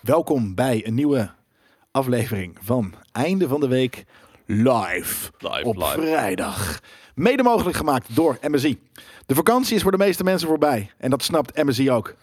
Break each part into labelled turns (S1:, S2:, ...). S1: Welkom bij een nieuwe aflevering van Einde van de Week live.
S2: Live,
S1: op
S2: live.
S1: vrijdag. Mede mogelijk gemaakt door MSI. De vakantie is voor de meeste mensen voorbij. En dat snapt MSI ook.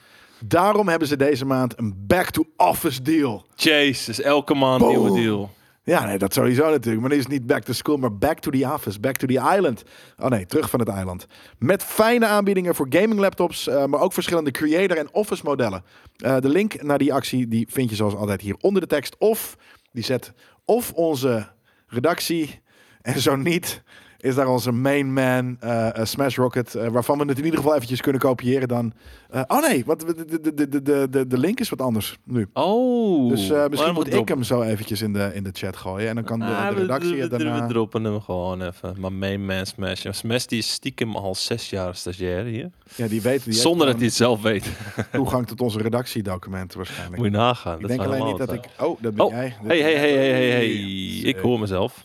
S1: Daarom hebben ze deze maand een back-to-office deal.
S2: Jezus, elke maand
S1: Boom.
S2: nieuwe deal.
S1: Ja, nee, dat sowieso natuurlijk. Maar dit is niet back to school, maar back to the office. Back to the island. Oh nee, terug van het eiland. Met fijne aanbiedingen voor gaming laptops, eh, maar ook verschillende creator- en office modellen. Eh, de link naar die actie die vind je zoals altijd hier onder de tekst. Of die zet of onze redactie. En zo niet, is daar onze main man eh, eh, Smash Rocket. eh, waarvan we het in ieder geval eventjes kunnen kopiëren dan. Eh, oh nee, wat, de, de, de, de, de, de link is wat anders nu.
S2: Oh.
S1: Dus eh, misschien
S2: waarom
S1: moet ik
S2: droppen?
S1: hem zo eventjes in de, in de chat gooien. En dan kan de,
S2: Ah,
S1: de
S2: we-
S1: redactie
S2: we,
S1: het
S2: we,
S1: daarna...
S2: we droppen hem gewoon even. Maar main man Smash. En Smash die is stiekem al zes jaar stagiair hier.
S1: Ja, die weten die heeft
S2: Zonder dat hij
S1: gewoon
S2: het zelf weet.
S1: toegang tot onze redactiedocumenten waarschijnlijk.
S2: Moet je nagaan.
S1: ik denk alleen niet dat ik... Oh, dat ben
S2: Oh,
S1: jij. eh,
S2: hey, hey, hey, hey, hey, hey.
S1: Sick.
S2: Ik hoor mezelf.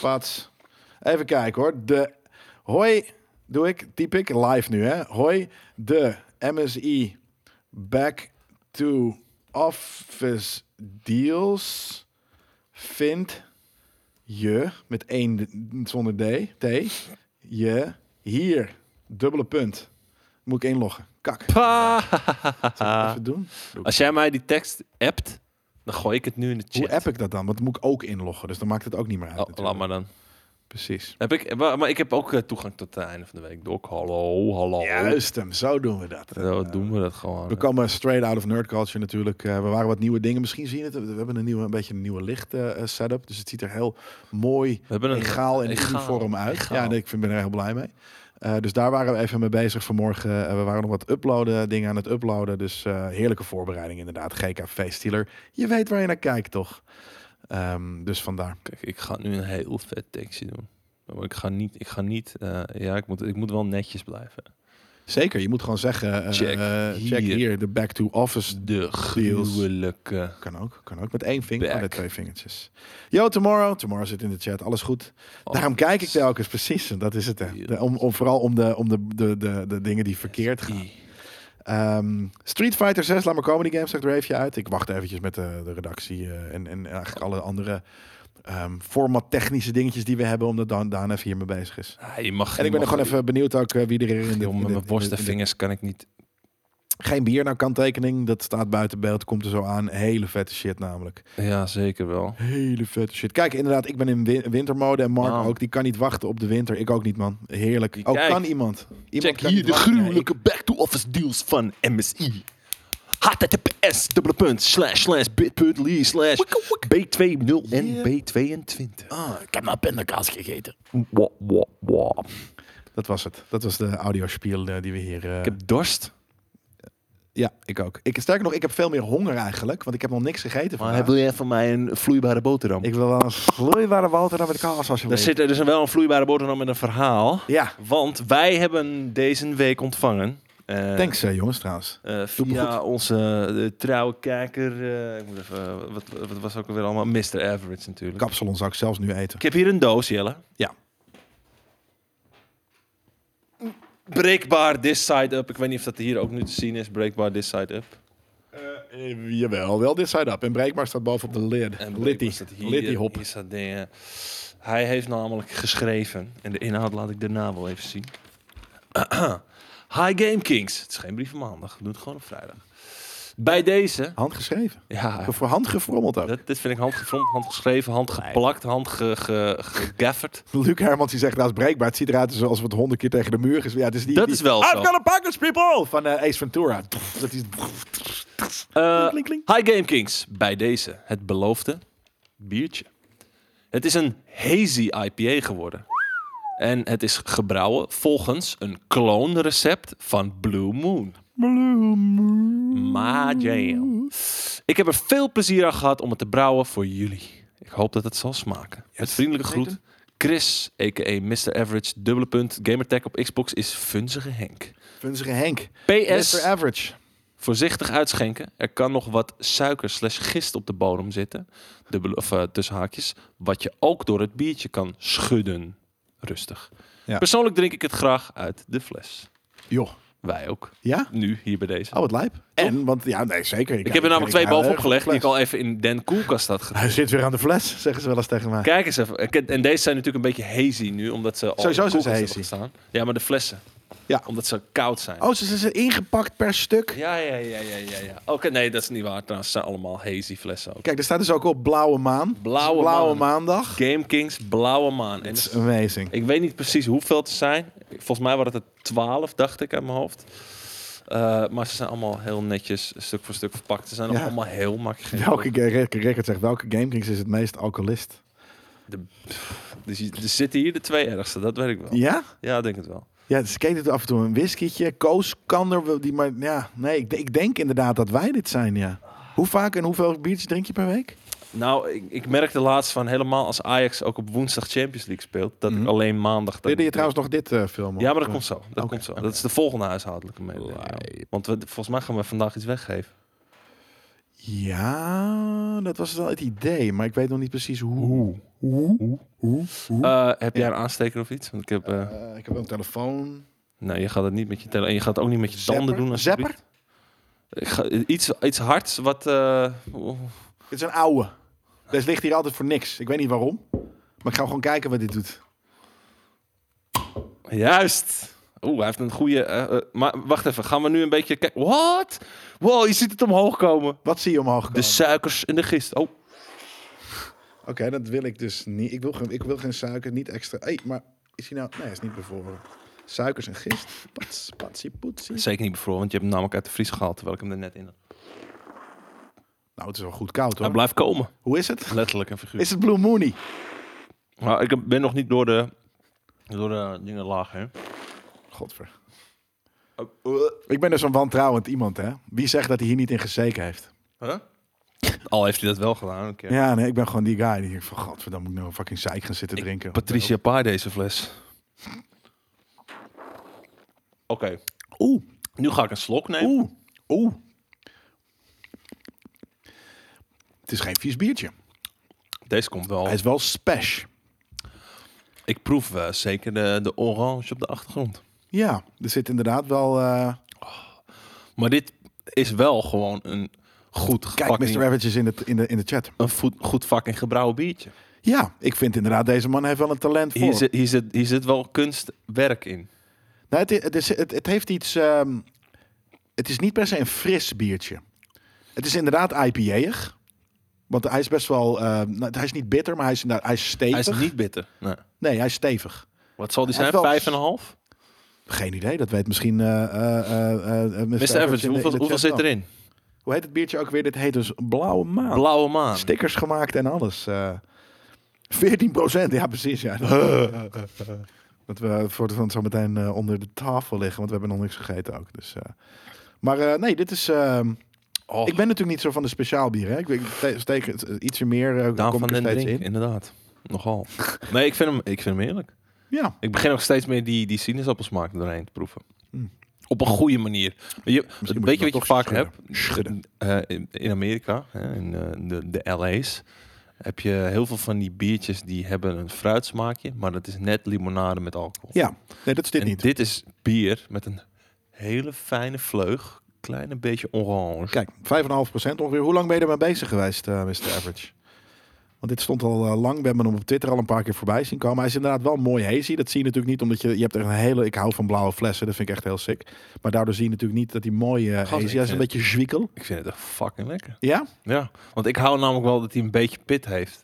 S1: Pats. Even kijken hoor. De... Hoi, doe ik, typ ik, live nu hè. Hoi, de MSI Back to Office Deals vindt je, met één d- zonder D, T, je hier, dubbele punt. Moet ik inloggen. Kak. Zal ik het even doen?
S2: Als jij mij die tekst appt, dan gooi ik het nu in de
S1: Hoe
S2: chat.
S1: app ik dat dan? Want dan moet ik ook inloggen, dus dan maakt het ook niet meer uit.
S2: Oh, laat
S1: natuurlijk.
S2: maar dan.
S1: Precies.
S2: Heb ik, maar, maar ik heb ook eh, toegang tot het einde van de week. Dok, hallo, hallo.
S1: Juist hem, zo doen we dat.
S2: Zo doen we dat gewoon.
S1: We komen straight out of nerd culture natuurlijk. Eh, we waren wat nieuwe dingen. Misschien zien je het. We hebben een, nieuwe, een beetje een nieuwe licht eh, eh, setup. Dus het ziet er heel mooi,
S2: We hebben een
S1: egaal en
S2: egaal,
S1: uniform uit.
S2: egaal.
S1: Ja, nee, ik vind- ben er heel blij mee. Eh, dus daar waren we even mee bezig vanmorgen. Eh, we waren nog wat uploaden, dingen aan het uploaden. Dus eh, heerlijke voorbereiding inderdaad. GKV Steeler. Je weet waar je naar kijkt toch? Ehm, dus vandaar.
S2: Kijk, ik ga nu een heel vet tekstje doen. Maar ik ga niet, ik ga niet, eh, ja, ik moet, ik moet wel netjes blijven.
S1: Zeker, je moet gewoon zeggen... eh,
S2: Check
S1: eh,
S2: hier.
S1: check hier, de back to office
S2: De gruwelijke.
S1: Kan ook, kan ook. Met één vinger,
S2: Back.
S1: oh, met twee vingertjes. Yo, tomorrow. Tomorrow zit in de chat, alles goed.
S2: Oh.
S1: Daarom kijk ik telkens, precies. en Dat is het, hè. De- om, om, vooral om, de, om de, de, de, de dingen die verkeerd gaan. Ehm, Street Fighter 6, laat maar comedy games, zegt er even uit. Ik wacht eventjes met de, de redactie eh, en, en eigenlijk alle andere ehm formattechnische dingetjes die we hebben, omdat Dan, Daan even hiermee bezig is.
S2: Ah, je mag,
S1: En ik ben er
S2: nog
S1: gewoon even benieuwd ook eh, wie er in de...
S2: Joh, met mijn borst en vingers kan ik niet.
S1: Geen bier naar kanttekening, dat staat buiten beeld, komt er zo aan. Hele vette shit namelijk.
S2: Ja, zeker wel.
S1: Hele vette shit. Kijk, inderdaad, ik ben in win- wintermode en Mark
S2: Wauw.
S1: ook. Die kan niet wachten op de winter. Ik ook niet, man. Heerlijk.
S2: Die
S1: Ook
S2: kijkt.
S1: kan iemand. iemand
S2: Check
S1: kan
S2: hier
S1: niet
S2: de
S1: wachten.
S2: gruwelijke back-to-office deals van MSI. https dubbele punt slash slash bit.ly slash b20 en b22.
S3: Ah, ik
S1: nou
S3: heb maar pindakaas gegeten.
S2: Wa, wa, wa.
S1: Nee, Dat was het. Dat was de audiospiel eh, die we hier... eh,
S2: Ik heb dorst.
S1: Ja, ik ook. Ik, sterker nog, ik heb veel meer honger eigenlijk. Want ik heb nog niks gegeten
S2: Maar
S1: vandaag.
S2: wil jij van mij een vloeibare boterham?
S1: Ik wil wel een vloeibare water dan met kaas, als je
S2: Er
S1: wil.
S2: zit er dus wel een vloeibare boterham met een verhaal.
S1: Ja,
S2: Want wij hebben deze week ontvangen. eh,
S1: thanks eh, jongens trouwens.
S2: eh,
S1: Doe me
S2: via onze eh, trouwe kijker. eh, ik moet even, eh, wat, wat was ook alweer allemaal? Mr. Average natuurlijk.
S1: Kapsalon zou ik zelfs nu eten.
S2: Ik heb hier een doos, Jelle.
S1: Ja.
S2: Breekbaar this side up. Ik weet niet of dat hier ook nu te zien is. Breekbaar this side up.
S1: Eh, jawel, wel dit side up. En breekbaar staat bovenop de lid.
S2: En
S1: Litty.
S2: breekbaar staat hier. eh,
S1: Litty hop.
S2: Hier staat dingen. Hij heeft namelijk geschreven. En de inhoud laat ik daarna wel even zien. Hi Game Kings. Het is geen brief van maandag. We doen het gewoon op vrijdag. Bij deze.
S1: Handgeschreven.
S2: Ja,
S1: Of voor hand gefrommeld ook.
S2: dat, dit vind ik handgefromd, handgeschreven, handgeplakt, handge- ge- gegafferd.
S1: Luc Hermans die zegt, dat is breekbaar. Het ziet eruit alsof het honderd keer tegen de muur is. Ja, het is die,
S2: Dat
S1: die-
S2: is wel zo.
S1: I've got a package, people! Van eh, Ace Ventura. Dat is...
S2: Eh,
S1: Klink, klink.
S2: hi Game Kings. Bij deze het beloofde biertje. Het is een hazy IPA geworden. En het is gebrouwen volgens een kloonrecept van Blue Moon. Maar jam. Ik heb er veel plezier aan gehad om het te brouwen voor jullie. Ik hoop dat het zal smaken. Met vriendelijke groet. Chris, a.k.a. Mr. Average, dubbele punt, Gamertag op Xbox is funzige Henk.
S1: Vunzige Henk.
S2: PS,
S1: Mr. Average.
S2: Voorzichtig uitschenken. Er kan nog wat suiker slash gist op de bodem zitten. Dubbel, of eh, tussen haakjes. Wat je ook door het biertje kan schudden. Rustig.
S1: Ja.
S2: Persoonlijk drink ik het graag uit de fles.
S1: Joh,
S2: Wij ook.
S1: Ja?
S2: Nu, hier bij deze.
S1: Oh, wat lijp. En, want ja, nee, zeker.
S2: ik heb er namelijk twee bovenop gelegd die ik
S1: kan.
S2: al even in den koelkast had gedaan.
S1: Hij zit weer aan de fles, zeggen ze wel eens tegen mij.
S2: Kijk eens even. Ik- En deze zijn natuurlijk een beetje hazy nu, omdat ze al in de
S1: Sowieso zijn ze
S2: koelkast hebben gestaan. Ja, maar de flessen.
S1: Ja.
S2: Omdat ze koud zijn.
S1: Oh, ze ze zijn ingepakt per stuk.
S2: Ja, ja, ja, ja, ja. ja. Oké, nee, dat is niet waar. Trouwens, het zijn allemaal hazy flessen ook.
S1: Kijk, er staat dus ook op blauwe maan.
S2: Blauwe maan.
S1: maandag.
S2: Game Kings, blauwe maan. En
S1: It's amazing.
S2: ik weet niet precies hoeveel het zijn. Volgens mij waren het er 12, dacht ik, uit mijn hoofd. Eh, maar ze zijn allemaal heel netjes, stuk voor stuk verpakt. Ze zijn ook
S1: Ja.
S2: allemaal heel makkelijk.
S1: Welke ga- record record zegt welke GameKings is het meest alcoholist?
S2: Dus je- er zitten hier de twee ergste, dat weet ik wel.
S1: Ja?
S2: Ja, ik denk het wel.
S1: Ja, ze kent het af en toe een whiskietje. Koos kan er wel die maar ja, nee, ik, ik denk inderdaad dat wij dit zijn, ja. Hoe vaak en hoeveel biertjes drink je per week?
S2: Nou, ik, ik merkte laatst van helemaal als Ajax ook op woensdag Champions League speelt, dat ik alleen maandag... dan-
S1: Wilde Mhm. je trouwens nog dit eh filmen?
S2: Ja, maar dat
S1: Of,
S2: komt zo. Dat,
S1: Oké,
S2: komt zo. dat is de volgende huishoudelijke mededeling. Want we, volgens mij gaan we vandaag iets weggeven.
S1: Ja, dat was wel het idee, maar ik weet nog niet precies hoe.
S2: Eh, heb jij een aansteker of iets? Want ik heb... eh,
S1: Eh, ik heb wel een telefoon.
S2: Nee, je gaat het niet met je tellen. En je gaat het ook niet met je tanden doen. als
S1: Zepper?
S2: Ik ga, iets, iets hards wat. eh,
S1: Dit is een ouwe. Deze ligt hier altijd voor niks. Ik weet niet waarom. Maar ik ga gewoon kijken wat dit doet.
S2: juist. Oeh, hij heeft een goede. eh, eh, maar wacht even, gaan we nu een beetje kijken. Wat? Wow, je ziet het omhoog komen.
S1: Wat zie je omhoog komen?
S2: De suikers en de gist. Oh,
S1: Oké, dat wil ik dus niet. Ik wil, geen- ik wil geen suiker, niet extra. Hey, maar is hij nou... Nee, hij is niet bevroren. Suikers en gist. Pats, patsie, poetsie.
S2: zeker niet bevroren, want je hebt hem namelijk uit de vries gehaald terwijl ik hem er net in had.
S1: Nou, het is wel goed koud hoor.
S2: Hij blijft komen,
S1: Hoe is het?
S2: letterlijk en figuurlijk.
S1: Is het Blue Mooney?
S2: Nou, ik ben nog niet door de, door de dingen laag heen.
S1: Godver. Oh, Ik ben dus een wantrouwend iemand, hè? Wie zegt dat hij hier niet in gezeken heeft?
S2: Huh? Al heeft hij dat wel gedaan een keer.
S1: Ja, nee, ik ben gewoon die guy die denkt van... Godverdamme, moet ik nou een fucking zeik gaan zitten drinken?
S2: Patricia Paar deze fles. Oké.
S1: Oeh,
S2: Nu ga ik een slok nemen.
S1: oeh, oeh. Het is geen vies biertje.
S2: Deze komt wel.
S1: Hij is wel special.
S2: Ik proef eh, zeker de, de orange op de achtergrond.
S1: Ja, er zit inderdaad wel... eh,
S2: Maar dit is wel gewoon een goed,
S1: Kijk,
S2: fucking,
S1: Mr. Average is in de, in, de, in de chat.
S2: een voet, goed fucking gebrouwen biertje.
S1: Ja, ik vind inderdaad, deze man heeft wel een talent voor.
S2: Hier zit, hier, zit, hier zit wel kunstwerk in.
S1: Nou, het, i- het, is- het, het heeft iets... ehm, het is niet per se een fris biertje. Het is inderdaad IPA-ig. Want hij is best wel... ehm, nou, hij is niet bitter, maar hij is, inderdaad- hij is
S2: Hij
S1: stevig.
S2: is niet bitter. Nee.
S1: Nee, hij is stevig.
S2: Wat zal die
S1: Hij
S2: zijn?
S1: is wel- dus
S2: Vijf en een half?
S1: Geen idee, dat weet misschien eh, eh, eh, eh, Mr.
S2: Mr.
S1: Average in de-
S2: Average,
S1: in de
S2: hoeveel,
S1: chat
S2: hoeveel
S1: wel.
S2: zit erin?
S1: Hoe heet het biertje ook weer? Dit heet dus Blauwe Maan.
S2: Blauwe maan.
S1: Stickers gemaakt en alles. eh 14 ja precies. Ja. dat we voor de van zo meteen eh, onder de tafel liggen, want we hebben nog niks gegeten ook. Dus, eh. Maar eh, nee, dit is. ehm,
S2: Oh,
S1: Ik ben natuurlijk niet zo van de speciaalbieren. Hè? Ik weet- te- steek het eh, ietsje meer. eh,
S2: Daan
S1: kom
S2: van
S1: ik er
S2: den
S1: steeds
S2: Drink,
S1: in.
S2: inderdaad. Nogal. Nee, ik vind, hem, ik vind hem heerlijk.
S1: Ja,
S2: Ik begin ook steeds meer die, die sinaasappelsmaak doorheen te proeven. Op een goede manier. Je,
S1: Hmm. moet je
S2: weet je
S1: dat
S2: wat je
S1: toch
S2: vaak
S1: schudden.
S2: hebt? Eh, in, in Amerika, hè, in eh, de, de LA's, heb je heel veel van die biertjes die hebben een fruitsmaakje, maar dat is net limonade met alcohol.
S1: ja. Nee, dat is dit
S2: en
S1: niet.
S2: dit is bier met een hele fijne vleug, klein beetje orange.
S1: Kijk, 5,5 ongeveer. Hoe lang ben je ermee bezig geweest, eh, Mr. Average? Want dit stond al eh, lang. We hebben hem op Twitter al een paar keer voorbij zien komen. Hij is inderdaad wel mooi hazy. Dat zie je natuurlijk niet, omdat je, je hebt er een hele... Ik hou van blauwe flessen, dat vind ik echt heel sick. Maar daardoor zie je natuurlijk niet dat hij mooi eh hazy
S2: ik
S1: is. Hij is een
S2: vind-
S1: beetje zwikkel.
S2: Ik vind het echt fucking lekker.
S1: Ja?
S2: Ja, want ik hou namelijk wel dat hij een beetje pit heeft.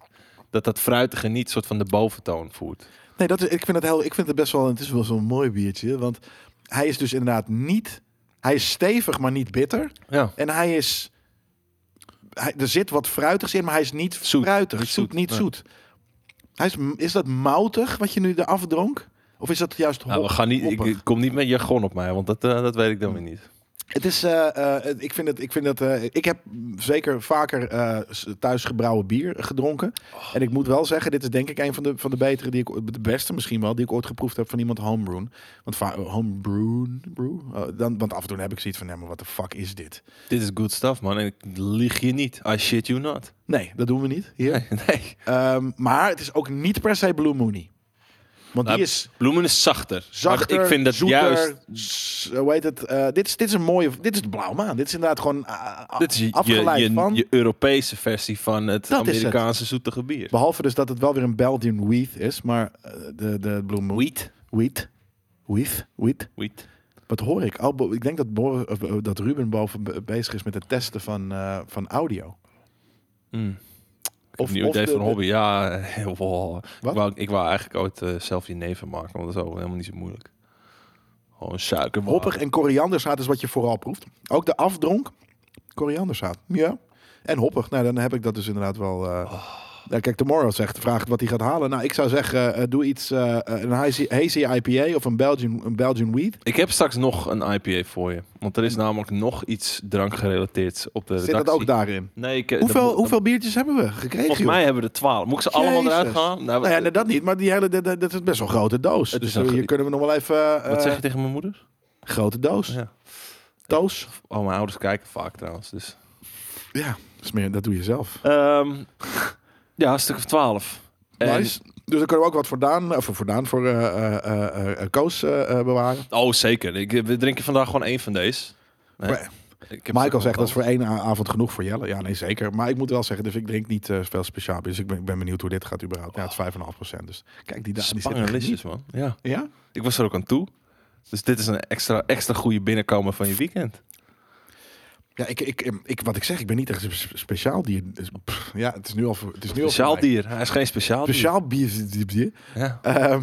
S2: Dat dat fruitige niet soort van de boventoon voert.
S1: Nee, dat is, ik, vind het heel, ik vind het best wel... Het is wel zo'n mooi biertje. Want hij is dus inderdaad niet... Hij is stevig, maar niet bitter.
S2: Ja.
S1: En hij is... Hij, er zit wat fruitigs in, maar hij is niet
S2: Zoet.
S1: fruitig.
S2: Niet
S1: Niet
S2: zoet,
S1: zoet, niet
S2: nee.
S1: zoet. Hij is, is dat moutig wat je nu eraf dronk? Of is dat juist hop,
S2: Nou, we gaan niet, ik,
S1: hoppig?
S2: ik kom niet met jargon op mij, want dat, eh, dat weet ik dan weer niet.
S1: Het is, eh, eh, ik vind het, ik vind dat, eh, ik heb zeker vaker eh, s- thuis gebrouwen bier gedronken.
S2: Oh.
S1: En ik moet wel zeggen, dit is denk ik een van de, van de betere, die ik, o- de beste misschien wel, die ik ooit geproefd heb van iemand homebrewen. Want va- homebrewen, brew? Eh, dan, want af en toe heb ik zoiets van, ja, maar wat de fuck is dit?
S2: Dit is good stuff, man. En ik lieg je niet. I shit you not.
S1: Nee, dat doen we niet hier.
S2: Nee, nee.
S1: Ehm, maar het is ook niet per se Blue Mooney. Want
S2: Nou,
S1: die is
S2: Bloemen is zachter.
S1: zachter,
S2: maar ik weet dat
S1: zoeter,
S2: juist...
S1: s- hoe heet het? eh, dit, is, dit is een mooie, dit is de blauwe maan. Dit is inderdaad gewoon eh, a-
S2: Dit is je,
S1: afgeleid
S2: je, je,
S1: van.
S2: je Europese versie van het
S1: Dat is het.
S2: Amerikaanse zoete gebier.
S1: Behalve dus dat het wel weer een Belgian wheat is, maar eh, de, de bloem...
S2: Wheat.
S1: Wheat. Wheat. Wheat.
S2: Wheat.
S1: Wat hoor ik? Oh, bo- ik denk dat, Bor- of, eh, dat Ruben boven be- bezig is met het testen van, eh, van audio.
S2: Mm.
S1: Of-
S2: Of, nieuw
S1: of
S2: idee
S1: de-
S2: van hobby. Ja, eh, wow.
S1: Wat?
S2: Ik, wou, ik wou eigenlijk ooit eh, zelf je neven maken, want dat is ook helemaal niet zo moeilijk. Gewoon suiker.
S1: Hoppig en korianderzaad is wat je vooral proeft. Ook de afdronk, korianderzaad. Ja. En hoppig. Nou, dan heb ik dat dus inderdaad wel... eh,
S2: Oh.
S1: ja, kijk, Tomorrow zegt, vraagt wat hij gaat halen. Nou, ik zou zeggen, eh, doe iets, eh, eh, een hazy, hazy IPA of een Belgian, een Belgian wheat.
S2: Ik heb straks nog een IPA voor je. Want er is namelijk nog iets drankgerelateerd op de
S1: Zit
S2: redactie.
S1: dat ook daarin?
S2: Nee, ik, eh,
S1: Hoeveel,
S2: dat-
S1: hoeveel biertjes hebben we gekregen?
S2: Volgens
S1: joh?
S2: mij hebben we er twaalf. Moet ik ze allemaal
S1: Jezus.
S2: eruit gaan? Nou,
S1: Nou ja, nee, dat niet, maar die hele, dat, dat- dat is best wel een grote doos.
S2: Het
S1: Dus
S2: is een
S1: hier
S2: ge-
S1: kunnen we nog wel even... eh,
S2: Wat zeg je tegen mijn moeder?
S1: Grote doos.
S2: Ja.
S1: Doos.
S2: Oh, mijn ouders kijken vaak trouwens. Dus.
S1: Ja, smeer, dat doe je zelf.
S2: Ehm, ja, een stuk of twaalf. En-
S1: Nice. Dus dan kunnen we ook wat voor Daan, of voor, Daan, voor eh, eh, eh, eh, eh, Koos eh, eh, bewaren.
S2: Oh, zeker. Ik, we drinken vandaag gewoon één van deze. Nee,
S1: Maar-
S2: ik heb
S1: Michael
S2: ze-
S1: zegt dat is voor één a- avond genoeg voor Jelle. Ja, nee, zeker. Maar ik moet wel zeggen, dus ik drink niet eh, veel speciaal. Dus ik ben, ik ben benieuwd hoe dit gaat überhaupt. Ja, het is 5,5 Dus kijk, die Daan die zit er
S2: Spangerlisjes,
S1: niet.
S2: man. Ja.
S1: Ja?
S2: Ik was er ook aan toe. Dus dit is een extra, extra goede binnenkomen van je weekend.
S1: Ja, ik, ik, ik, ik- wat ik zeg, ik ben niet echt een spe- speciaal dier. Dus, pff, ja, het is nu al voor, het is nu al voor
S2: Speciaal
S1: mij.
S2: dier. Hij is geen speciaal,
S1: Speciaal bier. bier.
S2: dier. Ja.
S1: Ehm,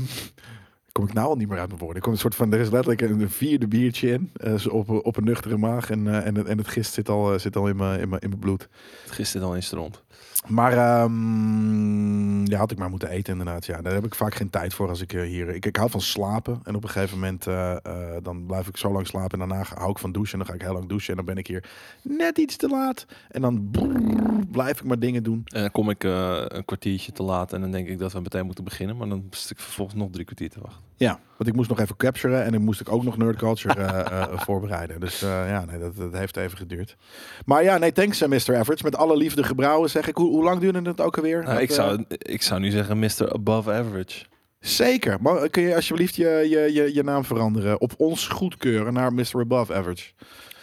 S1: kom ik nou al niet meer uit mijn woorden. Ik kom een soort van, er is letterlijk een vierde biertje in. eh, zo op, op een nuchtere maag. En, eh, en, het- en het gist zit al, eh, zit al in mijn in mijn- in mijn bloed.
S2: Gisteren al in stront.
S1: Maar ehm, ja, had ik maar moeten eten inderdaad. Ja, daar heb ik vaak geen tijd voor als ik eh, hier... Ik, ik hou van slapen en op een gegeven moment eh, eh, dan blijf ik zo lang slapen. En daarna ga- hou ik van douchen en dan ga ik heel lang douchen. En dan ben ik hier net iets te laat. En dan brrr, blijf ik maar dingen doen.
S2: En dan kom ik eh, een kwartiertje te laat en dan denk ik dat we meteen moeten beginnen. Maar dan zit ik vervolgens nog drie kwartier te wachten.
S1: Ja, want ik moest nog even capturen en dan moest ik ook nog Nerd Culture eh, eh, voorbereiden. Dus eh, ja, nee, dat, dat heeft even geduurd. Maar ja, nee, thanks eh, Mr. Average. Met alle liefde gebrouwen zeg ik. Hoe, hoe lang duurde het ook alweer?
S2: Nou,
S1: Dat,
S2: ik,
S1: eh,
S2: zou, ik zou nu zeggen Mr. Above Average.
S1: Zeker. Maar eh, kun je alsjeblieft je, je, je, je naam veranderen? Op ons goedkeuren naar Mr. Above Average.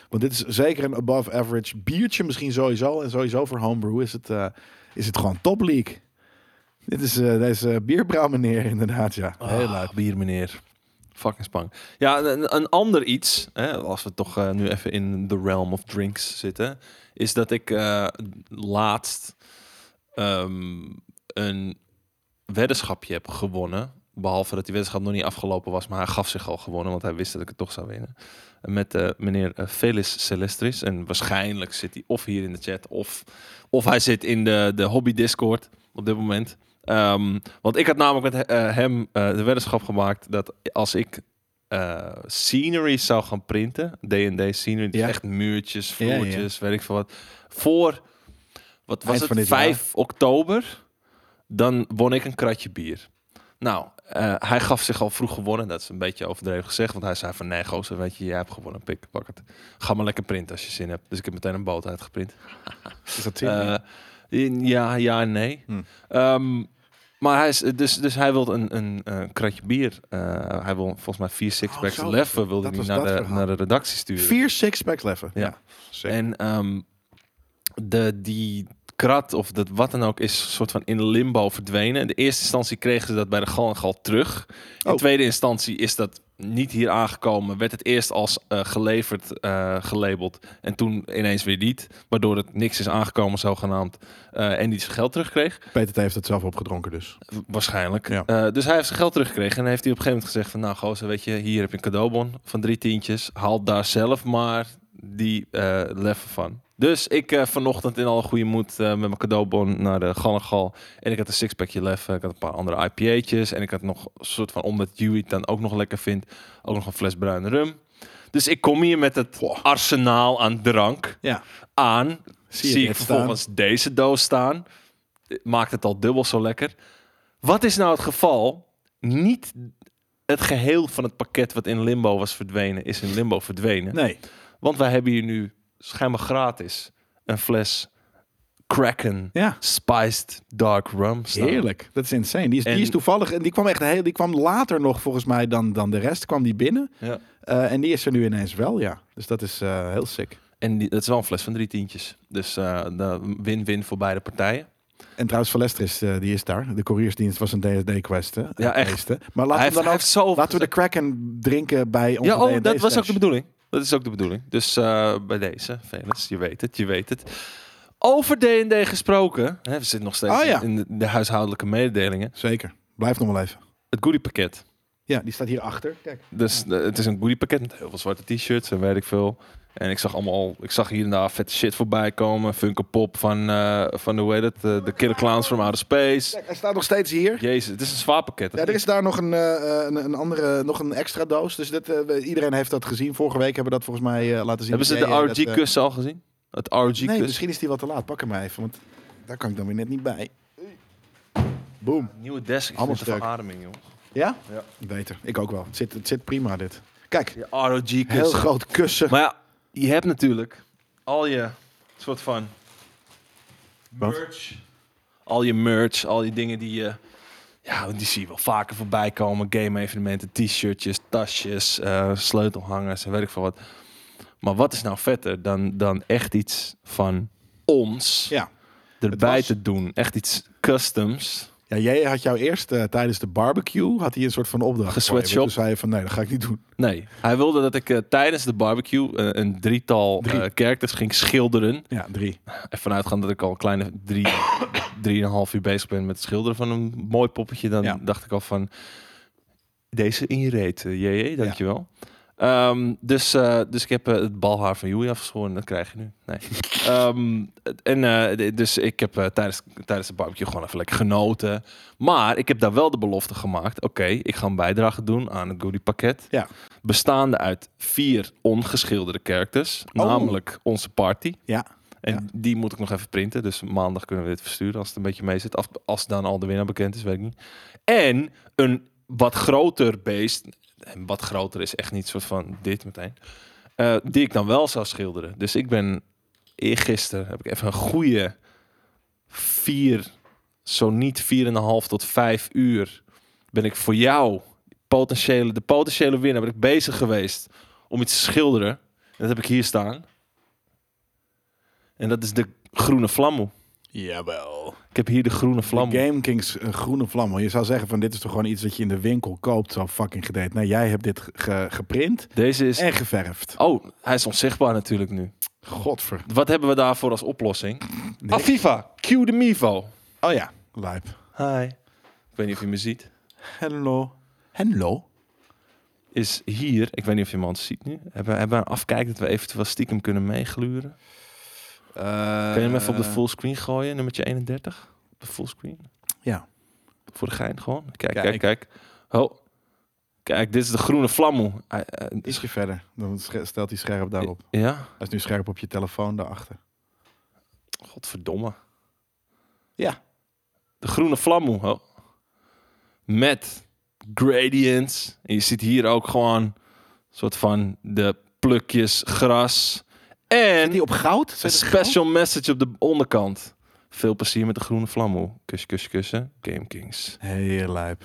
S1: Want dit is zeker een above average biertje misschien sowieso. En sowieso voor homebrew is het, eh, is het gewoon top league. Dit is eh, deze bierbrouw meneer inderdaad, ja. Heel
S2: Ah, bier, meneer. Fucking spang. Ja, een, een ander iets, hè, als we toch eh, nu even in the realm of drinks zitten, is dat ik eh, laatst ehm, een weddenschapje heb gewonnen. Behalve dat die weddenschap nog niet afgelopen was, maar hij gaf zich al gewonnen, want hij wist dat ik het toch zou winnen. Met eh, meneer eh, Felis Celestris. En waarschijnlijk zit hij of hier in de chat, of, of hij zit in de, de hobby Discord op dit moment. Ehm, want ik had namelijk met he- eh, hem eh, de weddenschap gemaakt dat als ik eh, scenery zou gaan printen, D&D scenery, dus
S1: Ja.
S2: echt muurtjes,
S1: Ja, ja.
S2: vloertjes, weet ik veel wat, voor wat was
S1: Eind van
S2: het,
S1: dit jaar.
S2: 5 oktober, dan won ik een kratje bier. Nou, eh, hij gaf zich al vroeg gewonnen. Dat is een beetje overdreven gezegd. Want hij zei van, nee gozer, weet je, jij hebt gewonnen. Pik, pak het. Ga maar lekker printen als je zin hebt. Dus ik heb meteen een boot uitgeprint.
S1: Is dat
S2: Eh, in- ja, ja en nee.
S1: Hm.
S2: Ehm, maar hij is, dus, dus hij wil een, een, eh, kratje bier. Eh, hij wil volgens mij vier sixpacks
S1: Oh, zo.
S2: leffen. Wilde
S1: Dat
S2: hij
S1: was
S2: naar
S1: dat
S2: de,
S1: verhaal.
S2: naar de redactie sturen.
S1: Vier sixpacks leffen.
S2: Ja.
S1: zeker.
S2: En ehm, de, die krat of dat wat dan ook is soort van in limbo verdwenen. In de eerste instantie kregen ze dat bij de Gal en Gal terug. In
S1: Oh.
S2: tweede instantie is dat niet hier aangekomen. Werd het eerst als eh, geleverd eh, gelabeld en toen ineens weer niet. Waardoor het niks is aangekomen zogenaamd eh, en die zijn geld terugkreeg.
S1: Peter T heeft het zelf opgedronken dus.
S2: W- Waarschijnlijk.
S1: Ja.
S2: Eh, dus hij heeft zijn geld teruggekregen. En heeft hij op een gegeven moment gezegd van... Nou gozer, weet je, hier heb je een cadeaubon van drie tientjes. Haal daar zelf maar die eh leffen van. Dus ik eh, vanochtend in alle goede moed eh, met mijn cadeaubon naar de Gal en Gal. En ik had een sixpackje leffen. Ik had een paar andere IPA'tjes. En ik had nog een soort van, omdat Dewey het dan ook nog lekker vindt... ook nog een fles bruine rum. Dus ik kom hier met het arsenaal aan drank
S1: Ja.
S2: aan.
S1: Zie
S2: Zie,
S1: je
S2: ik
S1: dit
S2: vervolgens deze doos staan. Eh, Maakt het al dubbel zo lekker. Wat is nou het geval? Niet het geheel van het pakket wat in limbo was verdwenen, is in limbo verdwenen.
S1: Nee.
S2: Want wij hebben hier nu schijnbaar gratis een fles Kraken
S1: Ja.
S2: Spiced Dark Rum staan.
S1: Heerlijk. Dat is insane. Die is,
S2: En-
S1: die is toevallig. En die kwam echt heel. Die kwam later nog volgens mij dan, dan de rest. Kwam die binnen.
S2: Ja.
S1: Eh, en die is er nu ineens wel, ja. Dus dat is eh, heel sick.
S2: En die, dat is wel een fles van drie tientjes. Dus eh, de win-win voor beide partijen.
S1: En trouwens, Van Lester is, eh, die is daar. De couriersdienst was een DSD-quest.
S2: Ja, echt.
S1: Maar laten
S2: hij
S1: we
S2: heeft,
S1: dan
S2: hij
S1: ook,
S2: heeft zo...
S1: laten we de Kraken drinken bij onze
S2: ja, oh, dat
S1: D&D
S2: was ook
S1: stash.
S2: de bedoeling. Dat is ook de bedoeling. Dus eh, bij deze, Felix, je weet het, je weet het. Over D&D gesproken, hè, we zitten nog steeds
S1: Oh, ja.
S2: in de, de huishoudelijke mededelingen.
S1: Zeker. Blijf nog wel even.
S2: Het goodiepakket.
S1: Ja, die staat hier achter. Kijk.
S2: Dus eh, het is een goodiepakket met heel veel zwarte t-shirts en weet ik veel. En ik zag allemaal, ik zag hier en daar vette shit voorbij komen. Funko Pop van, eh, van hoe heet het, eh, de Killer Clowns from Outer Space.
S1: Kijk, hij staat nog steeds hier.
S2: Jezus, het is een zwaar pakket.
S1: Ja, er is daar nog een, eh, een, een andere, nog een extra doos. Dus dit, eh, we- iedereen heeft dat gezien. Vorige week hebben we dat volgens mij eh, laten zien.
S2: Hebben ze
S1: Jij,
S2: de
S1: eh, dat, eh,
S2: RG-kussen al gezien? Het
S1: Nee,
S2: RG-kussen?
S1: misschien is die wat te laat. Pak hem maar even, want daar kan ik dan weer net niet bij. Boom.
S2: Nieuwe desk, ik
S1: Allemaal
S2: vind het een
S1: sterk.
S2: verademing, joh.
S1: Ja?
S2: Ja.
S1: Beter. Ik ook wel. Het zit, het zit prima, dit. Kijk,
S2: De RG-kussen.
S1: heel groot kussen.
S2: Maar ja, je hebt natuurlijk al je soort van merch. Al je merch, al die dingen die je... Ja, die zie je wel vaker voorbij komen. Game-evenementen, t-shirtjes, tasjes, eh, sleutelhangers en weet ik veel wat. Maar wat is nou vetter dan, dan echt iets van ons
S1: Ja.
S2: erbij
S1: was-
S2: te doen? Echt iets customs.
S1: ja, jij had jou eerst eh, tijdens de barbecue had hij een soort van opdracht. voor je, want
S2: Gesweatshop.
S1: Toen zei je van nee, dat ga ik niet doen.
S2: Nee, hij wilde dat ik eh, tijdens de barbecue eh, een drietal eh characters ging schilderen.
S1: Ja, drie.
S2: Ervan uitgaand dat ik al een kleine drie, drieënhalf uur bezig ben met het schilderen van een mooi poppetje, dan
S1: Ja.
S2: dacht ik al van deze in je reet, eh, JJ, dankjewel. Ehm, dus, eh, dus ik heb eh, het balhaar van Joey afgeschoren, dat krijg je nu. Nee. Ehm, en eh, d- dus ik heb eh, tijdens, tijdens de barbecue gewoon even lekker genoten. Maar ik heb daar wel de belofte gemaakt. Oké, ik ga een bijdrage doen aan het goodie pakket.
S1: Ja.
S2: Bestaande uit vier ongeschilderde characters.
S1: Oh.
S2: Namelijk onze party.
S1: Ja.
S2: En
S1: Ja.
S2: die moet ik nog even printen. Dus maandag kunnen we dit versturen als het een beetje mee zit. Af- Als dan al de winnaar bekend is, weet ik niet. En een wat groter beest. En wat groter is echt niet soort van dit meteen. eh, die ik dan wel zou schilderen. Dus ik ben eergisteren heb ik even een goede vier, zo niet vier en een half tot vijf uur. Ben ik voor jou, potentiële, de potentiële winnaar, ben ik bezig geweest om iets te schilderen. En dat heb ik hier staan. En dat is de groene vlammoe.
S1: Jawel.
S2: Ik heb hier de groene
S1: De
S2: vlammoe.
S1: Game Kings eh, groene vlam. Je zou zeggen van dit is toch gewoon iets dat je in de winkel koopt. Zo fucking gedate. Nee, jij hebt dit ge- ge- geprint
S2: Deze is...
S1: en geverfd.
S2: Oh, hij is onzichtbaar natuurlijk nu.
S1: Godver.
S2: Wat hebben we daarvoor als oplossing?
S1: Nee.
S2: Aviva, cue de Mivo.
S1: Oh ja. Lijp.
S2: Hi. Ik weet niet of je me ziet.
S1: Hello. Hello.
S2: Is hier, ik weet niet of je iemand ziet nu. Hebben, hebben we een afkijk dat we eventueel stiekem kunnen meegluren? Eh, Kun je hem even op
S1: Eh.
S2: de fullscreen gooien, nummertje 31? Op de fullscreen?
S1: Ja.
S2: Voor de gein gewoon. Kijk,
S1: Ja,
S2: kijk,
S1: ik-
S2: kijk. Oh. Kijk, dit is de groene vlammoe. Hij- hij-
S1: Eh, Ietsje verder. Dan sche- stelt hij scherp daarop.
S2: Ja?
S1: Hij is nu scherp op je telefoon daarachter.
S2: Godverdomme.
S1: Ja.
S2: De groene vlammoe. Oh. Met gradients. En je ziet hier ook gewoon een soort van de plukjes gras. En
S1: op goud?
S2: een special message op de onderkant. Veel plezier met de groene vlammoe. Kus, kus, kussen. Game Kings.
S1: Heel lijp.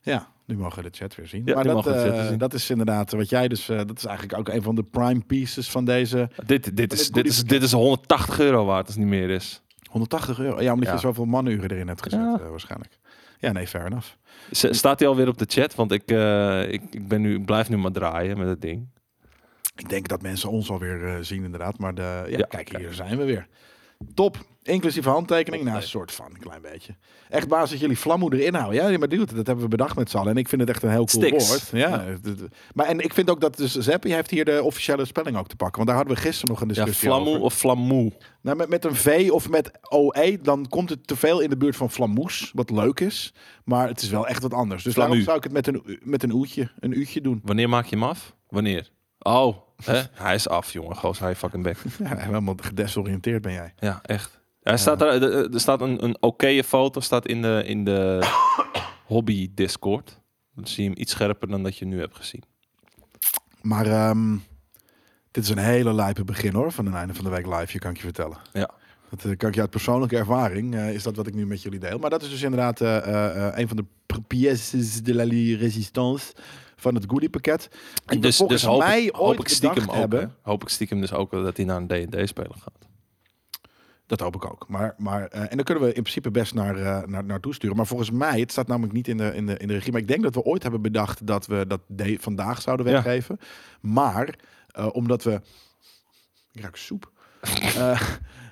S1: ja, nu mogen we de chat weer zien.
S2: Ja,
S1: maar
S2: nu
S1: dat,
S2: mogen we de chat
S1: eh,
S2: weer zien.
S1: dat is inderdaad wat jij dus... eh, dat is eigenlijk ook een van de prime pieces van deze...
S2: Dit, dit,
S1: het
S2: is, dit,
S1: goodie
S2: is,
S1: pakket.
S2: dit is 180 euro waard als het niet meer is.
S1: 180 euro. Ja, omdat
S2: Ja.
S1: je zoveel manuren erin hebt gezet
S2: Ja.
S1: eh, waarschijnlijk. Ja, nee, fair enough.
S2: Z- Hm. Staat hij alweer op de chat? Want ik, eh, ik, ik, ben nu, ik blijf nu maar draaien met het ding.
S1: Ik denk dat mensen ons alweer eh, zien inderdaad. Maar de, ja,
S2: Ja,
S1: kijk, hier zijn we weer. Top. Inclusief handtekening. Nou, een soort van, een klein beetje. Echt baas dat jullie vlammoe erin houden. Ja, nee, maar dude, dat hebben we bedacht met z'n allen. En ik vind het echt een heel cool
S2: Sticks.
S1: woord. Ja, d- d- Maar en ik vind ook dat dus Zepp, je heeft hier de officiële spelling ook te pakken. Want daar hadden we gisteren nog een
S2: Ja,
S1: discussie
S2: vlammoe
S1: over.
S2: of flamoe.
S1: Nou, met, met een V of met OE, dan komt het te veel in de buurt van flamoes. Wat leuk is. Maar het is wel echt wat anders. Dus
S2: Flamu.
S1: daarom zou ik het met een, u- met een oetje, een uutje doen.
S2: Wanneer maak je hem af? Wanneer? Oh, hè? hij is af, jongen. Goos, hij fucking back.
S1: Ja, helemaal gedesoriënteerd ben jij.
S2: Ja, echt. Hij staat er, er er staat een, een oké foto staat in de, in de hobby Discord. Dan zie je hem iets scherper dan dat je nu hebt gezien.
S1: Maar ehm, dit is een hele lijpe begin hoor, van een einde van de week live, je kan ik je vertellen.
S2: Ja.
S1: Dat eh, kan ik je uit persoonlijke ervaring, eh, is dat wat ik nu met jullie deel. Maar dat is dus inderdaad eh, eh, eh, een van de pr- pièces de la résistance van het goodie pakket. Die
S2: En
S1: we
S2: dus
S1: volgens
S2: dus hoop,
S1: mij
S2: ik, hoop
S1: ooit
S2: ik stiekem
S1: bedacht
S2: ook,
S1: hebben.
S2: hè. hoop ik stiekem dus ook wel dat hij naar een D&D speler gaat.
S1: Dat hoop ik ook. Maar, maar, eh, en dan kunnen we in principe best naar, eh, naar, naartoe sturen. Maar volgens mij, het staat namelijk niet in de, in, de, in de regie. Maar ik denk dat we ooit hebben bedacht dat we dat de- vandaag zouden
S2: Ja.
S1: weggeven. Maar eh, omdat we. Ik ruik soep. Eh,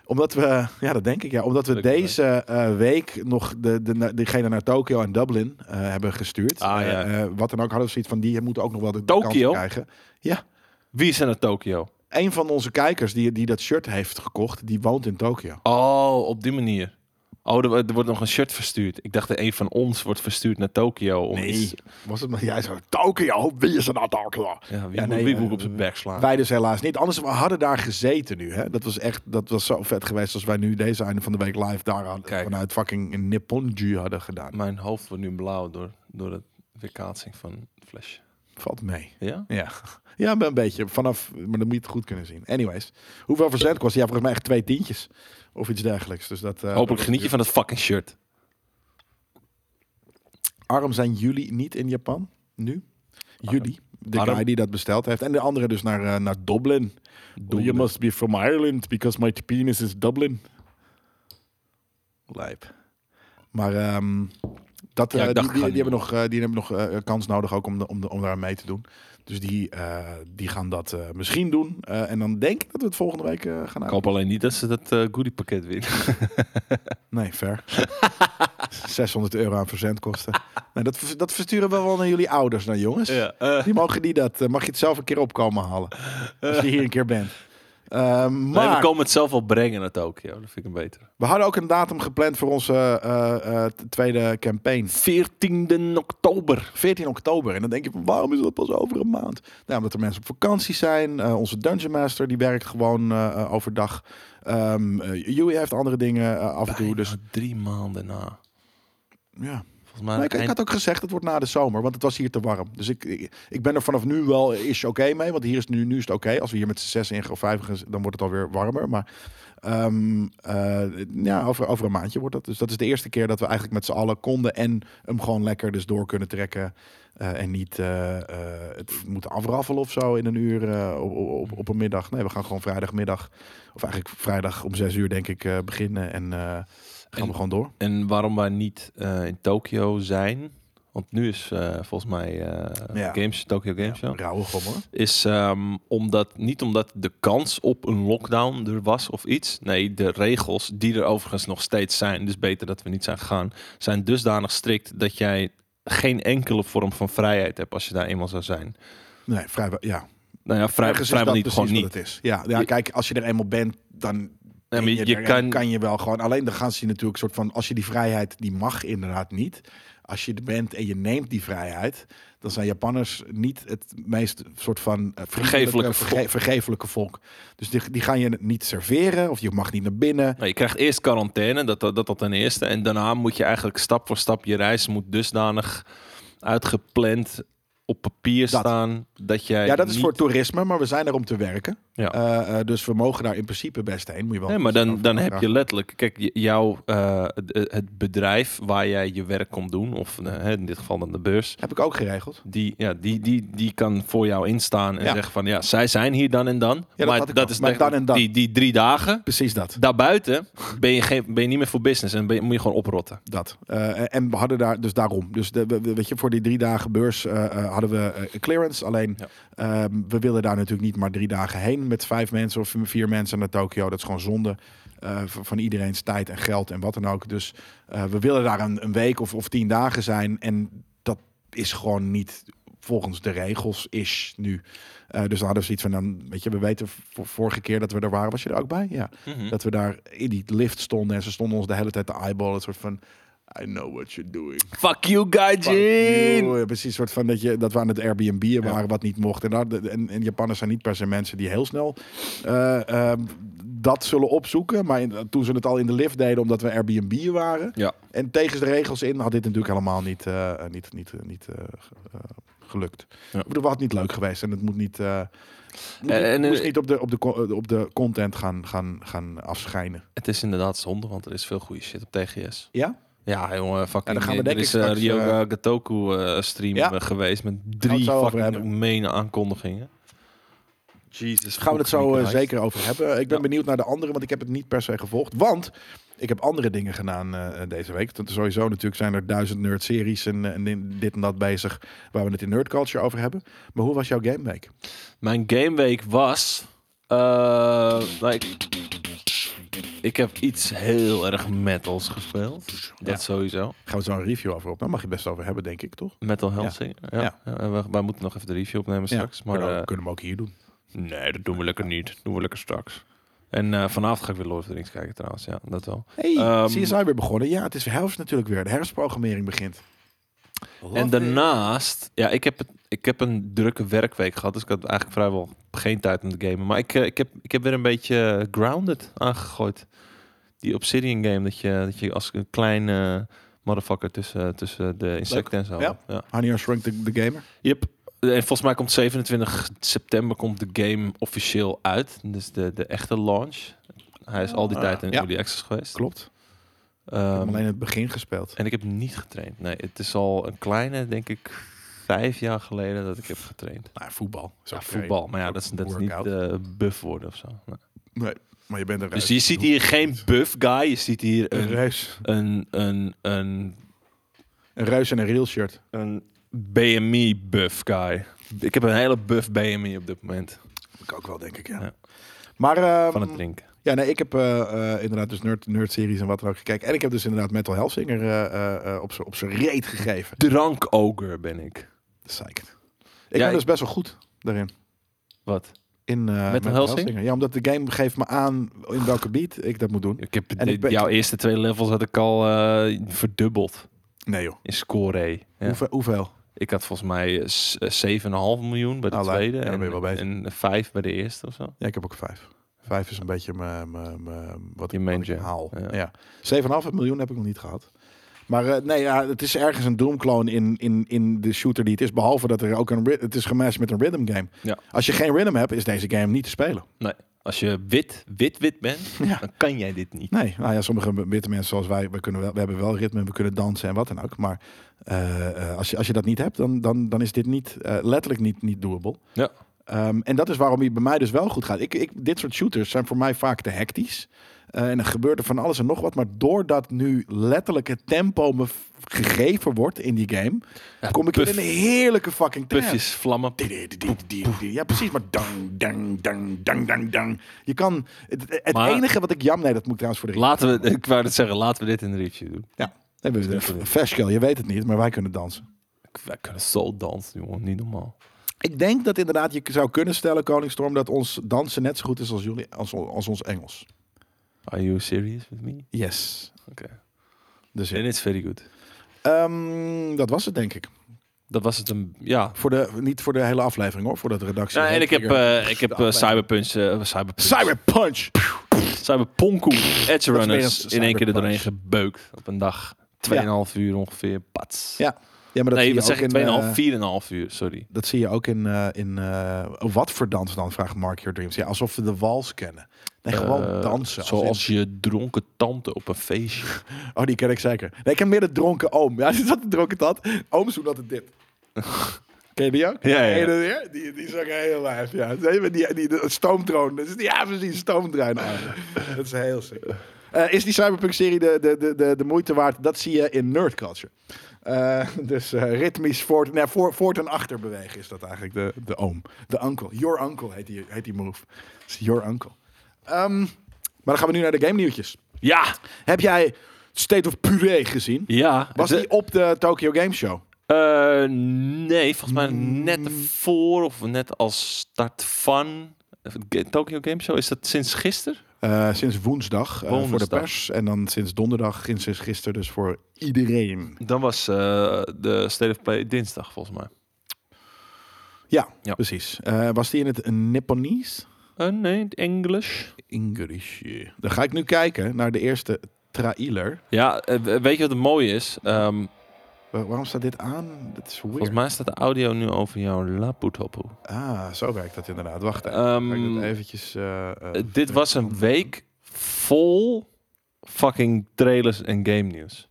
S1: omdat we, ja, dat denk ik, ja. Omdat we
S2: Gelukkig
S1: deze eh, week nog de, de, na- diegene naar Tokio en Dublin eh, hebben gestuurd.
S2: Ah, ja.
S1: Eh, eh, wat dan ook hadden we zoiets van, die moeten ook nog wel de de
S2: Tokio?
S1: kans krijgen. Ja,
S2: Wie is er naar Tokio?
S1: een van onze kijkers die, die dat shirt heeft gekocht, die woont in Tokio.
S2: Oh, op die manier. Oh, er, wo- er wordt nog een shirt verstuurd. Ik dacht, een van ons wordt verstuurd naar Tokio. Om
S1: Nee,
S2: iets-
S1: was het maar jij zo Tokio, wie is er nou Tokio?
S2: Ja, wie,
S1: Ja,
S2: moet,
S1: nee,
S2: wie
S1: eh,
S2: moet ik op zijn bek slaan?
S1: Wij dus helaas niet. Anders we hadden daar gezeten nu. Hè? Dat was echt, dat was zo vet geweest als wij nu deze einde van de week live daar hadden,
S2: Kijk.
S1: vanuit fucking Nipponju hadden gedaan.
S2: Mijn hoofd wordt nu blauw door, door de weerkaatsing van het flesje.
S1: Valt mee.
S2: Ja?
S1: Ja. ja, maar een beetje. Vanaf, maar dan moet je het goed kunnen zien. Anyways, hoeveel verzet kost? Ja, volgens mij echt twee tientjes of iets dergelijks. Dus dat. eh,
S2: Hopelijk
S1: dat-
S2: geniet je van dat fucking shirt.
S1: Arm zijn jullie niet in Japan nu? Jullie, de
S2: Arm.
S1: guy die dat besteld heeft, en de andere dus naar eh, naar Dublin.
S2: Dublin.
S1: You must be from Ireland because my penis is Dublin. Lijp. Maar ehm, dat,
S2: Ja,
S1: eh,
S2: ik
S1: die,
S2: dacht,
S1: die,
S2: ik
S1: die hebben
S2: ga niet.
S1: nog, eh, die hebben nog eh, kans nodig ook om, de, om, de, om daar aan mee te doen. Dus die, eh, die gaan dat eh, misschien doen. Eh, en dan denk ik dat we het volgende week eh, gaan
S2: Ik
S1: uit.
S2: hoop alleen niet dat ze dat eh goodie pakket winnen.
S1: Nee, ver. 600 euro aan verzendkosten. nee, dat, ver- dat versturen we wel naar jullie ouders, naar jongens.
S2: eh,
S1: Die mogen die dat. eh, mag je het zelf een keer opkomen halen. Als je hier een keer bent. Ehm,
S2: nee, we
S1: maar
S2: komen het zelf wel brengen naar Tokio. Dat vind ik een beter.
S1: we hadden ook een datum gepland voor onze eh, eh, t- tweede campaign.
S2: 14e oktober.
S1: 14 oktober. En dan denk je van waarom is dat pas over een maand? Nou, omdat er mensen op vakantie zijn. Eh, onze Dungeon Master die werkt gewoon eh, eh, overdag. Ehm eh, Joey heeft andere dingen eh, af en toe. Dus
S2: Bijna drie maanden na.
S1: ja.
S2: Volgens mij
S1: Maar ik, ik
S2: eind-
S1: had ook gezegd, het wordt na de zomer, want het was hier te warm. Dus ik, ik, ik ben er vanaf nu wel is oké mee, want hier is nu, nu is het oké. Als we hier met z'n zes in gaan of vijf, gaan, dan wordt het alweer warmer. Maar ehm, eh, ja, over, over een maandje wordt dat. Dus dat is de eerste keer dat we eigenlijk met z'n allen konden en hem gewoon lekker dus door kunnen trekken. eh, en niet eh, eh, het moeten afraffelen of zo in een uur eh, op, op, op een middag. Nee, we gaan gewoon vrijdagmiddag, of eigenlijk vrijdag om zes uur denk ik, eh, beginnen. En eh, gaan we
S2: En-
S1: gewoon door.
S2: En waarom wij niet eh, in Tokio zijn. Want nu is eh, volgens mij eh
S1: Ja.
S2: Games, Tokyo Games Show.
S1: Rauwe gommel.
S2: Is ehm, omdat, niet omdat de kans op een lockdown er was of iets. Nee, de regels, die er overigens nog steeds zijn. Dus beter dat we niet zijn gegaan. Zijn dusdanig strikt dat jij geen enkele vorm van vrijheid hebt als je daar eenmaal zou zijn.
S1: Nee, vrijwel, ja.
S2: Nou ja, vrij,
S1: Ergens is
S2: vrijwel
S1: dat
S2: niet,
S1: precies
S2: gewoon
S1: wat
S2: niet.
S1: het is. Ja, ja,
S2: Je-
S1: kijk, als je er eenmaal bent, dan
S2: Ja, maar
S1: ben
S2: je- je
S1: er-
S2: kan-
S1: kan je wel gewoon. Alleen dan gaan ze je natuurlijk soort van, als je die vrijheid, die mag inderdaad niet. Als je er bent en je neemt die vrijheid, dan zijn Japanners niet het meest soort van eh,
S2: Vergeeflijke
S1: vriendelijke, verge- vergeeflijke volk. Dus die, die gaan je niet serveren of je mag niet naar binnen.
S2: Nou, je krijgt eerst quarantaine, dat, dat, dat ten eerste. En daarna moet je eigenlijk stap voor stap, je reis moet dusdanig uitgepland op papier
S1: Dat.
S2: staan. Dat jij
S1: Ja, dat is
S2: niet-
S1: voor toerisme, maar we zijn er om te werken.
S2: Ja.
S1: Eh, eh, dus we mogen daar in principe best heen. Moet je wel
S2: Nee, maar dan, dan heb
S1: Ja.
S2: je letterlijk... Kijk, j- jouw, eh, het- het bedrijf waar jij je werk komt doen... of eh, hè, in dit geval dan de beurs...
S1: Heb ik ook geregeld.
S2: Die, ja, die, die, die kan voor jou instaan en
S1: Ja.
S2: zeggen van... ja, zij zijn hier dan en dan.
S1: dat
S2: maar
S1: had ik
S2: dat
S1: ook.
S2: is
S1: Maar dan
S2: eigenlijk
S1: en dan.
S2: Die, die drie dagen...
S1: Precies dat.
S2: Daarbuiten ben je, geen, ben je niet meer voor business en ben je- moet je gewoon oprotten.
S1: Dat. Eh, en we hadden daar dus daarom. Dus de, we- we- weet je, voor die drie dagen beurs eh, eh, hadden we eh, clearance. Alleen
S2: Ja.
S1: ehm, we wilden daar natuurlijk niet maar drie dagen heen met vijf mensen of vier mensen naar Tokio. Dat is gewoon zonde eh, v- van iedereen's tijd en geld en wat dan ook. Dus eh, we willen daar een, een week of, of tien dagen zijn. En dat is gewoon niet volgens de regels is nu. Eh, dus dan hadden we zoiets van, dan, weet je, we weten v- vorige keer dat we er waren, was je er ook bij? Ja. Dat we daar in die lift stonden en ze stonden ons de hele tijd te eyeballen. Het soort van, I know what you're doing.
S2: Fuck you,
S1: Fuck
S2: Gaijin!
S1: you. Ja, Precies, soort van dat, je, dat we aan het Airbnb waren wat niet mocht. En, daar, en, en Japanners zijn niet per se mensen die heel snel eh, eh, dat zullen opzoeken. Maar in- toen ze het al in de lift deden omdat we Airbnb waren.
S2: Ja.
S1: En tegen de regels in had dit natuurlijk helemaal niet, eh, eh, niet, niet, eh, niet eh, ge- eh, gelukt.
S2: Ja.
S1: Ik bedoel, wat niet leuk geweest en het moet niet, eh moet,
S2: En- eh, en-
S1: moest niet op, de, op, de, co- op de content gaan, gaan, gaan afschijnen.
S2: Het is inderdaad zonde, want er is veel goede shit op TGS.
S1: Ja?
S2: Ja, jongen, fucking.
S1: Ja, dan gaan we
S2: er
S1: denk ik
S2: is eh,
S1: straks,
S2: die
S1: eh,
S2: Yoga Gatoku eh, stream
S1: Ja.
S2: eh, geweest met
S1: het
S2: drie
S1: zo over
S2: fucking
S1: hebben.
S2: mene aankondigingen. Jesus.
S1: Gaan we het zo eh,
S2: fucking Christ.
S1: zeker over hebben. Ik ben
S2: Ja.
S1: benieuwd naar de andere, want ik heb het niet per se gevolgd. Want ik heb andere dingen gedaan eh, deze week. Want sowieso natuurlijk zijn er duizend nerd-series en, eh, en dit en dat bezig... waar we het in nerd culture over hebben. Maar hoe was jouw gameweek?
S2: Mijn gameweek was. eh, nou, ik, ik heb iets heel erg metals gespeeld. Dat
S1: Ja.
S2: sowieso.
S1: Gaan we zo een review over op? Daar mag je best over hebben, denk ik, toch?
S2: Metal Hellsinger. Ja.
S1: Ja.
S2: Ja, we- wij moeten nog even de review opnemen straks. maar,
S1: kunnen, we,
S2: eh,
S1: kunnen we ook hier doen.
S2: nee, dat doen we lekker niet. Doen we lekker straks. En eh, vanavond ga ik weer Lord of the Rings kijken trouwens. Ja, dat wel.
S1: Hey,
S2: Ehm,
S1: CSI weer begonnen. Ja, het is herfst natuurlijk weer. De herfstprogrammering begint.
S2: En daarnaast, ja, ik heb, het- ik heb een drukke werkweek gehad, dus ik had eigenlijk vrijwel geen tijd om te gamen. Maar ik, eh, ik, heb, ik heb weer een beetje eh, Grounded aangegooid. Die Obsidian game, dat je, dat je als een klein eh, motherfucker tussen, tussen de insecten en zo.
S1: Ja. Honey, I Shrunk the, the Gamer.
S2: Yep. En volgens mij komt 27 september komt de game officieel uit. Dus de, de echte launch. Hij is al die
S1: Ah,
S2: tijd in
S1: ja.
S2: Early Access geweest.
S1: Klopt. Ik
S2: Ehm,
S1: heb alleen het begin gespeeld.
S2: en ik heb niet getraind. Nee, het is al een kleine, denk ik, vijf jaar geleden dat ik heb getraind.
S1: Nou, voetbal. Is
S2: Ja,
S1: oké.
S2: voetbal. Maar ja,
S1: Ook
S2: dat is, dat is niet
S1: workout.
S2: eh, buff worden of zo. Nee.
S1: Nee, maar je bent een
S2: Dus
S1: reus.
S2: je ziet hier geen buff guy. Je ziet hier
S1: Een
S2: een,
S1: reus.
S2: een, een, een,
S1: Een reus en een real shirt.
S2: een BMI buff guy. Ik heb een hele buff BMI op dit moment.
S1: Ik ook wel, denk ik, ja.
S2: Ja.
S1: Maar, ehm,
S2: Van het drinken.
S1: ja, nee, ik heb eh, eh, inderdaad dus nerd, nerd series en wat dan ook gekeken. En ik heb dus inderdaad Metal Hellsinger eh, eh, eh, op z'n- op zijn reet gegeven.
S2: Drankoger ben ik.
S1: Zeker. Ik
S2: Ja,
S1: ben
S2: ik-
S1: dus best wel goed daarin.
S2: Wat?
S1: In, eh Metal,
S2: Hellsinger?
S1: Ja, omdat de game geeft me aan in welke beat ik dat moet doen.
S2: Ik heb
S1: En ik
S2: dit-
S1: ben-
S2: jouw eerste twee levels had ik al eh, verdubbeld
S1: Nee joh,
S2: in score. Ja.
S1: Hoeveel, hoeveel?
S2: Ik had volgens mij eh, s- eh, 7,5 miljoen bij de
S1: Allee,
S2: tweede.
S1: Ah, ja, dan
S2: en,
S1: ben je wel bezig.
S2: en 5 bij de eerste of zo.
S1: Ja, ik heb ook vijf. Vijf is een beetje mijn, mijn, mijn- wat,
S2: Je
S1: ik, wat ik
S2: manager,
S1: haal.
S2: ja.
S1: Ja. 7,5 miljoen heb ik nog niet gehad. Maar eh, nee, ja, het is ergens een Doom-kloon in, in, in de shooter die het is. Behalve dat er ook een... rit- Het is gematcht met een rhythm game.
S2: Ja.
S1: Als je geen rhythm hebt, is deze game niet te spelen.
S2: Nee, als je wit, wit, wit bent,
S1: Ja.
S2: dan kan jij dit niet.
S1: Nee, nou ja, sommige witte mensen zoals wij, we, kunnen wel, we hebben wel ritme en we kunnen dansen en wat dan ook. Maar eh, eh, als, je, als je dat niet hebt, dan, dan, dan is dit niet, eh, letterlijk niet, niet doable.
S2: Ja.
S1: Ehm, en dat is waarom hij bij mij dus wel goed gaat. Ik, ik, dit soort shooters zijn voor mij vaak te hectisch. Eh, en er gebeurt er van alles en nog wat. Maar doordat nu letterlijk het tempo me f- gegeven wordt in die game, kom ik
S2: puff.
S1: in een heerlijke fucking trance.
S2: Puffjes, vlammen.
S1: Ja, precies. Maar dang, dang, dang, dang, dang, dang. Je kan... Het, het
S2: Maar-
S1: enige wat ik jam... Nee, dat moet ik trouwens voor de...
S2: Laten we, ik wou het zeggen, laten we dit in de review doen.
S1: Ja. Nee, we- F- Fashkel, je weet het niet, maar wij kunnen dansen.
S2: Ik- Wij kunnen zo dansen, jongen. Niet normaal.
S1: Ik denk dat inderdaad je zou kunnen stellen, Koningstorm, dat ons dansen net zo goed is als, jullie, als, als ons Engels.
S2: Are you serious with me?
S1: Yes.
S2: Oké.
S1: Dus ja.
S2: En it's very good.
S1: Ehm, dat was het, denk ik.
S2: Dat was het een, ja.
S1: Voor de, niet voor de hele aflevering, hoor. Voor dat redactie.
S2: Nou, en ik heb, eh, ik heb eh,
S1: aflevering.
S2: Cyberpunch, eh, Cyberpunch,
S1: Cyberpunch!
S2: Cyberponku, Edge
S1: meer
S2: Runners
S1: dan
S2: in één keer
S1: Cyberpunch.
S2: er doorheen gebeukt op een dag. 2,5 uur ongeveer, pats.
S1: Ja, Ja, maar dat zie
S2: nee,
S1: je
S2: wat
S1: ook
S2: zeg ik?
S1: in... eh,
S2: 2,5, 4,5 uur, sorry.
S1: dat zie je ook in... eh, in eh, wat voor dans dan, vraagt Mark Your Dreams. Ja, alsof we de wals kennen. Nee, gewoon
S2: Eh,
S1: dansen. Als in-
S2: Zoals je dronken tante op een feestje.
S1: Oh, die ken ik zeker. Nee, ik ken meer de dronken oom. Ja, is dat de dronken dat? Ooms doen altijd dit. Ken je die ook?
S2: Ja, ja, ja.
S1: Ken je dat weer? Die, die is ook heel lijf, ja. Die, die, die, de stoomtroon. Dat is, ja, precies, stoomtrein. dat is heel sick. Eh, is die Cyberpunk-serie de, de, de, de, de moeite waard? Dat zie je in nerd culture. Eh, dus eh, ritmisch voort, nee, voor, voort en achter bewegen is dat eigenlijk de, de oom. De uncle. Your uncle heet die, heet die move. Dat is your uncle. Ehm, maar dan gaan we nu naar de game nieuwtjes.
S2: Ja!
S1: Heb jij State of Puree gezien?
S2: Ja.
S1: Was
S2: de-
S1: die op de Tokyo Game Show?
S2: Eh, nee, volgens mij
S1: Mm.
S2: net voor of net als start van Ga- Tokyo Game Show. Is dat sinds gisteren?
S1: Eh, sinds woensdag, eh, voor de
S2: Woensdag.
S1: pers. En dan sinds donderdag, sinds gisteren dus voor iedereen.
S2: Dan was eh, de State of Play dinsdag, volgens mij.
S1: Ja,
S2: Ja.
S1: precies. Eh, was die in het Nipponese?
S2: Eh, nee, het Engels.
S1: English. yeah. Dan ga ik nu kijken naar de eerste trailer.
S2: Ja, eh, weet je wat het mooie is? Ehm,
S1: Wa- waarom staat dit aan? Dat is weird.
S2: Volgens mij staat de audio nu over jouw lapoetopoe.
S1: Ah, zo werkt dat inderdaad. Wacht even.
S2: Ehm,
S1: Ga ik dat eventjes... eh, eh,
S2: Eh, Dit was een week vol fucking trailers en game nieuws.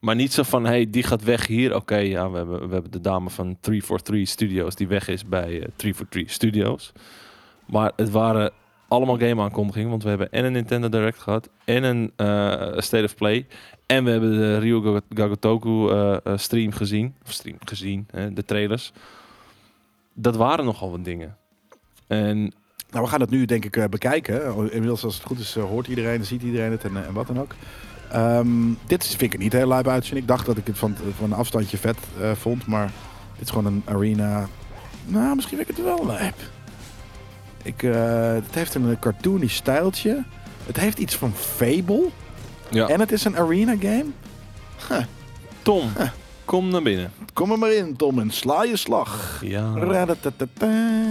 S2: Maar niet zo van, hey, die gaat weg hier. Oké, ja, we hebben, we hebben de dame van 343 Studios die weg is bij eh, 343 Studios. Maar het waren allemaal game-aankondigingen. Want we hebben en een Nintendo Direct gehad, en een eh, State of Play. En we hebben de Ryu Gagotoku eh, eh, stream gezien. Of stream gezien, hè, de trailers. Dat waren nogal wat dingen. En
S1: Nou, we gaan het nu denk ik eh, bekijken. Inmiddels, als het goed is, eh, hoort iedereen, ziet iedereen het en, eh, en wat dan ook. Ehm, dit is- vind ik er niet heel lijp uitzien. Ik dacht dat ik het van, van een afstandje vet eh, vond, maar dit is gewoon een arena. Nou, misschien vind ik het wel lijp. Ik, eh, het heeft een cartoony stijltje. Het heeft iets van Fable.
S2: ja.
S1: En het is een arena game.
S2: Tom,
S1: Eh.
S2: kom naar binnen.
S1: Kom er maar in, Tom, en sla je slag.
S2: Ja.
S1: Radatatata.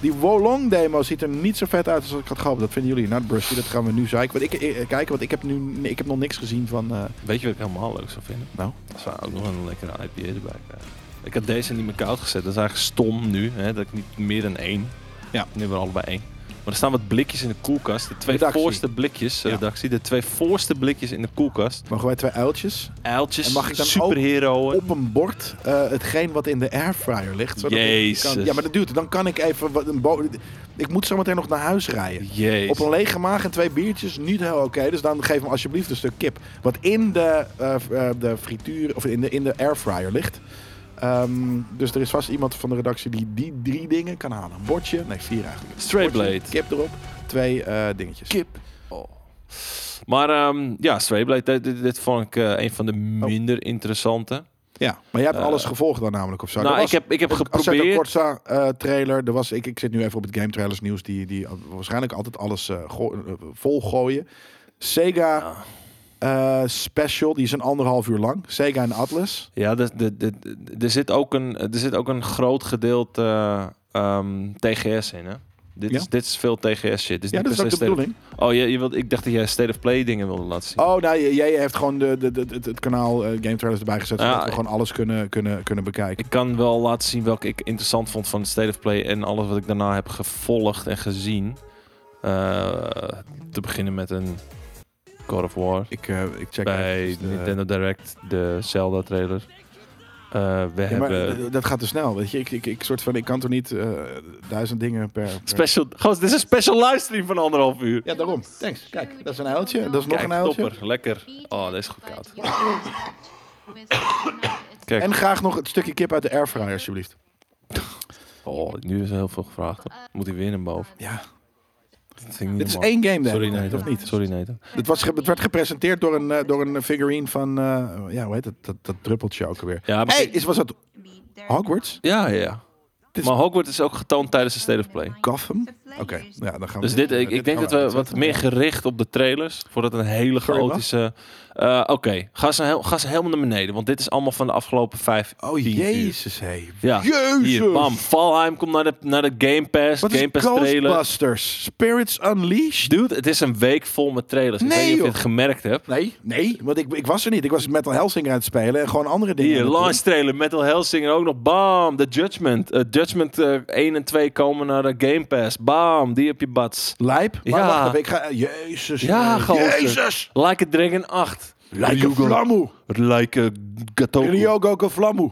S1: Die Wolong demo ziet er niet zo vet uit als ik had gehoopt. Dat vinden jullie. Nou, Brushy, dat gaan we nu zeiken. Want ik, eh, kijken, want ik heb nu ik heb nog niks gezien van. eh,
S2: Weet je wat ik helemaal leuk zou vinden?
S1: Nou?
S2: Dat zou ook nog een lekkere IPA erbij krijgen. Ik heb deze niet meer koud gezet. Dat is eigenlijk stom nu, hè, dat ik niet meer dan één.
S1: Ja.
S2: Nu hebben we allebei één. Maar er staan wat blikjes in de koelkast. De twee
S1: Redactie.
S2: voorste blikjes, eh,
S1: Ja.
S2: redactie. De twee voorste blikjes in de koelkast.
S1: mogen wij twee uiltjes?
S2: Uiltjes,
S1: En mag ik dan ook
S2: superheroen.
S1: Op een bord eh, hetgeen wat in de airfryer ligt. zodat ik
S2: Jezus.
S1: Kan, ja, maar dat duurt. Dan kan ik even. Wat, een bo- ik moet zometeen nog naar huis rijden.
S2: Jezus.
S1: Op een lege maag en twee biertjes, niet heel oké. Dus dan geef me alsjeblieft een stuk kip. Wat in de, eh, f- eh, de frituur, of in de, in de airfryer ligt. Ehm, dus er is vast iemand van de redactie die die drie dingen kan halen. Een bordje, nee vier eigenlijk.
S2: Straight
S1: Bordje,
S2: blade.
S1: Kip erop, twee eh, dingetjes.
S2: Kip. Maar ehm, ja, Strayblade, dit, dit, dit vond ik eh, een van de minder interessante.
S1: Oh. Ja, maar jij hebt
S2: Eh,
S1: alles gevolgd dan namelijk of zo.
S2: nou,
S1: Er
S2: ik
S1: was
S2: heb, ik heb
S1: een Assetto
S2: geprobeerd...
S1: Corsa eh, trailer. Er was, ik, ik zit nu even op het game trailers nieuws die, die waarschijnlijk altijd alles eh, go- eh, vol gooien. Sega eh, special, die is een anderhalf uur lang. Sega en Atlas.
S2: Ja, de, de, de, de- er, zit ook een, er zit ook een groot gedeelte ehm, TGS in, hè? Dit,
S1: Ja.
S2: is, dit is veel TGS shit. Dit is
S1: Ja,
S2: niet
S1: dat is
S2: per
S1: ook de
S2: se State of-
S1: bedoeling.
S2: Oh, je, je wilt, ik dacht dat jij State of Play dingen wilde laten zien.
S1: Oh, nou, j- jij hebt gewoon de, de, de- het, het kanaal eh, Game Trailers erbij gezet, zodat
S2: Ja,
S1: we gewoon alles kunnen, kunnen, kunnen bekijken.
S2: Ik kan wel laten zien welke ik interessant vond van State of Play en alles wat ik daarna heb gevolgd en gezien. Eh, te beginnen met een God of War.
S1: Ik, eh, ik check
S2: bij
S1: eventjes de-
S2: Nintendo Direct, de Zelda trailer. Eh, we
S1: Ja, maar eh,
S2: hebben...
S1: d- d- dat gaat te snel, weet je. Ik, ik, ik, soort van, ik kan toch niet eh, duizend dingen per... per-
S2: Special, Goh, dit is een special livestream van anderhalf uur.
S1: Ja, daarom. Thanks. Kijk, dat is een uiltje. Dat is nog
S2: Kijk,
S1: een uiltje.
S2: topper, lekker. Oh, dat is goed koud.
S4: Kijk.
S2: Kijk,
S1: En graag nog het stukje kip uit de airfryer, alsjeblieft.
S2: oh, nu is er heel veel gevraagd. Moet hij weer naar boven?
S1: Ja,
S2: Dat vind ik niet
S1: dit is
S2: normaal.
S1: één game,
S2: Sorry,
S1: denk ik,
S2: Nathan.
S1: of niet?
S2: Sorry, Nathan.
S1: Het, was ge- het werd gepresenteerd door een, eh, door een figurine van... eh, ja, hoe heet het? Dat, dat druppeltje ook alweer.
S2: Ja, maar-
S1: hey, is, was dat Hogwarts?
S2: Ja, ja, ja.
S1: Dit is-
S2: Maar Hogwarts is ook getoond tijdens de State of Play.
S1: Gotham? Oké, ja, dan gaan we...
S2: Dus dit, ik, ik denk
S1: gaan
S2: dat we
S1: uitzetten.
S2: wat meer gericht op de trailers. Voordat een hele
S1: Sorry, wat?
S2: chaotische... Eh, Oké, ga, ze heel- ga ze helemaal naar beneden. Want dit is allemaal van de afgelopen vijf,
S1: Oh,
S2: tien uur.
S1: jezus, hé.
S2: Ja,
S1: Jezus!
S2: Hier, bam. Valheim komt naar de, naar de Game Pass.
S1: Wat is
S2: Game Pass trailer.
S1: Ghostbusters? Spirits Unleashed?
S2: Dude, het is een week vol met trailers. Ik
S1: Nee,
S2: weet niet of
S1: joh.
S2: je het gemerkt hebt.
S1: Nee, nee, want ik, ik was er niet. Ik was Metal Hellsinger aan het spelen en gewoon andere dingen.
S2: Hier,
S1: aan het
S2: launch trailer, Metal Hellsinger ook nog. Bam, The Judgment. Eh, Judgment eh, 1 en 2 komen naar de Game Pass. Bam, die op je bats.
S1: doen. Lijp? Maar
S2: Ja.
S1: wacht even, ik ga... Jezus.
S2: Ja,
S1: nee.
S2: gozer.
S1: Jezus!
S2: Like a Dragon 8.
S1: Like a
S2: Ryugo.
S1: Flamu.
S2: Like a Gatoku.
S1: Ryogoku Flamu.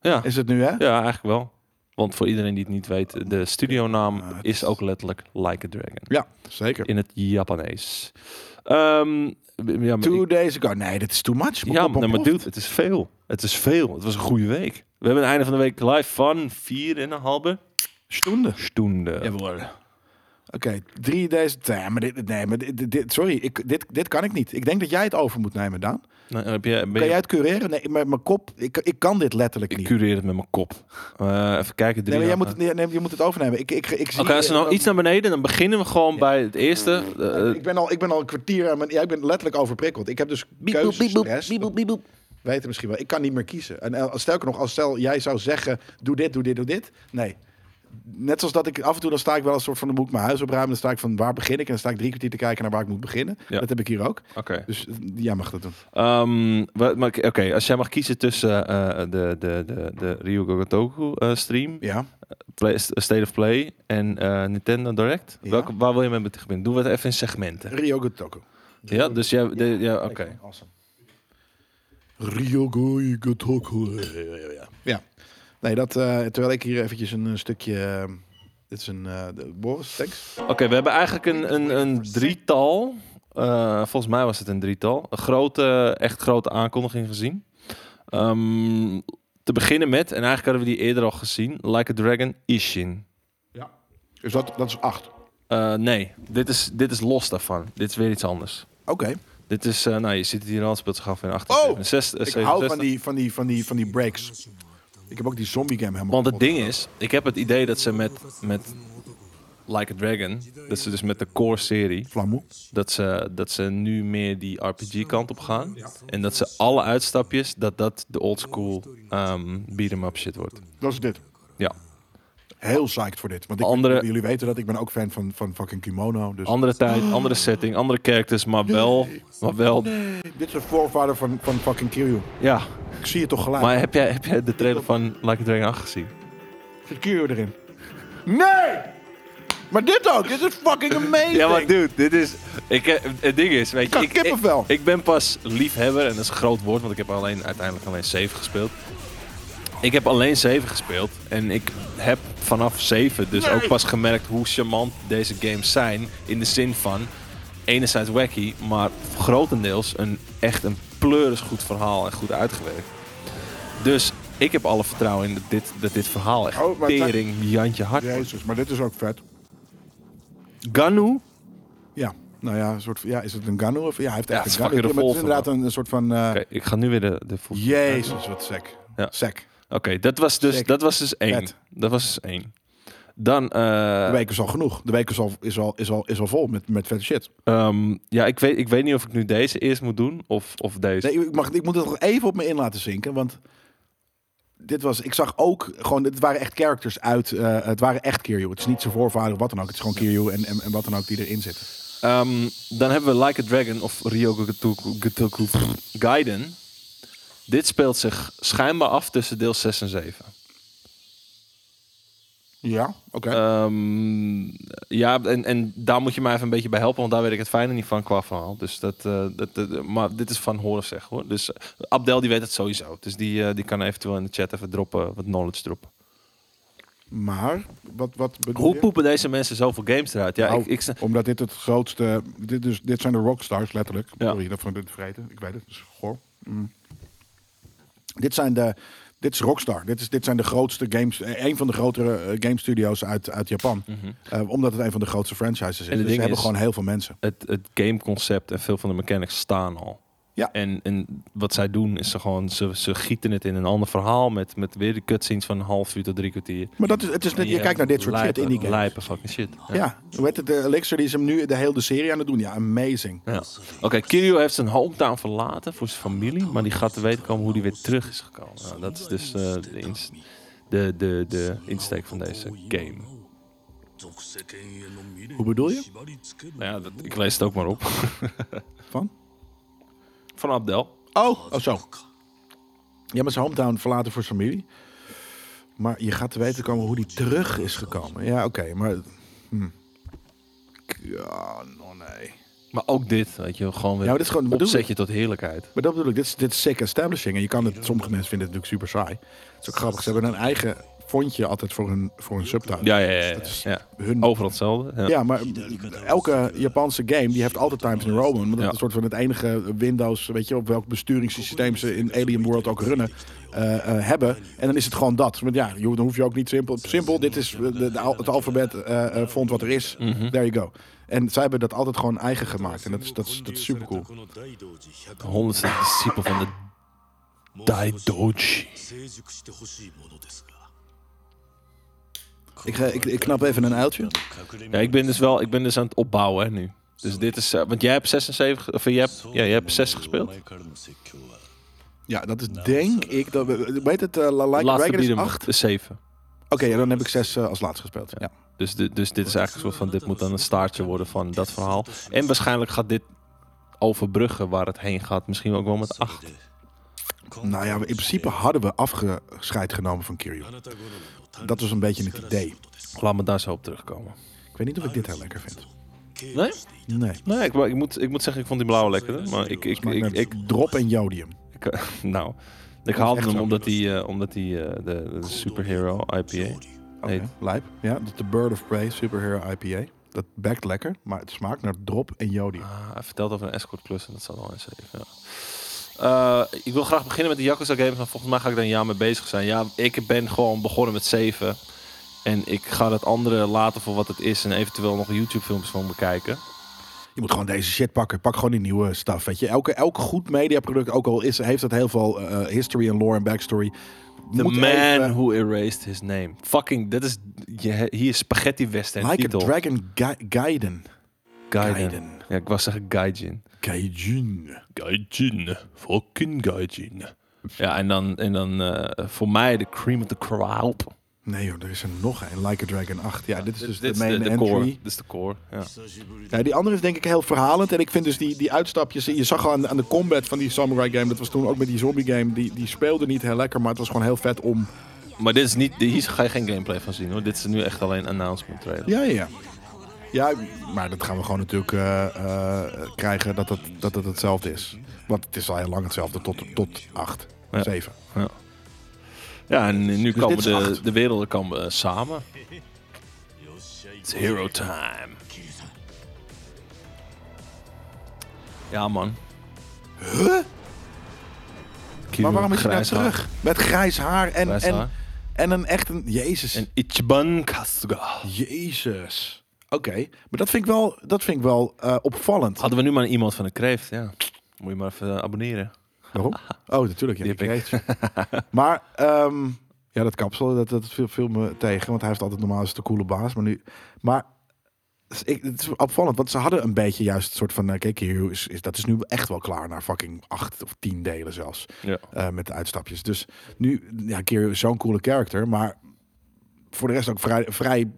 S2: Ja.
S1: Is het nu, hè?
S2: ja, eigenlijk wel. Want voor iedereen die het niet weet, de studionaam
S1: het
S2: is ook letterlijk Like a Dragon.
S1: Ja, zeker.
S2: In het Japanees. Ehm, ja, maar
S1: Two
S2: ik-
S1: days ago. Nee, dat is too much.
S2: ja,
S1: Pop, pop,
S2: maar, maar
S1: pop.
S2: dude, het is veel. Het is veel. Het was een goede week. We hebben het einde van de week live van 4,5
S1: Stoende.
S2: stunden.
S1: Oké, drie days... Nee, maar dit... Nee, maar dit, dit- sorry, ik, dit, dit kan ik niet. Ik denk dat jij het over moet nemen, Daan.
S2: Nou, heb je, ben
S1: Kan
S2: je-
S1: jij het cureren? Nee, maar mijn kop... Ik, ik kan dit letterlijk
S2: Ik
S1: niet.
S2: cureer het met mijn kop. Eh, even
S1: Nee,
S2: kijken. drie
S1: maar jij moet
S2: dagen.
S1: het, nee, nee, je moet het overnemen. Ik, ik, ik zie,
S2: Oké, als er nou
S1: eh,
S2: iets naar beneden, dan beginnen we gewoon bij het eerste. Eh, eh,
S1: Ik ben, al, ik ben al een kwartier aan mijn... Ja, ik ben letterlijk overprikkeld. Ik heb dus keuzestress. Weet het misschien wel. Ik kan niet meer kiezen. En eh, sterker nog, als stel jij zou zeggen... Doe dit, doe dit, doe dit. Nee. net zoals dat ik af en toe dan sta ik wel een soort van de boek mijn huis opruimen. Dan sta ik van waar begin ik? En dan sta ik drie kwartier te kijken naar waar ik moet beginnen.
S2: Ja.
S1: Dat heb ik hier ook.
S2: Oké.
S1: Dus eh, jij mag dat doen.
S2: Ehm, wat- maar Oké, okay, als jij mag kiezen tussen eh, de, de, de, de Ryuga Gotoku eh, stream,
S1: Ja.
S2: Play- eh, State of Play en eh, Nintendo Direct,
S1: Ja.
S2: welke, waar wil je mee beginnen? Doen we het even in segmenten.
S1: Ryogo Toko.
S2: Ja, dus jij... de- ja, oké.
S1: Awesome. Ryogo Toko. Ja. Nee, dat, eh, terwijl ik hier eventjes een, eh, stukje... eh, dit is een... eh, de, Boris, thanks.
S2: Oké, we hebben eigenlijk een, een, een drietal. eh, volgens mij was het een drietal. Een grote, echt grote aankondiging gezien. Ehm, te beginnen met, en eigenlijk hadden we die eerder al gezien, Like a Dragon Ishin.
S1: Dus dat, dat is acht.
S2: Eh, nee, dit is, dit is los daarvan. Dit is weer iets anders.
S1: Oké.
S2: Dit is, eh, nou je ziet het hier al, het speelt zich af in 1867.
S1: Oh! Ik hou van die, van, die, van, die, van die breaks. Ik heb ook die zombie game helemaal
S2: Want het
S1: kapot
S2: ding is, ik heb het idee dat ze met, met Like a Dragon, dat ze dus met de core serie,
S1: Flamoe.
S2: dat ze, dat ze nu meer die RPG-kant op gaan. En dat ze alle uitstapjes, dat dat de oldschool ehm beat-em-up shit wordt.
S1: Dat is dit.
S2: Ja.
S1: Heel psyched voor dit. Want ik
S2: Andere-
S1: jullie weten dat ik ben ook fan van, van fucking kimono. Dus
S2: Andere tijd, andere setting, andere characters, maar wel, maar wel,
S1: dit is de voorvader van, van fucking Kiryu.
S2: ja.
S1: Ik zie het toch gelijk.
S2: Maar heb jij, heb jij de trailer van Like a Dragon 8 gezien?
S1: Zit Kiryu erin? Nee! Maar dit ook. Dit is fucking amazing.
S2: Ja, maar dude, dit is... Ik, eh, het ding is, weet je...
S1: Ik heb kippenvel.
S2: Ik, ik ben pas liefhebber, en dat is een groot woord, want ik heb alleen, uiteindelijk alleen 7 gespeeld. Ik heb alleen 7 gespeeld. En ik heb vanaf 7 dus ook pas gemerkt hoe charmant deze games zijn. In de zin van, enerzijds wacky, maar grotendeels een, echt een pleuris goed verhaal en goed uitgewerkt. Dus ik heb alle vertrouwen in dat dit, dat dit verhaal echt
S1: Oh, maar het zijn-
S2: tering Jantje hard wordt.
S1: Jezus, maar dit is ook vet.
S2: Ganu
S1: Ja. Nou ja, een soort van- ja, is het een Ganu? Of, ja, hij heeft
S2: Ja,
S1: echt
S2: het is
S1: een Ganu.
S2: fucking
S1: Ja, maar het is
S2: revolver,
S1: inderdaad een, een soort van... eh,
S2: Oké, ik ga nu weer de, de full-
S1: Jezus, wat sec.
S2: Ja.
S1: Sec.
S2: Oké, dat was dus
S1: Sick.
S2: dat was dus één.
S1: Vet.
S2: Dat was dus één. Dan, eh,
S1: De week is al genoeg. De week is al, is al, is al, is al vol met, met vette shit.
S2: ehm, ja, ik weet, ik weet niet of ik nu deze eerst moet doen of, of deze.
S1: Nee, ik, mag, ik moet het nog even op me in laten zinken, want dit was, ik zag ook gewoon, het waren echt characters uit, eh, het waren echt Kiryu. Het is niet zijn voorvader of wat dan ook, het is gewoon Kiryu en, en, en wat dan ook die erin zitten.
S2: Ehm, dan hebben we Like a Dragon of Ryogo Gotoku, Gotoku Gaiden. Dit speelt zich schijnbaar af tussen deel 6 en 7.
S1: Ja, oké.
S2: Ehm, ja, en, en daar moet je mij even een beetje bij helpen, want daar weet ik het fijne niet van qua verhaal. Dus dat, eh, dat, dat- maar dit is van horen zeg hoor. Dus eh, Abdel die weet het sowieso. Dus die, eh, die kan eventueel in de chat even droppen, wat knowledge droppen.
S1: maar, wat, wat bedoel
S2: Hoe
S1: je?
S2: poepen deze mensen zoveel games eruit? Ja,
S1: Nou,
S2: ik, ik, sna-
S1: Omdat dit het grootste, dit, is, dit zijn de rockstars letterlijk.
S2: Ja.
S1: Sorry dat van dit vreten, ik weet het, dat is goor. Mm. Dit zijn de, dit is Rockstar. Dit, is, dit zijn de grootste games, eh, een van de grotere eh, game studios uit, uit Japan. Eh, omdat het een van de grootste franchises is.
S2: het
S1: Dus ze
S2: Mhm. ding
S1: hebben
S2: is-
S1: gewoon heel veel mensen.
S2: het, het gameconcept en veel van de mechanics staan al.
S1: Ja.
S2: En, en wat zij doen is ze gewoon, ze, ze gieten het in een ander verhaal met, met weer de cutscenes van een half uur tot drie kwartier.
S1: Maar dat is, het is net, je
S2: En
S1: kijkt naar dit soort shit
S2: lijpe-
S1: in die games.
S2: Lijpe fucking shit. Ja.
S1: Ja, hoe heet het? De Elixir die is hem nu de hele serie aan het doen. Ja, amazing.
S2: Ja. Oké, Kiryu heeft zijn hometown verlaten voor zijn familie, maar die gaat te weten komen hoe die weer terug is gekomen. Nou, dat is dus eh, de, inst- de, de, de insteek van deze game.
S1: Hoe bedoel je?
S2: Nou ja, dat, ik lees het ook maar op.
S1: Van?
S2: Van Abdel.
S1: Oh, oh zo. Ja, maar zijn hometown verlaten voor zijn familie. Maar je gaat te weten komen hoe die terug is gekomen. Ja, oké, maar... hm. Ja, no, nee.
S2: Maar ook dit, weet je, gewoon weer
S1: Ja, maar dit is gewoon de bedoeling.
S2: opzetje tot heerlijkheid.
S1: Maar dat bedoel ik, dit is, dit is sick establishing. En je kan het, sommige mensen vinden het natuurlijk super saai. Het is ook grappig, ze hebben een eigen fondje altijd voor hun, voor hun subtitle.
S2: Ja, ja, ja. ja.
S1: Dat is
S2: ja. Oh,
S1: hun-
S2: Overal hetzelfde. Ja.
S1: Ja, maar elke Japanse game die heeft altijd Times New Roman. Want dat
S2: Ja.
S1: is een soort van het enige Windows, weet je, op welk besturingssysteem ze in Alien World ook runnen, eh, eh, hebben. En dan is het gewoon dat. Want ja, je hoeft- dan hoef je ook niet simpel. Simpel, dit is eh, de, de al- het alfabet eh, eh, font wat er is.
S2: Mhm.
S1: There you go. En zij hebben dat altijd gewoon eigen gemaakt. En dat is, dat is, dat is super cool.
S2: De honderdste discipel van de Daidoji.
S1: Ik, eh, ik, ik knap even een uiltje.
S2: Ja, ik ben dus wel, ik ben dus aan het opbouwen hè, nu. Dus dit is, eh, want jij hebt 76, of eh, jij hebt, ja, jij hebt 6 gespeeld.
S1: Ja, dat is denk ik. Dat, we- weet het, eh, La- Like
S2: Laatste
S1: Dragon is
S2: bieden
S1: 8.
S2: is 7.
S1: ja, dan heb ik zes eh, als laatste gespeeld. Ja.
S2: Dus, di- dus dit is eigenlijk een soort van, dit moet dan een staartje worden van dat verhaal. En waarschijnlijk gaat dit overbruggen waar het heen gaat. Misschien ook wel met acht.
S1: Nou ja, in principe hadden we afgescheid genomen van Kiryu. Dat was een beetje het idee.
S2: Laat me daar zo op terugkomen.
S1: Ik weet niet of ik dit heel lekker vind.
S2: Nee?
S1: Nee.
S2: Nee, ik, wa- ik, moet, ik moet zeggen, ik vond die blauwe lekkerder. Maar ik, ik, ik,
S1: Ik,
S2: ik,
S1: drop en jodium.
S2: ik- nou, ik
S1: is
S2: haalde
S1: echt
S2: hem
S1: zo.
S2: omdat hij eh, omdat die, eh, de, de superhero IPA
S1: Oké,
S2: heet.
S1: Lijp. Oh, Ja, dat is de Bird of Prey Superhero IPA. Dat bekt lekker, maar het smaakt naar drop en jodium.
S2: Ah, hij vertelt over een escort klus en dat zal al eens even. Ja. Eh, ik wil graag beginnen met de Yakuza games, maar volgens mij ga ik daar een jaar mee bezig zijn. Ja, ik ben gewoon begonnen met 7. En ik ga dat andere later voor wat het is en eventueel nog YouTube filmpjes van bekijken.
S1: Je moet gewoon deze shit pakken. Pak gewoon die nieuwe stuff. Weet je, elke, elke goed mediaproduct, ook al is, heeft dat heel veel eh, history en lore en backstory.
S2: The
S1: moet
S2: man
S1: even-
S2: who erased his name. Fucking, dat is, je, hier is spaghetti western
S1: like
S2: titel.
S1: a Dragon Ga- Gaiden.
S2: Gaiden.
S1: Gaiden.
S2: Ja, ik was zeggen Gaijin.
S1: Gaijin.
S2: Gaijin. Fucking Gaijin. Ja, en dan, en dan eh, voor mij de cream of the crop.
S1: Nee joh, er is er nog een. Like a Dragon 8. Ja, dit is dus de
S2: is
S1: main entry.
S2: core. Dit is de core, ja.
S1: Ja, die andere is denk ik heel verhalend. En ik vind dus die, die uitstapjes... Je zag al aan, aan de combat van die Samurai game. Dat was toen ook met die zombie game. Die, die speelde niet heel lekker, maar het was gewoon heel vet om...
S2: Maar dit is niet, hier ga je geen gameplay van zien hoor. Dit is nu echt alleen announcement trailer.
S1: Ja, ja, ja. Ja, maar dat gaan we gewoon natuurlijk eh, eh, krijgen dat het, dat het hetzelfde is. Want het is al heel lang hetzelfde tot, tot 8,
S2: Ja.
S1: 7.
S2: Ja, en nu
S1: Dus dit
S2: komen
S1: is
S2: de,
S1: acht.
S2: de werelden komen eh, samen. It's hero time. Ja man. Huh?
S1: Maar waarom is je nou terug? Met grijs haar en,
S2: Grijs
S1: en,
S2: haar.
S1: en een echt een... Jezus.
S2: En Ichiban Kasuga.
S1: Jezus. Oké, maar dat vind ik wel, dat vind ik wel eh, opvallend.
S2: Hadden we nu maar iemand van de kreeft, ja. Moet je maar even eh, abonneren.
S1: Waarom? Oh, natuurlijk. Ja,
S2: Die
S1: die
S2: heb
S1: kreet. maar ehm, ja, dat kapsel, dat, dat viel, viel me tegen. Want hij heeft altijd normaal is de coole baas. Maar nu... Maar dus ik, het is opvallend, want ze hadden een beetje juist het soort van... eh, kijk, hier is, is, dat is nu echt wel klaar naar fucking acht of tien delen zelfs.
S2: Ja.
S1: eh, met de uitstapjes. Dus nu, ja, keer is zo'n coole character. Maar voor de rest ook vrij, vrij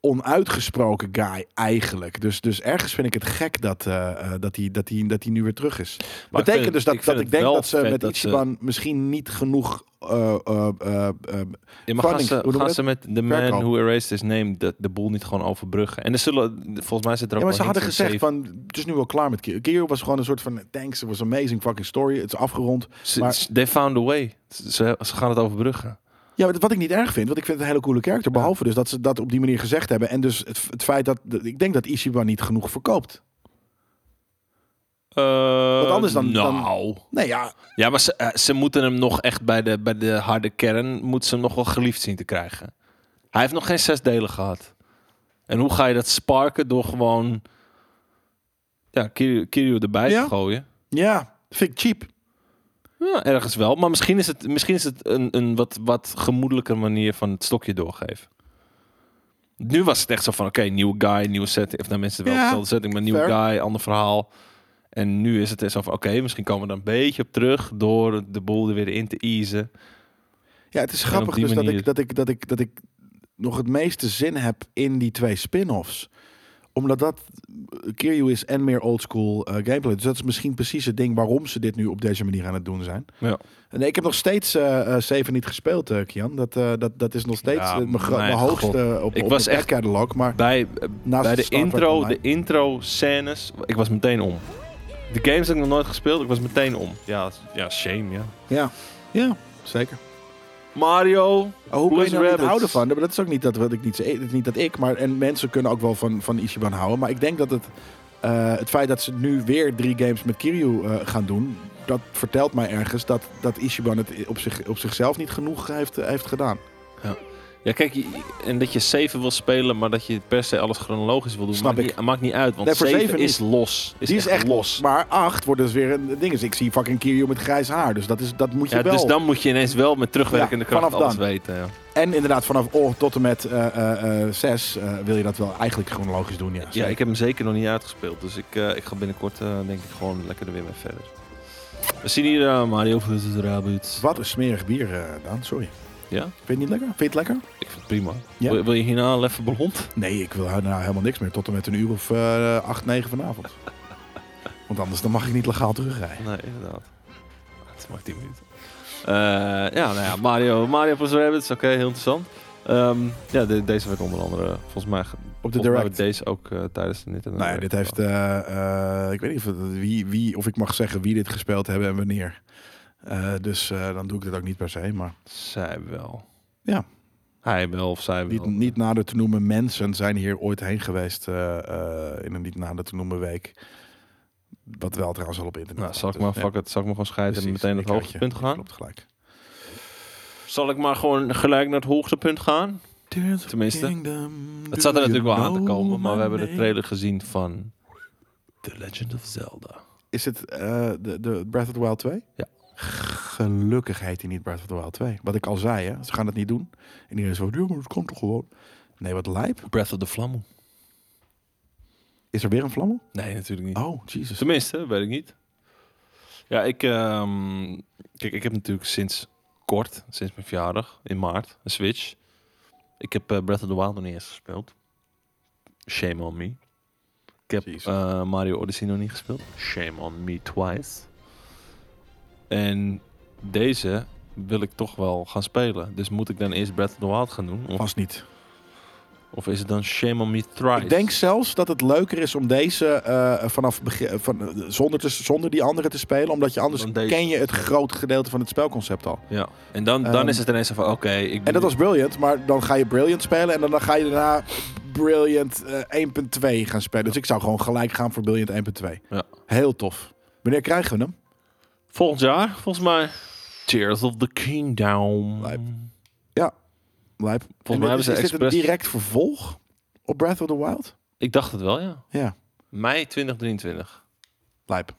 S1: onuitgesproken guy eigenlijk. Dus, dus ergens vind ik het gek dat hij dat die, dat die, dat die nu weer terug is.
S2: Maar ik
S1: Betekent
S2: vind-
S1: dus dat
S2: ik
S1: ik,
S2: vind
S1: dat ik
S2: het
S1: denk
S2: wel
S1: dat ze
S2: vet
S1: met
S2: dat ze-
S1: Ichiban misschien niet genoeg... eh, eh, eh, eh,
S2: Ja, maar gaan
S1: Funding,
S2: ze,
S1: hoe noem
S2: gaan
S1: je
S2: ze met The Man
S1: Verkoop.
S2: Who Erased His Name de, de boel niet gewoon overbruggen? En er zullen, volgens mij zit er ook
S1: Ja, maar
S2: wel
S1: ze hadden
S2: hints
S1: gezegd
S2: in
S1: van, het is nu wel klaar met Kiro. Kiro was gewoon een soort van, thanks, it was amazing fucking story. Het is afgerond.
S2: Ze-
S1: Maar-
S2: ze- They found a way. Ze, ze- ze gaan het overbruggen.
S1: Ja, maar wat ik niet erg vind, want ik vind het een hele coole karakter. Behalve dus dat ze dat op die manier gezegd hebben. En dus het, het feit dat, dat- ik denk dat Ishiba niet genoeg verkoopt. Wat anders dan- dan-
S2: Nou.
S1: Nee, ja,
S2: Ja, maar ze, eh, ze moeten hem nog echt bij de, bij de harde kern... moeten ze hem nog wel geliefd zien te krijgen. Hij heeft nog geen zes delen gehad. En hoe ga je dat sparken door gewoon... Ja, Kiryu, Kiryu erbij
S1: Ja.
S2: te gooien?
S1: ja, vind ik cheap.
S2: Ja, ergens wel. Maar misschien is het, misschien is het een, een wat, wat gemoedelijke manier van het stokje doorgeven. Nu was het echt zo van, oké, nieuwe guy, nieuwe setting. Of nou, mensen wel
S1: Ja,
S2: dezelfde setting, maar nieuwe
S1: fair.
S2: guy, ander verhaal. En nu is het echt zo van, oké, misschien komen we daar een beetje op terug... door de boel er weer in te easen.
S1: Ja, het is
S2: op
S1: grappig
S2: die
S1: dus dat
S2: manier-
S1: ik, dat, ik, dat, ik, dat ik nog het meeste zin heb in die twee spin-offs. Omdat dat eh, Kiryu is en meer oldschool eh gameplay. Dus dat is misschien precies het ding waarom ze dit nu op deze manier aan het doen zijn.
S2: Ja.
S1: Nee, ik heb nog steeds eh eh, Seven niet gespeeld, eh, Kian. Dat, eh, dat, dat is nog steeds
S2: Ja,
S1: eh, mijn gro-
S2: mijn
S1: mijn
S2: god.
S1: hoogste eh, op,
S2: Ik
S1: op
S2: was
S1: mijn
S2: echt-
S1: catalog. Maar
S2: Bij,
S1: Naast
S2: bij de
S1: Star Trek
S2: intro, de
S1: Online.
S2: intro scènes, ik was meteen om. De games heb ik nog nooit gespeeld, ik was meteen om. Ja, ja shame, ja.
S1: ja, ja, zeker.
S2: Mario,
S1: Oh, hoe kun je
S2: Plus
S1: nou niet
S2: rabbits.
S1: houden van? Maar dat is ook niet dat, wat ik niet, ze- niet dat ik, maar en mensen kunnen ook wel van, van Ichiban houden. Maar ik denk dat het, eh, het feit dat ze nu weer drie games met Kiryu eh, gaan doen, dat vertelt mij ergens dat, dat Ichiban het op, zich, op zichzelf niet genoeg heeft, heeft gedaan.
S2: Ja, kijk, je- en dat je 7 wil spelen, maar dat je per se alles chronologisch wil doen,
S1: Snap
S2: maakt,
S1: ik.
S2: Niet, maakt niet uit. Want
S1: Nee, voor
S2: 7,
S1: zeven
S2: is los. Is
S1: Die is echt los. Maar acht wordt dus weer een ding. Dus ik zie fucking Kiryu met grijs haar. Dus dat, is, dat moet je
S2: Ja,
S1: wel.
S2: dus dan moet je ineens wel met terugwerkende
S1: Ja,
S2: kracht
S1: vanaf
S2: alles
S1: dan.
S2: weten. Ja.
S1: En inderdaad, vanaf oh tot en met eh, eh, eh, zes eh, wil je dat wel eigenlijk chronologisch doen. Ja,
S2: ja,
S1: zeker.
S2: ik heb hem zeker nog niet uitgespeeld. Dus ik, eh, ik ga binnenkort eh, denk ik gewoon lekker er weer mee verder. We zien hier eh, Mario vs. Rabbids.
S1: Wat een smerig bier, eh Daan. Sorry.
S2: Ja,
S1: Vind je het niet lekker? Vind je het lekker?
S2: ik vind het prima.
S1: Ja.
S2: Wil, wil je hierna al even blond?
S1: Nee, ik wil nou helemaal niks meer. Tot en met een uur of eh acht, negen vanavond. Want anders dan mag ik niet legaal terugrijden.
S2: Nee, inderdaad. Het maakt 10 minuten. Eh, ja, nou ja, Mario, Mario plus Rabbits, oké, heel interessant. Ehm, ja, de- deze werd onder andere eh, volgens mij... ge-
S1: Op de
S2: volgens mij
S1: direct.
S2: werd deze ook eh, tijdens de Nintendo
S1: Nou ja, dit
S2: Direct
S1: heeft. eh, eh, ik weet niet of, het- wie, wie, of ik mag zeggen wie dit gespeeld hebben en wanneer. Eh, dus eh, dan doe ik dit ook niet per se. Maar
S2: Zij wel.
S1: Ja.
S2: Hij wel of zij wel.
S1: niet, niet nader te noemen mensen zijn hier ooit heen geweest. eh, eh, in een niet nader te noemen week. Wat wel trouwens al op internet.
S2: Nou, zal ik
S1: Dus,
S2: maar,
S1: ja,
S2: fuck it, zal ik maar gewoon scheiden
S1: precies.
S2: en meteen
S1: Ik
S2: naar het
S1: had je.
S2: hoogtepunt gaan?
S1: Klopt gelijk.
S2: Zal ik maar gewoon gelijk naar het hoogtepunt gaan? Tenminste. Het zat er natuurlijk wel aan te komen, maar we hebben de trailer gezien van The Legend of Zelda.
S1: Is het eh, de, de Breath of the Wild 2?
S2: Ja.
S1: Gelukkig heet hij niet Breath of the Wild 2. Wat ik al zei, hè? ze gaan het niet doen. En iedereen zo, ja, maar het komt toch gewoon. Nee, wat lijp.
S2: Breath of the Flamme.
S1: Is er weer een vlammel?
S2: Nee, natuurlijk niet.
S1: Oh, Jesus.
S2: Tenminste, weet ik niet. Ja, ik, ehm, kijk, ik heb natuurlijk sinds kort, sinds mijn verjaardag, in maart, een Switch. Ik heb eh, Breath of the Wild nog niet eens gespeeld. Shame on me. Ik heb
S1: Jezus.
S2: eh, Mario Odyssey nog niet gespeeld. Shame on me twice. En deze wil ik toch wel gaan spelen. Dus moet ik dan eerst Breath of the Wild gaan doen? Of,
S1: Vast niet.
S2: of is het dan Shame on me thrice?
S1: Ik denk zelfs dat het leuker is om deze eh, vanaf begin, van, eh, zonder, te, zonder die andere te spelen. Omdat je anders
S2: Dan deze.
S1: ken je het groot gedeelte van het spelconcept al.
S2: Ja. En dan, dan
S1: Ehm,
S2: is het ineens van, oké, ik
S1: En dat was Brilliant, maar dan ga je Brilliant spelen en dan, dan ga je daarna Brilliant eh, 1.2 gaan spelen. Dus ik zou gewoon gelijk gaan voor Brilliant 1.2.
S2: Ja.
S1: Heel tof. Wanneer krijgen we hem?
S2: Volgend jaar, volgens mij. Tears of the Kingdom.
S1: Lijp. Ja, lijp. En
S2: mij hebben
S1: is,
S2: ze
S1: is dit
S2: expres-
S1: een direct vervolg op Breath of the Wild?
S2: Ik dacht het wel, ja.
S1: Ja,
S2: Mei 2023.
S1: lijp.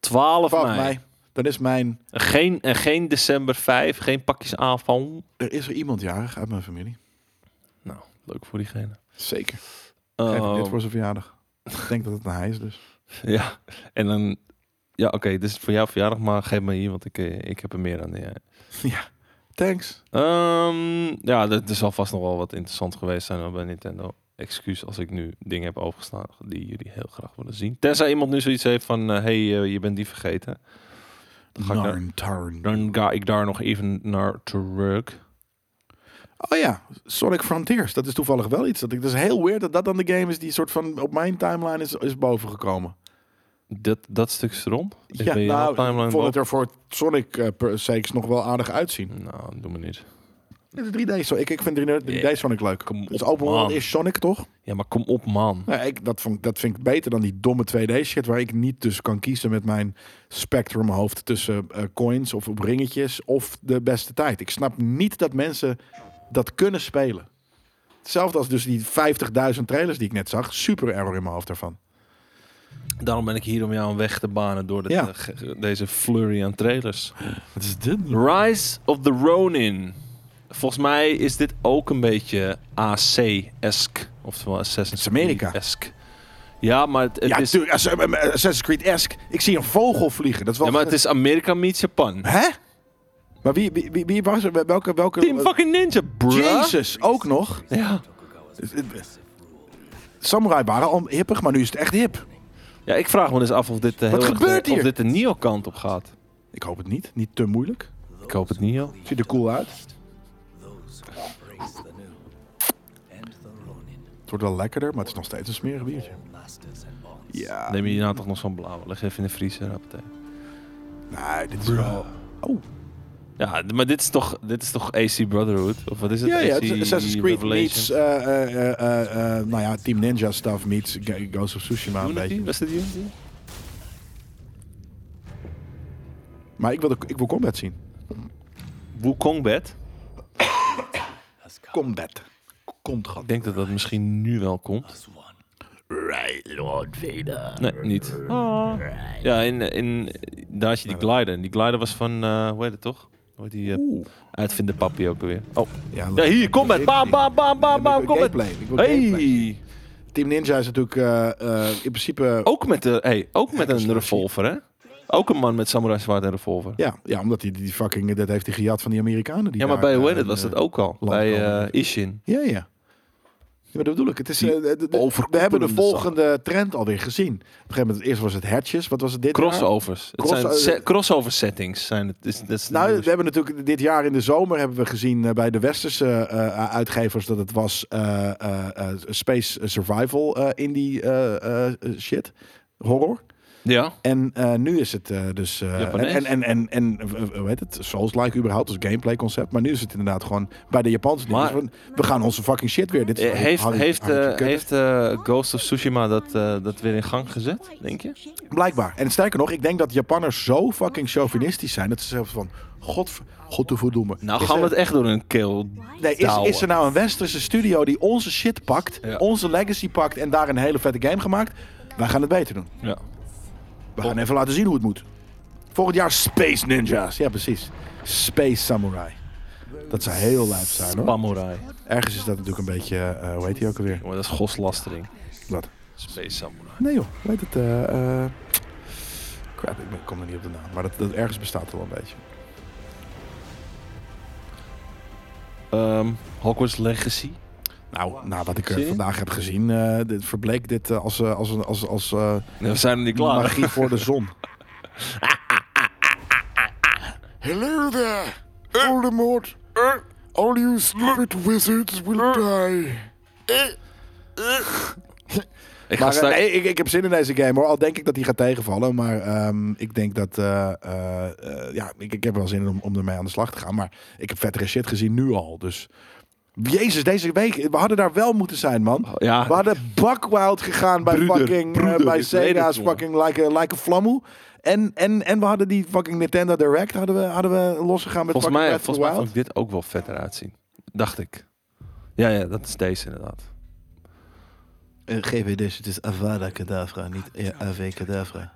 S2: 12,
S1: 12
S2: mei.
S1: mei. Dan is mijn...
S2: En Geen, en geen december 5, geen pakjes aanval.
S1: Er is er iemand jarig uit mijn familie.
S2: Nou, leuk voor diegene.
S1: Zeker. Geef hem dit
S2: Ehm,
S1: voor zijn verjaardag. Ik denk dat het naar hij is dus.
S2: Ja, en dan... Ja, oké, dit is voor jou verjaardag, maar geef me hier, want ik, eh, ik heb er meer aan. dan jij.
S1: Ja. Thanks.
S2: Ehm, ja, dat is alvast nog wel wat interessant geweest zijn hoor, bij Nintendo. Excuus als ik nu dingen heb overgestaan die jullie heel graag willen zien. Tenzij iemand nu zoiets heeft van, eh, hey, eh, je bent die vergeten. Dan ga ik daar-
S1: Narn Tarn.
S2: Dan ga ik daar nog even naar terug.
S1: Oh ja, Sonic Frontiers. Dat is toevallig wel iets. Dat ik, dat is heel weird dat dat dan de game is die soort van op mijn timeline is, is bovengekomen.
S2: Dat, dat stuk is rond. Ik
S1: ja,
S2: ben je
S1: nou,
S2: hele timeline
S1: ik vond het er voor Sonic eh, per se nog wel aardig uitzien.
S2: boven. Nou, doe me niet.
S1: Het is 3D Sonic. Ik, ik vind 3D, 3D Sonic leuk.
S2: Kom
S1: Het is
S2: op,
S1: open world
S2: man.
S1: is Sonic toch?
S2: Ja, maar kom op, man.
S1: Ja, Nou, ik, dat, vond, dat vind ik beter dan die domme 2D shit waar ik niet dus kan kiezen met mijn spectrum hoofd tussen eh, coins of op ringetjes of de beste tijd. Ik snap niet dat mensen dat kunnen spelen. Hetzelfde als dus die 50.000 trailers die ik net zag. Super error in mijn hoofd daarvan.
S2: Daarom ben ik hier om jou een weg te banen door dit,
S1: Ja.
S2: eh, ge- ge- deze flurry aan trailers.
S1: Wat is dit?
S2: Rise of the Ronin. Volgens mij is dit ook een beetje AC-esk. Oftewel Assassin's
S1: Het is Amerika.
S2: Creed-esk. Ja, maar het, het
S1: Ja,
S2: is...
S1: natuurlijk. Ass- eh, eh, Assassin's Creed-esque. Ik zie een vogel vliegen. Dat is wel...
S2: Ja, maar het is Amerika meets Japan.
S1: Hè? Maar wie, wie, wie, wie was er? Welke... welke eh,
S2: Team fucking Ninja, bruh.
S1: Jezus, ook nog. Eh,
S2: Ja.
S1: Samurai waren al hippig, maar nu is het echt hip.
S2: ja, ik vraag me dus af of dit, eh, heel erg de,
S1: gebeurt hier?
S2: of dit de Nio-kant op gaat.
S1: Ik hoop het niet. Niet te moeilijk.
S2: Ik hoop het niet, joh.
S1: Ziet er cool uit. Het wordt wel lekkerder, maar het is nog steeds een smerig biertje. Ja.
S2: Neem je hierna toch nog zo'n blauwe. Leg even in de vriezer. hoppatee.
S1: Nee, dit is wel... Oh.
S2: Ja, d- maar dit is toch, dit is toch AC Brotherhood? Of wat is het?
S1: Ja, ja.
S2: AC
S1: het is Assassin's Creed
S2: Revelation?
S1: meets... eh, eh, eh, eh, eh, nou ja, Team Ninja stuff meets Ga- Ghost of Tsushima een
S2: Unity?
S1: beetje.
S2: Was dit Unity?
S1: Maar ik wil, de- ik wil combat zien.
S2: Wukong Bed.
S1: Combat. Komt gewoon.
S2: Ik denk dat dat misschien nu wel komt.
S3: Right, Lord Vader.
S2: Nee, niet. Ah. Ja, in, in, daar had je die glider. En die glider was van, eh hoe heet het toch? Hoe heet die eh
S1: Oeh.
S2: uitvinder papi ook alweer? Oh,
S1: Ja,
S2: ja, hier, combat. Bam, bam, bam, bam,
S1: Ja, maar
S2: bam,
S1: ik wil
S2: combat.
S1: gameplay. Ik wil gameplay.
S2: Hey!
S1: Team Ninja is natuurlijk eh, eh, in principe...
S2: Ook met, de, hey, ook met
S1: Hackers,
S2: een revolver, hè? Ook een man met samurai zwaard en revolver.
S1: Ja, ja omdat die, die fucking, dat heeft hij gejat van die Amerikanen. Die
S2: Ja, maar
S1: daar,
S2: bij hoe heet
S1: eh,
S2: het was dat ook al.
S1: land
S2: Bij
S1: komen.
S2: eh, Ishin.
S1: Ja, ja. ja maar dat bedoel ik. Het is,
S2: Die
S1: eh, de- de- we
S2: overkoepelende
S1: hebben de
S2: zaak.
S1: volgende trend alweer gezien. Op een gegeven moment, eerst was het hatches. Wat was het dit jaar?
S2: Crossovers. Het
S1: Cross- eh,
S2: zijn se- crossover settings. Zijn het. Is, dat is
S1: Nou, we hebben natuurlijk dit jaar in de zomer hebben we gezien eh, bij de westerse eh, uitgevers dat het was eh, eh, eh, space survival eh, indie eh, eh, shit horror.
S2: ja.
S1: En eh, nu is het eh, dus eh,
S2: Japanees.
S1: en en en en eh, hoe heet het Souls-like überhaupt als gameplay concept, maar nu is het inderdaad gewoon bij de Japanse. dingen.
S2: Maar-
S1: Dus we- we gaan onze fucking shit weer. Dit is
S2: Eh, Heeft,
S1: Harry-
S2: heeft,
S1: Harry
S2: eh,
S1: Kutter.
S2: heeft eh, Ghost of Tsushima dat, eh, dat weer in gang gezet, denk je?
S1: Blijkbaar. En sterker nog, ik denk dat Japanners zo fucking chauvinistisch zijn dat ze zelfs van god godverdomme.
S2: Nou
S1: Is
S2: gaan we
S1: er-
S2: het echt door een keel
S1: Nee, is,
S2: touwen.
S1: is er nou een westerse studio die onze shit pakt,
S2: Ja.
S1: onze legacy pakt en daar een hele vette game gemaakt? Wij gaan het beter doen.
S2: Ja.
S1: We gaan even laten zien hoe het moet. Volgend jaar Space Ninjas. Ja, precies. Space Samurai. Dat zou heel luid zijn hoor.
S2: Samurai.
S1: Ergens is dat natuurlijk een beetje, eh, hoe heet die ook alweer?
S2: Jongen, Oh, dat is godslastering.
S1: Wat?
S2: Space Samurai.
S1: Nee joh, hoe heet het? eh, eh, crap, ik ben- kom er niet op de naam. Maar dat, dat ergens bestaat het wel een beetje.
S2: Ehm, Hogwarts Legacy.
S1: Nou, na wat ik er
S2: Zin in?
S1: vandaag heb gezien, eh, dit, verbleek dit eh, als, eh, als, een- als, als eh,
S2: Nee, we zijn er niet klaar.
S1: magie voor de zon.
S4: Hello there, Voldemort. All you stupid wizards will die.
S2: Ik ga
S1: Maar eh,
S2: straks...
S1: nee, ik, ik heb zin in deze game hoor. Al denk ik dat die gaat tegenvallen. Maar ehm, ik denk dat. eh, eh, eh, ja, ik, ik heb wel zin om, om ermee aan de slag te gaan. Maar ik heb vettere shit gezien nu al. Dus. Jezus, deze week. We hadden daar wel moeten zijn, man.
S2: Oh, ja.
S1: We hadden bakwild gegaan bij
S2: Broeder,
S1: fucking. eh,
S2: broeder,
S1: bij
S2: ik weet
S1: Sega's
S2: het, jongen.
S1: fucking like a, like a flammoe. En, en, en we hadden die fucking Nintendo Direct hadden we, hadden we losgegaan met
S2: Volgens
S1: fucking
S2: mij,
S1: Breath of
S2: volgens
S1: the
S2: mij
S1: Wild.
S2: vond ik dit ook wel vet eruit zien. Dacht ik. Ja, ja, dat is deze inderdaad.
S5: GVD's, het is Avada Kedavra, niet eh, AV Kedavra.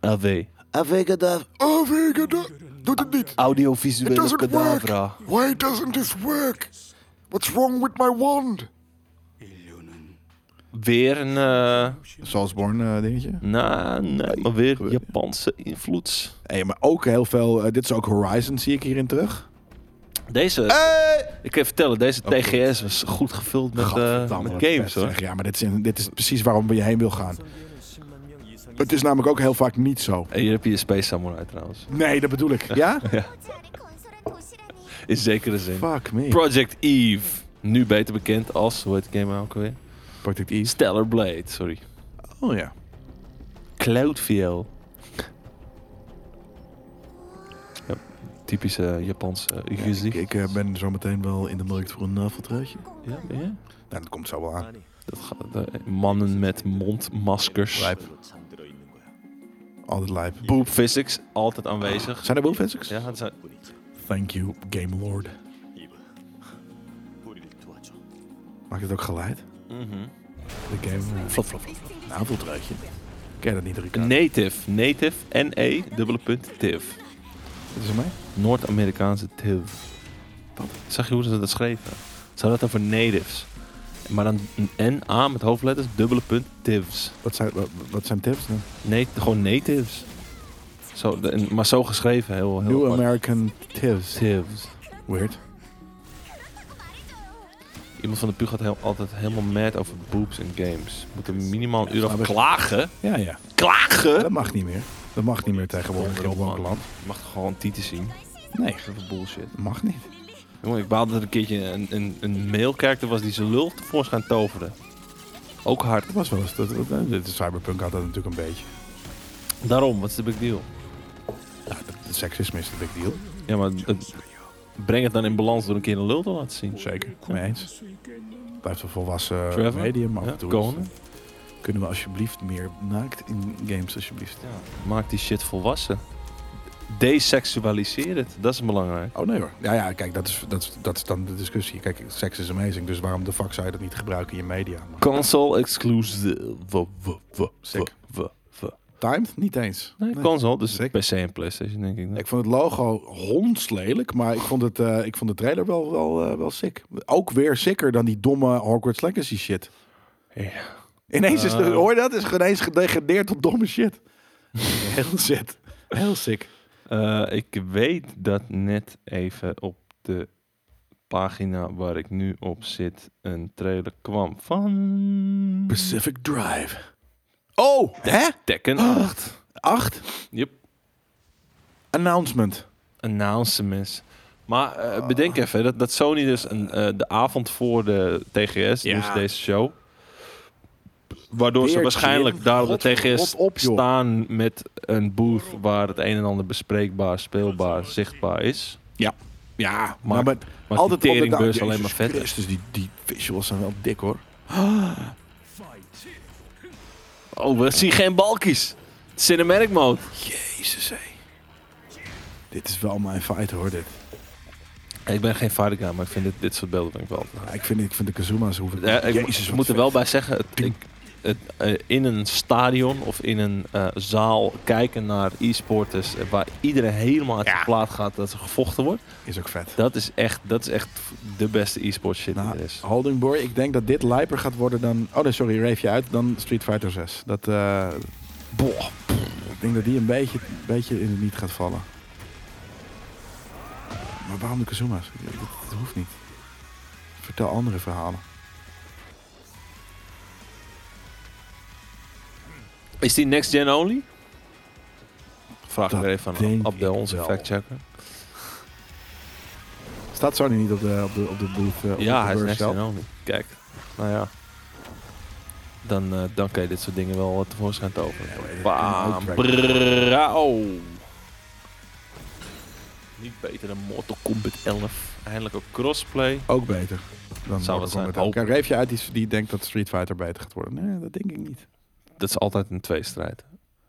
S2: AW.
S5: AV Kedavra.
S4: Oh, Vega, do- doet het niet. It
S2: Audiovisuele
S4: doesn't work. Why doesn't this work? What's wrong with my wand?
S2: Weer een... eh,
S1: Salzborn eh, dingetje.
S2: nou, nee, maar weer Japanse invloed.
S1: Hey, maar ook heel veel. eh, dit is ook Horizon, zie ik hierin terug.
S2: Deze... Ik kan je vertellen, deze TGS was goed gevuld met, eh,
S1: Gadverdamme,
S2: met
S1: wat
S2: games
S1: vet,
S2: hoor.
S1: zeg. Ja, maar dit is, dit is precies waarom je heen wil gaan. Het is namelijk ook heel vaak niet zo.
S2: En hier heb je Space Samurai trouwens.
S1: Nee, dat bedoel ik. Ja?
S2: In zekere zin.
S1: Fuck me.
S2: Project Eve. Nu beter bekend als, hoe heet de game nou ook alweer?
S1: Project East.
S2: Stellar Blade, sorry.
S1: Oh ja.
S2: Cloudvl. Ja, typische Japanse uh,
S1: Ik, ik eh, ben zo meteen wel in de markt voor een eh, naveltruitje.
S2: Ja, ja.
S1: Nou, dat komt zo wel aan.
S2: Dat gaat, eh, mannen met mondmaskers.
S1: Altijd lijp.
S2: Boop physics, altijd aanwezig.
S1: Zijn er boelfensers?
S2: Ja, het zijn-
S1: Thank you, Game Lord. Maakt het ook geluid?
S2: Mhm.
S1: De Game Lord. Nou, Flop, flop, flop. Naveltruitje. Ken je dat niet, Ricardo?
S2: Native. Native. E N-E, dubbele punt, tiv.
S1: Dat is mij.
S2: Noord-Amerikaanse tiv. Zag je hoe ze dat schreven? Ze hadden het over natives. Maar dan een N-A met hoofdletters, dubbele punt, tivs.
S1: Wat zijn, wat, wat zijn tips? dan?
S2: Nee, gewoon natives. Zo, de- en- maar zo geschreven, heel, heel
S1: New
S2: apart.
S1: American tips.
S2: Natives.
S1: Oh, Weird.
S2: Iemand van de puur gaat heel, altijd helemaal mad over boobs en games. Moet er minimaal een uur
S1: snap
S2: over
S1: ik.
S2: klagen.
S1: Ja, ja.
S2: Klagen?
S1: Dat mag niet meer. Dat mag niet meer tegenwoordig in
S2: Man,
S1: welk land.
S2: Je mag toch gewoon tieten zien?
S1: Nee,
S2: Dat is bullshit.
S1: dat mag niet.
S2: Jongen, ik baalde dat een keertje een, een, een mail was die zijn lul tevoorschijn toverde. Ook hard.
S1: Dat was wel eens. Dat, dat- dat- de cyberpunk had dat natuurlijk een beetje.
S2: Daarom, wat is de big deal?
S1: Nou, dat- dat seksisme is de big deal.
S2: Ja, maar het- breng het dan in balans door een keer een lul te laten zien.
S1: Zeker. Mee eens. Blijft een volwassen
S2: Trevor?
S1: medium af
S2: Ja,
S1: en toe.
S2: Conan?
S1: Kunnen we alsjeblieft meer naakt in games, alsjeblieft?
S2: Maak die shit volwassen. Desexualiseer het, dat is belangrijk.
S1: Oh nee hoor. Ja, ja kijk, dat is, dat, is, dat is dan de discussie. Kijk, seks is amazing, dus waarom de fuck zou je dat niet gebruiken in je media? Maar
S2: Console exclusive. W- w- w-
S1: Sick.
S2: w- w-
S1: timed? Niet eens.
S2: Nee, console, dus
S1: Sick.
S2: PC en PlayStation denk ik.
S1: Ik vond het logo hondslelijk, maar ik vond, het, eh, ik vond de trailer wel, wel, eh, wel sick. Ook weer sicker dan die domme Hogwarts Legacy shit.
S2: Ja.
S1: Ineens is de,
S2: Eh.
S1: hoor je dat? Is ineens gedegradeerd tot domme shit. Heel zit. Heel sick.
S2: Eh, ik weet dat net even op de pagina waar ik nu op zit een trailer kwam van
S1: Pacific Drive. Oh, hè?
S2: Tekken 8.
S1: 8?
S2: Yep.
S1: Announcement.
S2: Announcements. Maar eh,
S1: Ah.
S2: bedenk even dat, dat Sony dus een, eh, de avond voor de TGS,
S1: Ja.
S2: dus deze show, waardoor ze
S1: Weer
S2: waarschijnlijk
S1: Jim.
S2: daar op
S1: God,
S2: de TGS
S1: rot op, joh.
S2: staan met een booth waar het een en ander bespreekbaar, speelbaar, zichtbaar is.
S1: Ja, nou,
S2: maar-
S1: maar, maar
S2: Maar
S1: altijd
S2: die
S1: op de
S2: teringbeurs
S1: Jezus
S2: alleen maar vetter.
S1: Christus, die, die visuals zijn wel dik hoor.
S2: Oh, we zien geen balkies. Cinematic mode.
S1: Jezus hé. Dit is wel mijn fight hoor dit.
S2: Ik ben geen fighter guy, maar ik vind dit, dit soort beelden vind ik wel.
S1: Ja, ik, vind, ik vind de Kazuma's hoeven...
S2: Ja, Eh, ik
S1: Jezus,
S2: mo-
S1: wat
S2: moet er
S1: vet.
S2: wel bij zeggen, het, ik, het, eh, in een stadion of in een eh, zaal kijken naar e-sporters eh, waar iedereen helemaal uit zijn plaat gaat dat ze gevochten wordt.
S1: Is ook vet.
S2: Dat is echt, dat is echt de beste e-sport shit die
S1: Nou,
S2: er is.
S1: Holding Boy, ik denk dat dit lijper gaat worden dan... Oh nee, sorry, rave je uit. Dan Street Fighter 6. Dat, eh, boah, ik denk dat die een beetje, een beetje in het niet gaat vallen. Maar waarom de Kazuma's? Dat, dat hoeft niet. Vertel andere verhalen.
S2: Is die next gen only? Vraag ik
S1: Dat
S2: weer even aan
S1: denk
S2: Abdel,
S1: ik
S2: onze
S1: wel.
S2: factchecker.
S1: Staat Sony niet op de, op de, op de booth? eh, op de
S2: Ja, hij is
S1: beurs
S2: next
S1: zelf?
S2: gen only. Kijk, nou ja. Dan, eh, dan kan je dit soort dingen wel eh, tevoorschijn toveren. Bam. Bravo. Niet beter dan Mortal Kombat 11. Eindelijk ook crossplay.
S1: Ook beter. Dan
S2: Zou wat zijn, hoop.
S1: Kijk, Reef je uit die, die denkt dat Street Fighter beter gaat worden. Nee, dat denk ik niet.
S2: Dat is altijd een tweestrijd.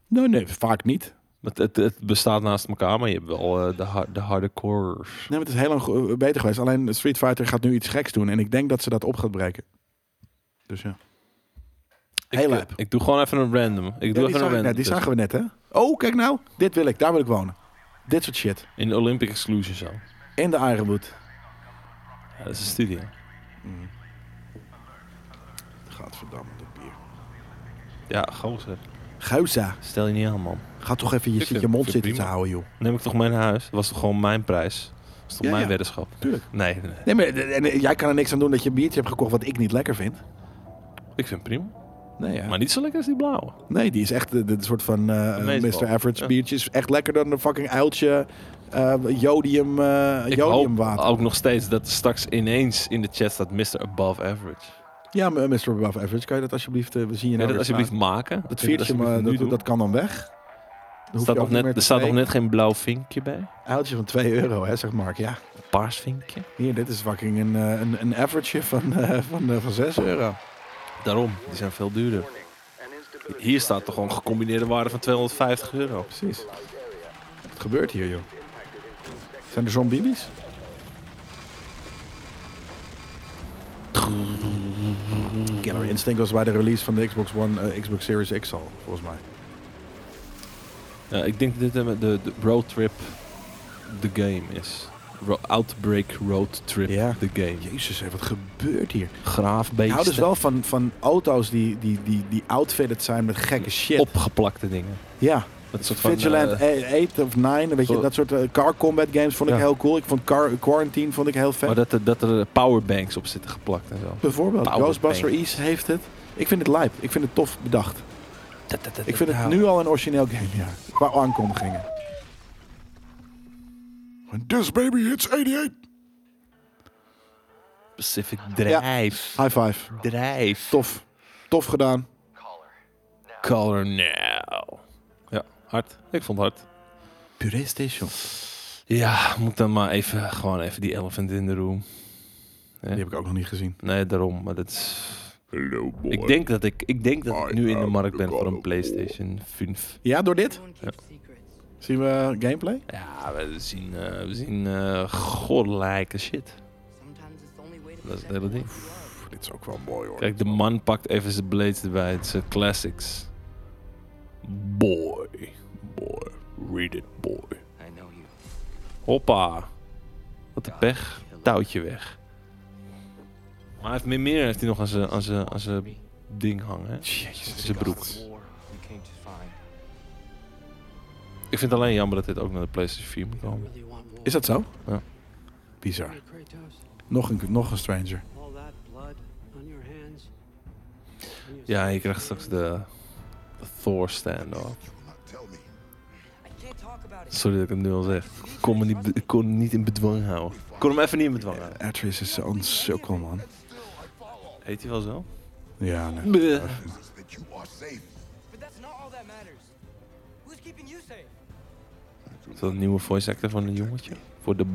S1: Nee, nee, vaak niet.
S2: Het, het, het bestaat naast elkaar, maar je hebt wel eh, de, har- de harde cores.
S1: Nee, maar het is heel lang go- beter geweest. Alleen Street Fighter gaat nu iets geks doen. En ik denk dat ze dat op gaat breken. Dus ja. Heel
S2: ik,
S1: lijp.
S2: eh, ik doe gewoon even een random. Ik
S1: Ja,
S2: doe
S1: die zag
S2: even een dus.
S1: ik
S2: random.
S1: net, die
S2: tussen.
S1: zagen we net, hè? Oh, kijk nou. Dit wil ik. Daar wil ik wonen. Dit soort shit.
S2: In de Olympic Exclusion zo.
S1: In de Ironwood.
S2: Ja, dat is een studio.
S1: Gadverdamme, dat bier.
S2: Ja, gozer.
S1: Geuza.
S2: Stel je niet aan, man.
S1: Ga toch even je,
S2: Ik
S1: zit
S2: vind-
S1: je
S2: ik
S1: mond
S2: vind
S1: zitten te
S2: prima.
S1: houden, joh.
S2: Neem ik toch mee naar huis? Dat was toch gewoon mijn prijs? Dat is toch
S1: Ja,
S2: mijn
S1: ja.
S2: weddenschap?
S1: Tuurlijk.
S2: Nee, nee, nee.
S1: Nee, maar eh, en, en jij kan er niks aan doen dat je een biertje hebt gekocht wat ik niet lekker vind.
S2: ik vind het prima.
S1: Nee, ja.
S2: Maar niet zo lekker als die blauwe.
S1: Nee, die is echt de, de soort van eh,
S2: De meest
S1: Mr.
S2: wel.
S1: Average
S2: Ja.
S1: biertje. Is echt lekker dan een fucking uiltje eh, jodium, eh
S2: Ik hoop
S1: jodiumwater.
S2: ook nog steeds dat er straks ineens in de chat staat Mr. Above Average.
S1: Ja, maar, eh, Mr. Above Average, kan je dat alsjeblieft... eh, we zien je
S2: Kun
S1: nou
S2: je dat
S1: weer
S2: alsjeblieft
S1: staan.
S2: maken?
S1: Dat viertje, maar
S2: nu
S1: dat, dat kan dan weg. Dan hoef je
S2: staat
S1: ook
S2: nog
S1: niet
S2: net,
S1: meer te
S2: er staat nog
S1: pay.
S2: net geen blauw vinkje bij.
S1: Uiltje van 2 euro, hè, zegt Mark. Ja,
S2: Een paars vinkje.
S1: hier, dit is fucking een, eh, een, een average van, eh, van, eh, van 6 euro.
S2: Daarom, die zijn veel duurder. Hier staat toch gewoon gecombineerde waarde van 250 euro.
S1: Precies. Wat gebeurt hier, joh? Zijn er zombies? Killer Instinct was bij de release van de Xbox One, eh, Xbox Series X al, volgens mij.
S2: Ja, ik denk dat dit eh, de, de road trip de game is. Ro- Outbreak road trip
S1: Ja.
S2: the game.
S1: Jezus, hé, wat gebeurt hier? Ik
S2: Graafbeesten.
S1: hou dus wel van, van auto's die, die, die, die outfitted zijn met gekke shit.
S2: Opgeplakte dingen.
S1: Ja,
S2: Dat soort van,
S1: Vigilant
S2: eh,
S1: 8 of 9, weet je,
S2: Zo-
S1: dat soort eh, car combat games vond ik
S2: Ja.
S1: heel cool. Ik vond car, Quarantine vond ik heel vet.
S2: maar dat er, dat er powerbanks op zitten geplakt en zo.
S1: Bijvoorbeeld,
S2: Power
S1: Ghostbuster
S2: Paint.
S1: East heeft het. Ik vind het lijp, ik vind het tof bedacht. Ik vind het nu al een origineel game, ja. Qua aankondigingen.
S4: This baby hits 88.
S2: Pacific Drive.
S1: High five.
S2: Drive.
S1: Tof. Tof gedaan.
S2: Color now. nou. Ja, hard. Ik vond het hard.
S1: PlayStation.
S2: Ja, moet dan maar even, gewoon even die elephant in the room.
S1: Die heb ik ook nog niet gezien.
S2: Nee, daarom. Maar dat is...
S4: Hello, boy.
S2: Ik denk dat ik, ik, denk dat ik
S4: I
S2: nu in de
S4: am
S2: markt
S4: the
S2: ben voor
S4: God
S2: een
S4: of
S2: PlayStation 5.
S1: Ja, door dit?
S2: Ja.
S1: Zien we gameplay?
S2: Ja, we zien, eh, we zien eh godlijke shit.
S6: Dat is het hele ding.
S1: Pff, dit is ook wel mooi hoor.
S2: Kijk, de man pakt even zijn blades erbij. Het is eh, classics. Boy. Boy. Read it, boy. Hoppa. Wat een pech. Touwtje weg. Maar hij heeft meer, meer heeft hij nog aan zijn, aan zijn, aan zijn ding hangen. hè? Aan zijn broek. Ik vind het alleen jammer dat dit ook naar de PlayStation 4 moet komen.
S6: Really want more.
S1: Is dat zo?
S2: Ja.
S1: Bizar.
S6: Kratos,
S1: Nog een, nog een Stranger.
S6: all that blood on your hands. on your
S2: Ja, je krijgt straks de, de Thor stand-off.
S4: You will not tell me.
S6: I can't talk about it.
S2: Sorry dat ik het nu al zeg. Ik kon, me niet, be- ik kon hem niet in bedwang houden. Ik kon hem even niet in bedwang houden.
S1: Atreus is zo'n sukkel, man.
S2: Heet hij wel zo?
S1: Ja, nee.
S4: Promises that you are safe.
S6: But that's not all that matters. Who's keeping you safe?
S2: Is dat een nieuwe voice actor van een jongetje? Voor de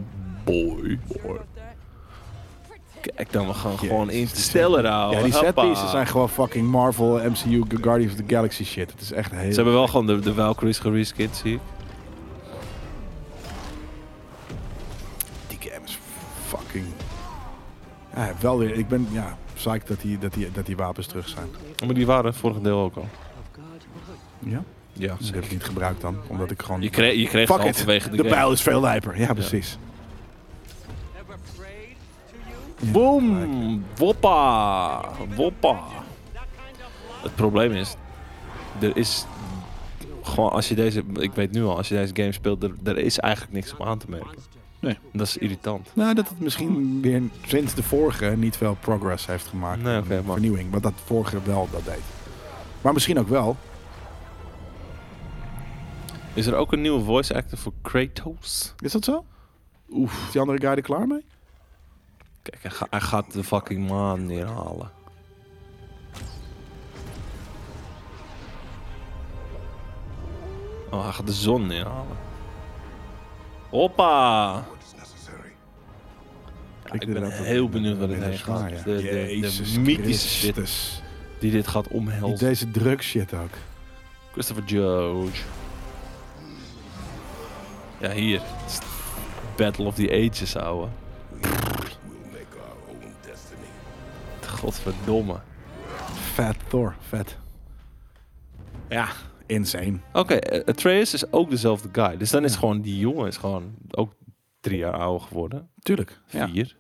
S2: boy.
S6: Sure about that?
S2: Kijk dan, we gaan
S1: Jezus.
S2: gewoon instellen, ouwe.
S1: Ja, die setpieces
S2: Oh, Hoppa.
S1: zijn gewoon fucking Marvel, MCU, Guardians of the Galaxy shit. Het is echt
S2: Ze
S1: heel...
S2: hebben wel gewoon de, de Valkyries gereskind, zie ik.
S1: Die game is fucking... Ja, wel weer. Ik ben, ja, psyched dat die, dat die, dat die wapens terug zijn.
S2: Maar die waren het vorige deel ook al.
S6: Of God.
S1: Ja?
S2: Ja,
S1: Dus dat heb ik niet gebruikt dan, omdat ik gewoon...
S2: Je kreeg, je kreeg
S1: Fuck
S2: gewoon
S1: it,
S2: vanwege de,
S1: de
S2: game.
S1: pijl is veel lijper. Ja, precies.
S6: Never prayed to you.
S2: Boom! Woppa! Woppa! Het probleem is, er is gewoon als je deze, ik weet nu al, als je deze game speelt, er, er is eigenlijk niks op aan te merken.
S1: Nee.
S2: Dat is irritant.
S1: Nou, dat het misschien weer sinds de vorige niet veel progress heeft gemaakt.
S2: Nee, oké,
S1: in
S2: maar-
S1: vernieuwing, want dat vorige wel dat deed. Maar misschien ook wel.
S2: Is er ook een nieuwe voice actor voor Kratos?
S1: Is dat zo? Oef. Is die andere guy er klaar mee?
S2: Kijk, hij, ga- hij gaat de fucking maan neerhalen. Oh, hij gaat de zon neerhalen. Hoppa!
S4: What is necessary?
S2: ik ben heel benieuwd wat het heen gaat. De- de- de
S1: Jezus
S2: mythische shit.
S1: Christus.
S2: Die dit gaat
S1: Niet
S2: omhelzen.
S1: deze drug shit ook.
S2: Christopher George. Ja, hier. Het is Battle of the Ages, ouwe.
S4: We'll make our own destiny.
S2: Godverdomme.
S1: Fat Thor, vet.
S2: Ja.
S1: Insane.
S2: Oké, eh, Atreus is ook dezelfde guy. Dus dan is gewoon die jongen is gewoon ook drie jaar ouder geworden.
S1: Tuurlijk. Ja.
S2: Vier.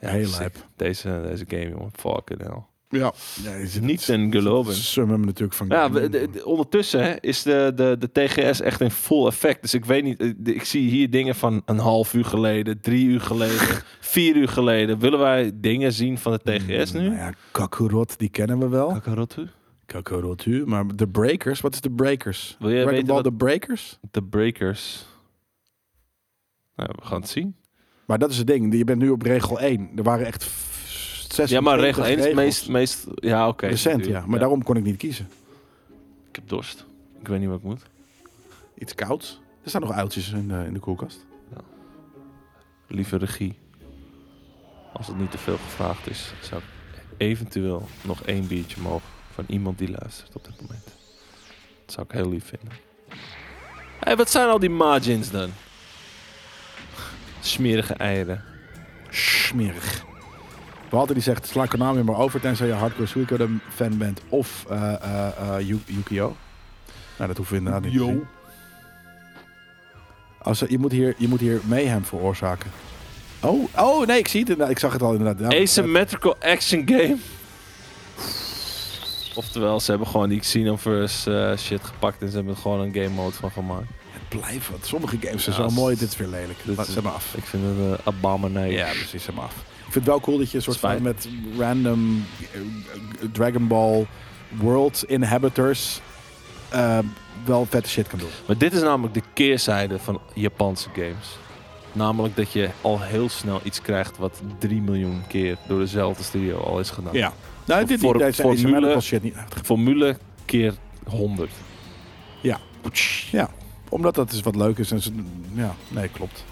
S2: Ja,
S1: Heel
S2: sick.
S1: lijp.
S2: Deze, deze game, jongen. Fucking hell.
S1: Ja. Nee, is het-
S2: Niet ten geloven.
S1: Sum hem natuurlijk van...
S2: Ja, we- de- de- ondertussen hè, is de, de, de TGS echt in full effect. Dus ik weet niet, eh, de- ik zie hier dingen van een half uur geleden, drie uur geleden, vier uur geleden. Willen wij dingen zien van de TGS
S1: Nou
S2: nu?
S1: ja, Kakurot, die kennen we wel.
S2: Kakarotu?
S1: Kakorotu, maar de Breakers, wat is de Breakers?
S2: Wil jij
S1: Dragon
S2: weten
S1: Ball
S2: wat-
S1: de Breakers?
S2: De Breakers. Nou, we gaan het zien.
S1: Maar dat is het ding, je bent nu op regel 1. Er waren echt f- 26
S2: Ja, maar regel 1 is het
S1: regels.
S2: meest, meest... Ja, oké.
S1: recent, ja.
S2: natuurlijk.
S1: Maar daarom kon ik niet kiezen.
S2: Ik heb dorst. Ik weet niet wat ik moet.
S1: Iets kouds. Er staan nog uiltjes in de, in de koelkast.
S2: Lieve regie. Als het niet te veel gevraagd is, zou ik eventueel nog één biertje mogen van iemand die luistert op dit moment. Dat zou ik heel lief vinden. Hé, wat zijn al die margins dan? Smerige eieren.
S1: Smerig. Walter die zegt, sla Konami maar over tenzij je hardcore Suikoden fan bent of eh eh eh, Yu- Yu-Gi-Oh. Nou, dat hoeven we inderdaad niet te zien. Als, er- je, moet hier, je moet hier mayhem veroorzaken. Oh, oh nee, ik zie het inderdaad. Ik zag het al inderdaad. Ja,
S2: Asymmetrical action game. Oftewel, ze hebben gewoon die Xenoverse eh, shit gepakt en ze hebben er gewoon een game mode van gemaakt.
S1: Blijf wat. Sommige games zijn
S2: Ja,
S1: zo
S2: s-
S1: mooi, dit is weer lelijk.
S2: dit
S1: Laat
S2: is-
S1: ze maar af.
S2: Ik vind het een abomination.
S1: Ja, precies, hem af. Ik vind het wel cool dat je een soort van
S2: Spijt.
S1: met random eh, Dragon Ball World Inhabitors eh, wel vette shit kan doen.
S2: Maar dit is namelijk de keerzijde van Japanse games. Namelijk dat je al heel snel iets krijgt wat 3 miljoen keer door dezelfde studio al is gedaan.
S1: Nou, dit
S2: Voor-
S1: niet, deze
S2: formule-
S1: asymmetrical shit niet.
S2: Formule keer 100.
S1: Ja, omdat dat is wat leuk is. En ze, ja, nee, klopt.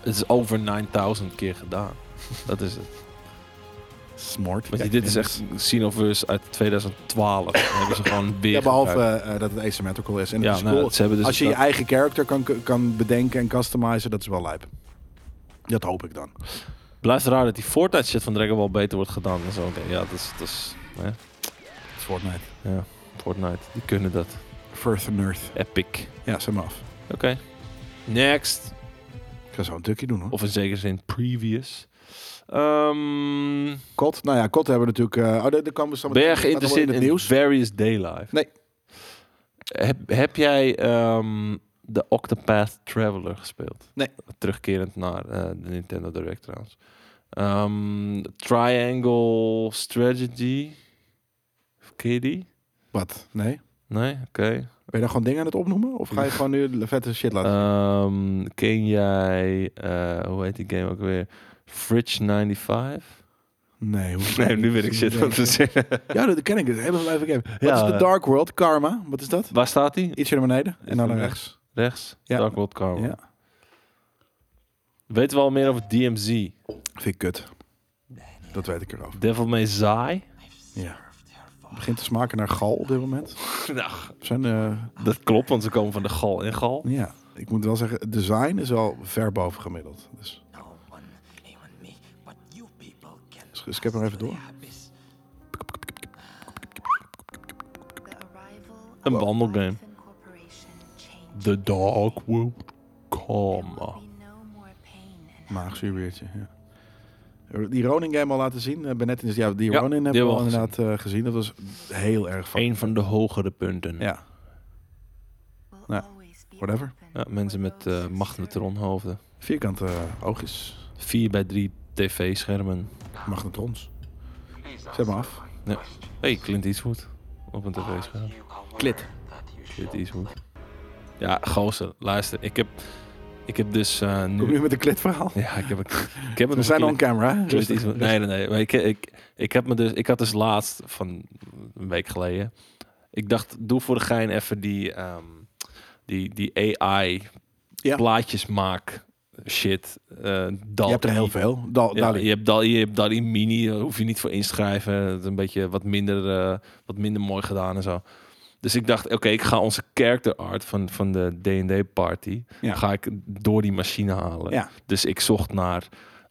S2: Het is over 9000 keer gedaan. Dat is het.
S1: Smart.
S2: Want
S1: Ja,
S2: dit is echt Xenoverse uit 2012. Dan hebben ze gewoon weer
S1: Ja, behalve
S2: gebruikt.
S1: eh, dat het asymmetrical is. En
S2: Ja,
S1: dat is
S2: nou,
S1: cool.
S2: ze hebben dus
S1: Als je je
S2: dat-
S1: eigen character kan, kan bedenken en customizen, dat is wel lijp. Dat hoop ik dan.
S2: Blijft raar dat die Fortnite shit van Dragon Ball beter wordt gedaan dan zo'n game. Ja, dat is... Dat is hè?
S1: Fortnite.
S2: ja, Fortnite. Die kunnen dat.
S1: Firth and Earth.
S2: Epic.
S1: Ja, zet maar af.
S2: Oké. Next.
S1: Ik ga zo een tukje doen hoor.
S2: Of in zekere zin previous. Ehm,
S1: Kot. Nou ja, Kot hebben we natuurlijk. eh, oh, daar daar komen we zo
S2: ben
S1: meteen-
S2: jij
S1: dat staat allemaal
S2: geïnteresseerd
S1: in
S2: in,
S1: het nieuws?
S2: Various Daylife?
S1: Nee.
S2: Heb, heb jij ehm, de Octopath Traveler gespeeld?
S1: Nee.
S2: Terugkerend naar eh, de Nintendo Direct trouwens. Ehm, Triangle Strategy. Ken je die?
S1: Wat? Nee?
S2: Nee? Oké.
S1: Ben je daar gewoon dingen aan het opnoemen? Of ga je gewoon nu de vette shit laten?
S2: Ehm, ken jij, eh, hoe heet die game ook weer? Fridge 95?
S1: nee, hoe...
S2: Nee, nu weet ik shit van te zeggen.
S1: Ja, dat ken ik. Dat is een hele live game. Wat
S2: Ja.
S1: is de Dark World? Karma. Wat is dat?
S2: Waar staat die?
S1: Ietsje naar beneden en dan naar
S2: beneden.
S1: rechts.
S2: Rechts.
S1: Ja.
S2: Dark World Karma.
S1: Ja.
S2: Weten we al meer over DMZ?
S1: Vind ik kut. Dat weet ik erover.
S2: Devil May Zai?
S1: Ja. Begint te smaken naar gal op dit moment.
S2: nou,
S1: Zijn, eh,
S2: dat klopt, want ze komen van de gal en gal.
S1: ja, ik moet wel zeggen, het design is wel ver boven gemiddeld. Dus,
S3: No one, even me, but you people can.
S1: dus, dus ik heb hem even door.
S2: Een wandelgame. The Dark World Karma.
S1: Maagzuur biertje, ja. Die Ronin game al laten zien. Eh, Benet is, ja, die
S2: Ja,
S1: Ronin
S2: die
S1: hebben
S2: hebben
S1: we
S2: we
S1: al
S2: al
S1: inderdaad eh, gezien. Dat was heel erg van.
S2: Eén van de hogere punten.
S1: Ja. Nou, whatever.
S2: Ja, mensen met eh magnetronhoofden.
S1: Vierkante eh, oogjes.
S2: 4 bij 3 tv-schermen.
S1: Magnetrons. Zet me af.
S2: Ja. Hey, Clint Eastwood. Op een tv-scherm.
S1: Klit.
S2: Clint Eastwood. Ja, gozer, luister. Ik heb, ik heb dus eh,
S1: Kom je nu
S2: nu...
S1: met een klitverhaal?
S2: Ja, ik heb, een- ik heb
S1: We zijn on camera. hè?
S2: Clint
S1: Rustig.
S2: Eastwood. Nee, nee, nee. Maar ik, ik, ik, heb me dus, ik had dus laatst, van een week geleden... Ik dacht, doe voor de gein even die, ehm, die, die AI
S1: Ja.
S2: plaatjes maak shit. eh
S1: Je hebt er heel
S2: veel.
S1: veel. Dal,
S2: Ja,
S1: Dali.
S2: je hebt Dali, je hebt Dali Mini, daar hoef je niet voor inschrijven. Het is een beetje wat minder, eh, wat minder mooi gedaan en zo. Dus ik dacht, oké, ik ga onze character art van, van de D&D party,
S1: Ja.
S2: ga ik door die machine halen.
S1: Ja.
S2: Dus ik zocht naar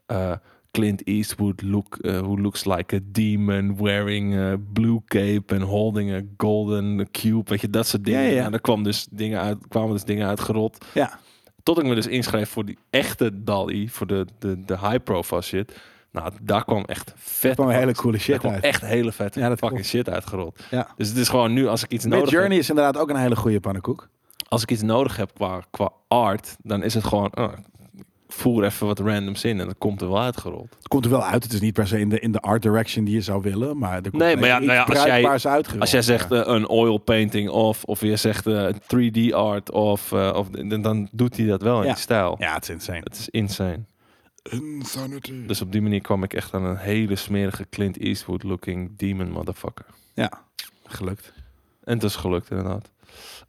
S2: eh, Clint Eastwood, look, eh, who looks like a demon, wearing a blue cape and holding a golden cube, weet je, dat soort dingen.
S1: Ja, ja, ja.
S2: En er kwam dus dingen uit, kwamen dus dingen uit gerot.
S1: Ja.
S2: Tot ik me dus inschreef voor die echte DALI, voor de, de, de high profile shit. Nou, daar kwam echt vet.
S1: kwam hele
S2: fucking-
S1: coole shit
S2: daar kwam
S1: uit.
S2: Echt hele vette
S1: Ja, dat
S2: fucking
S1: klopt.
S2: shit uitgerold.
S1: Ja.
S2: Dus het is gewoon nu als ik iets nodig
S1: Journey
S2: heb,
S1: is inderdaad ook een hele goede pannenkoek.
S2: als ik iets nodig heb qua, qua art, dan is het gewoon ah, voer even wat randoms in en dan komt er wel uitgerold.
S1: Het komt er wel uit. Het is niet per se in de, in de art direction die je zou willen. Maar er komt
S2: Nee, maar ja,
S1: iets
S2: nou ja, als jij-
S1: bruikbaars uitgerold.
S2: Als jij zegt eh, een oil painting of of je zegt eh, 3D art of, eh, of dan dan doet hij dat wel in
S1: Ja.
S2: die stijl.
S1: Ja, het is insane.
S2: Het is insane.
S4: Insanity.
S2: Dus op die manier kwam ik echt aan een hele smerige Clint Eastwood looking demon motherfucker.
S1: Ja, gelukt.
S2: En het is gelukt, inderdaad.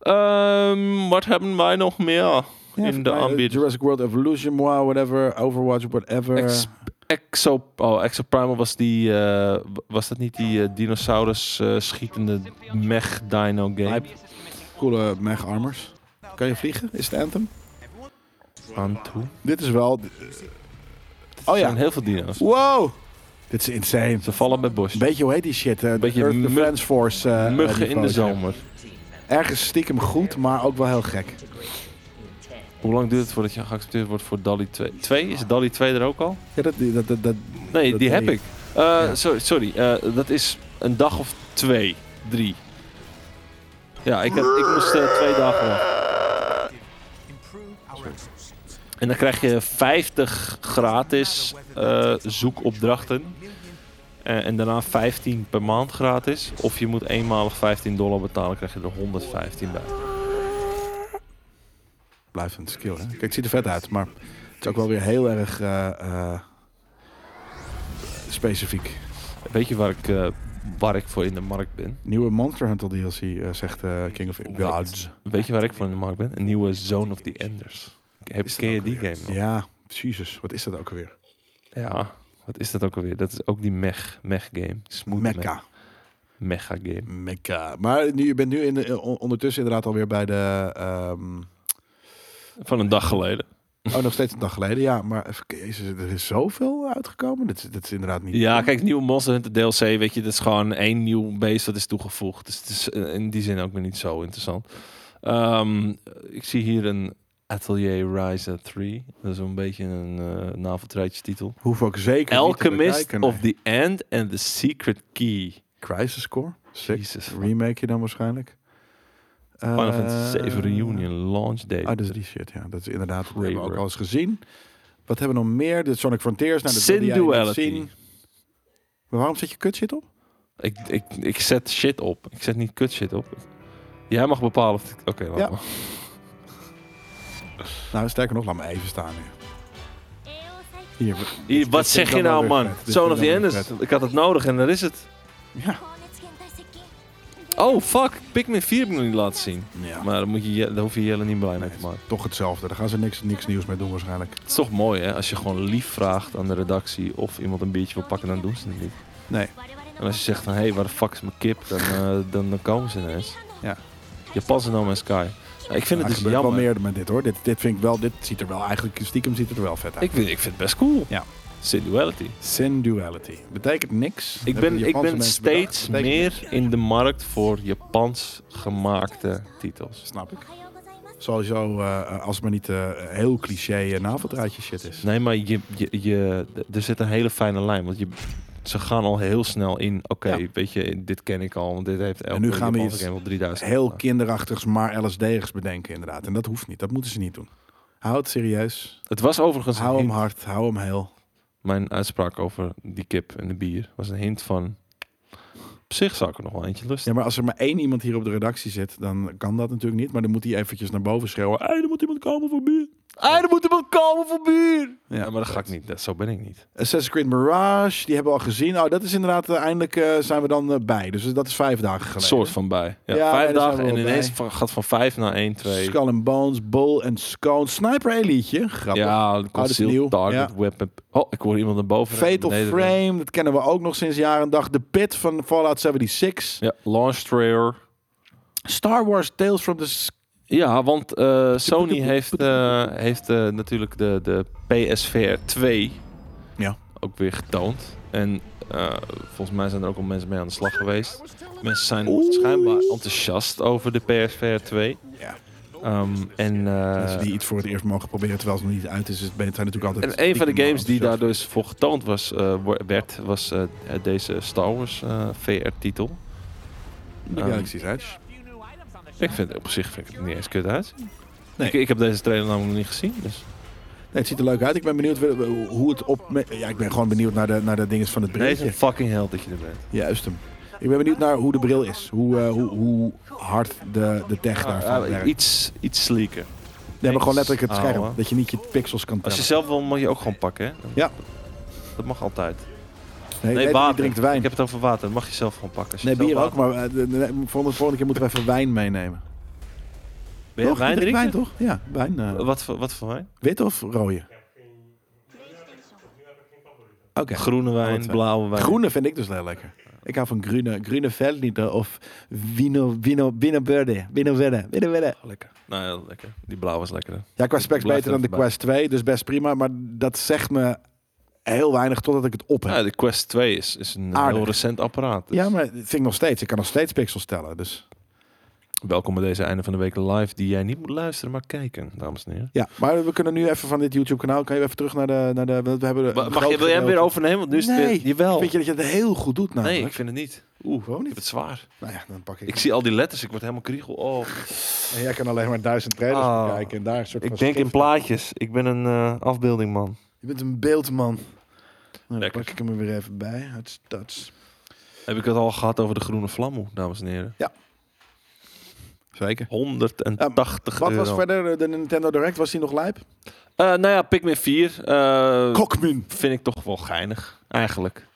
S2: Ehm, wat hebben wij nog meer
S1: Ja,
S2: in de
S1: eh,
S2: aanbieding?
S1: Jurassic World Evolution, moi, whatever. Overwatch, whatever.
S2: Ex- Exo, oh, Exo Primal was die, eh, w- was dat niet die eh, dinosaurus eh, schietende mech dino game?
S1: Hype. Coole mech armors. Kan je vliegen? Is het Anthem?
S2: Aan toe.
S1: Dit is wel...
S2: Oh
S1: Oh
S2: ja.
S1: ja.
S2: zijn heel veel dino's.
S1: Wow! Dit is insane.
S2: Ze vallen bij bos.
S1: Een beetje, hoe heet die shit? eh,
S2: Beetje
S1: Earth
S2: mug-
S1: Defense Force. eh, eh,
S2: Muggen in
S1: niveau.
S2: de zomer.
S1: Ergens stiekem goed, maar ook wel heel gek.
S2: Hoe lang duurt het voordat je geaccepteerd wordt voor Dali 2? 2? Is Dali 2 er ook al?
S1: Ja, dat, dat, dat, dat-
S2: Nee,
S1: Dat
S2: die heb
S1: weet
S2: ik. Eh, Sorry, sorry eh, dat is een dag of twee, drie. Ja, ik, had, ik moest eh, twee dagen wachten. En dan krijg je 50 gratis eh, zoekopdrachten. Eh, en daarna 15 per maand gratis. Of je moet eenmalig 15 dollar betalen, krijg je er 115 bij.
S1: blijft een skill. Hè? Kijk, het ziet er vet uit, maar het is ook wel weer heel erg eh, eh, specifiek.
S2: Weet je waar ik, eh, waar ik voor in de markt ben?
S1: Nieuwe Monster Hunter DLC, eh, zegt eh, King of Gods.
S2: Weet je waar ik voor in de markt ben? Een nieuwe Zone of the Enders. Heb, ken je die game nog?
S1: Ja, jezus, wat is dat ook alweer?
S2: Ja, wat is dat ook alweer? Dat is ook die mech, mech game. Smooth mech.
S1: Mecca.
S2: Mecha game.
S1: Mecca. Maar nu, je bent nu in de, eh, on- ondertussen inderdaad alweer bij de... ehm,
S2: Van een dag geleden.
S1: oh, nog steeds een dag geleden, ja. Maar even- jezus, er is zoveel uitgekomen. Dit, is- dit is inderdaad niet...
S2: Ja, kijk, nieuwe Monster Hunter DLC, weet je, dat is gewoon één nieuw beest dat is toegevoegd. Dus het is eh, in die zin ook weer niet zo interessant. Ehm, ik zie hier een Atelier Ryza 3. Dat is een beetje een eh naveltreitje titel.
S1: Hoef ook zeker niet te
S2: Alchemist
S1: bekijken,
S2: of
S1: nee.
S2: the End and the Secret Key.
S1: Crisis Core. Sick.
S2: Jezus.
S1: Remake je dan waarschijnlijk.
S2: Final
S1: Eh,
S2: Fantasy 7 Reunion launch date.
S1: Ah, dus die shit, ja. Dat is inderdaad, dat
S2: Ray
S1: hebben we ook
S2: Work.
S1: al eens gezien. Wat hebben we nog meer? De Sonic Frontiers. Nou, dat
S2: Sin
S1: wilde jij niet
S2: Duality.
S1: zien. Maar waarom zet je kut shit op?
S2: Ik, ik, ik zet shit op. Ik zet niet kut shit op. Jij mag bepalen of... ik- Oké, laat
S1: Ja.
S2: maar.
S1: Nou, sterker nog, laat me even staan nu. Hier, we-
S2: Hier,
S1: dit
S2: Wat
S1: vind
S2: zeg
S1: ik
S2: je
S1: dan
S2: nou,
S1: wel weer
S2: man?
S1: vet. Dit
S2: Zone
S1: vind
S2: of
S1: ik dan
S2: the
S1: weer
S2: Enders.
S1: vet.
S2: Ik had het nodig en daar is het. Oh, fuck. Pikmin 4 heb ik nog niet laten zien.
S1: Ja,
S2: Maar dan, moet je, Je- daar hoef je Jelle niet blij mee te maken.
S1: toch hetzelfde. Daar gaan ze niks, niks nieuws mee doen waarschijnlijk.
S2: Het is toch mooi, hè? Als je gewoon lief vraagt aan de redactie of iemand een biertje wil pakken, dan doen ze het niet.
S1: Nee.
S2: En als je zegt van, hé, hey, waar de fuck is mijn kip? Dan, eh, dan, dan komen ze ineens.
S1: Ja.
S2: Japanse No Man's Sky. Nou, ik vind
S1: Nou,
S2: het
S1: er
S2: dus
S1: gebeurt
S2: jammer.
S1: wel meer met dit hoor. Dit, dit vind ik wel, dit ziet er wel eigenlijk, stiekem ziet het er wel vet uit.
S2: Ik, vind, ik vind het best cool.
S1: Ja.
S2: Sin Duality.
S1: Sin Duality. Betekent niks.
S2: Ik
S1: Hebben de
S2: ben, ik
S1: Japanse
S2: ben
S1: mensen
S2: steeds
S1: bedacht. Betekent
S2: meer
S1: niks.
S2: in de markt voor Japans gemaakte titels.
S1: Snap ik. Sowieso, eh, als het maar niet eh, heel cliché uh, naveldraadje shit is.
S2: Nee, maar je, je, je, d- er zit een hele fijne lijn. Want je, ze gaan al heel snel in. Oké,
S1: Ja.
S2: weet je, dit ken ik al. Want dit heeft elke
S1: En nu gaan we
S2: Japanse
S1: iets
S2: game al 3000.
S1: Heel
S2: gedaan.
S1: kinderachtigs, maar LSD'ers bedenken inderdaad. En dat hoeft niet. Dat moeten ze niet doen. Hou het serieus.
S2: Het was overigens een
S1: Hou hem
S2: hint.
S1: hard. Hou hem heel.
S2: mijn uitspraak over die kip en de bier was een hint van. Op zich zou ik er nog wel eentje lusten.
S1: Ja, maar als er maar één iemand hier op de redactie zit, dan kan dat natuurlijk niet. Maar dan moet hij eventjes naar boven schreeuwen. Hé, Oh, er moet iemand komen voor bier.
S2: Ah, er moet iemand komen voor bier!
S1: Ja,
S2: Ja, maar dat ga ik niet. Dat, zo ben ik niet.
S1: Assassin's Creed Mirage, die hebben we al gezien. Oh, dat is inderdaad, eh, eindelijk eh, zijn we dan eh, bij. Dus dat is vijf dagen
S2: Een
S1: geleden.
S2: soort van bij. Ja,
S1: Ja,
S2: vijf
S1: nee, daar zijn
S2: dagen
S1: we
S2: en
S1: wel
S2: ineens
S1: bij.
S2: van- gaat van vijf naar één, twee.
S1: Skull and Bones, Bull and Scone, Sniper Elite, grappig.
S2: ja,
S1: dat is nieuw.
S2: concealed target
S1: Ja.
S2: weapon. Oh, ik hoor iemand naar boven.
S1: Fatal
S2: Nee, dat-
S1: Frame, dat kennen we ook nog sinds jaar en dag. The Pit van Fallout 76.
S2: Ja, launch trailer.
S1: Star Wars Tales from the Sky.
S2: Ja, want eh, Sony heeft, eh, heeft eh, natuurlijk de, de PSVR 2
S1: Ja.
S2: ook weer getoond. En eh, volgens mij zijn er ook al mensen mee aan de slag geweest. Mensen zijn schijnbaar enthousiast over de PSVR 2.
S1: Ja.
S2: Ehm, en, eh,
S1: Mensen die iets voor het eerst mogen proberen terwijl ze nog niet uit is, is zijn natuurlijk altijd...
S2: en een van de
S1: stiekem
S2: games die daar
S1: enthousiast.
S2: dus voor getoond was, eh, wo- werd, was eh, deze Star Wars eh, VR-titel. Ah.
S1: De Galaxy's Edge.
S2: Ik vind het op zich vind ik het niet eens kut uit.
S1: Nee.
S2: Ik, ik heb deze trailer namelijk nog niet gezien. Dus.
S1: Nee, het ziet er leuk uit. Ik ben benieuwd wel- eh, hoe het op... Ja, ik ben gewoon benieuwd naar de, naar de dinges van het
S2: Deze
S1: brilletje.
S2: fucking held dat je er bent.
S1: Juist hem. Ik ben benieuwd naar hoe de bril is. Hoe, eh, hoe, hoe hard de, de tech daarvan
S2: Ah,
S1: werkt.
S2: iets, iets sleeker.
S1: Nee, maar gewoon letterlijk het
S2: Ouwe.
S1: scherm. Dat je niet je pixels kan
S2: Ah, Als je
S1: tellen.
S2: zelf wil, mag je ook gewoon pakken, hè? Dan-
S1: Ja.
S2: Dat mag altijd.
S1: Nee,
S2: Nee,
S1: Peter, die
S2: water.
S1: drinkt wijn.
S2: Ik heb het over water. Dat mag je zelf gewoon pakken. Als je
S1: Nee,
S2: zelf
S1: bier ook,
S2: water-
S1: maar eh, de- de- de- volgende, volgende keer moeten we even wijn meenemen.
S2: Ben je
S1: toch?
S2: wijn
S1: Je drinkt
S2: drinken? Oh.
S1: wijn, toch? Ja, wijn. eh,
S2: Wat voor, wat voor wijn?
S1: wit of rode? Oké.
S2: Groene wijn,
S1: Wat, eh,
S2: blauwe wijn.
S1: Groene vind ik dus heel lekker. Ik hou van groene, groene Veltliner of Wino, Wino, Wino Verde. Wino Verde, Wino Verde.
S2: Lekker. Nou ja, lekker. Die blauwe is lekkerder.
S1: Ja, qua specs
S2: Blijf
S1: beter dan de
S2: er even bij.
S1: Quest 2, dus best prima. Maar dat zegt me heel weinig totdat ik het op heb.
S2: Nou Ja, de Quest 2 is, is een heel
S1: Aardig.
S2: recent apparaat. dus
S1: Ja, maar dat vind ik nog steeds. Ik kan nog steeds pixels tellen. Dus.
S2: Welkom bij deze einde van de week live die jij niet moet luisteren, maar kijken, dames en heren.
S1: Ja, maar we kunnen nu even van dit YouTube-kanaal. Kan je even terug naar de. Naar de want we hebben een
S2: Wa- Mag
S1: groot
S2: je, wil jij hem weer
S1: gedeelte-
S2: overnemen? Want nu is het
S1: Nee.
S2: weer... Jawel.
S1: Vind je dat je het heel goed doet? Nou,
S2: nee, ik vind het niet. Ik
S1: Oeh, waarom
S2: heb
S1: niet?
S2: het zwaar.
S1: Nou ja, dan pak ik.
S2: Ik zie al die letters. Ik word helemaal kriegel. Oh,
S1: En jij kan alleen maar duizend trailers
S2: Ah.
S1: bekijken en daar een soort. van
S2: Ik denk in
S1: schrift-
S2: plaatjes. Ik ben een eh, afbeeldingman.
S1: Je bent een beeldman. Nou, dan
S2: Lekker.
S1: pak ik hem er weer even bij. Het touch.
S2: Heb ik het al gehad over de groene vlammoe, dames en heren?
S1: Zeker.
S2: 180
S1: Wat
S2: euro.
S1: was verder de Nintendo Direct? Was die nog lijp?
S2: Eh, nou ja, Pikmin 4 eh,
S1: Kokmin.
S2: vind ik toch wel geinig, eigenlijk.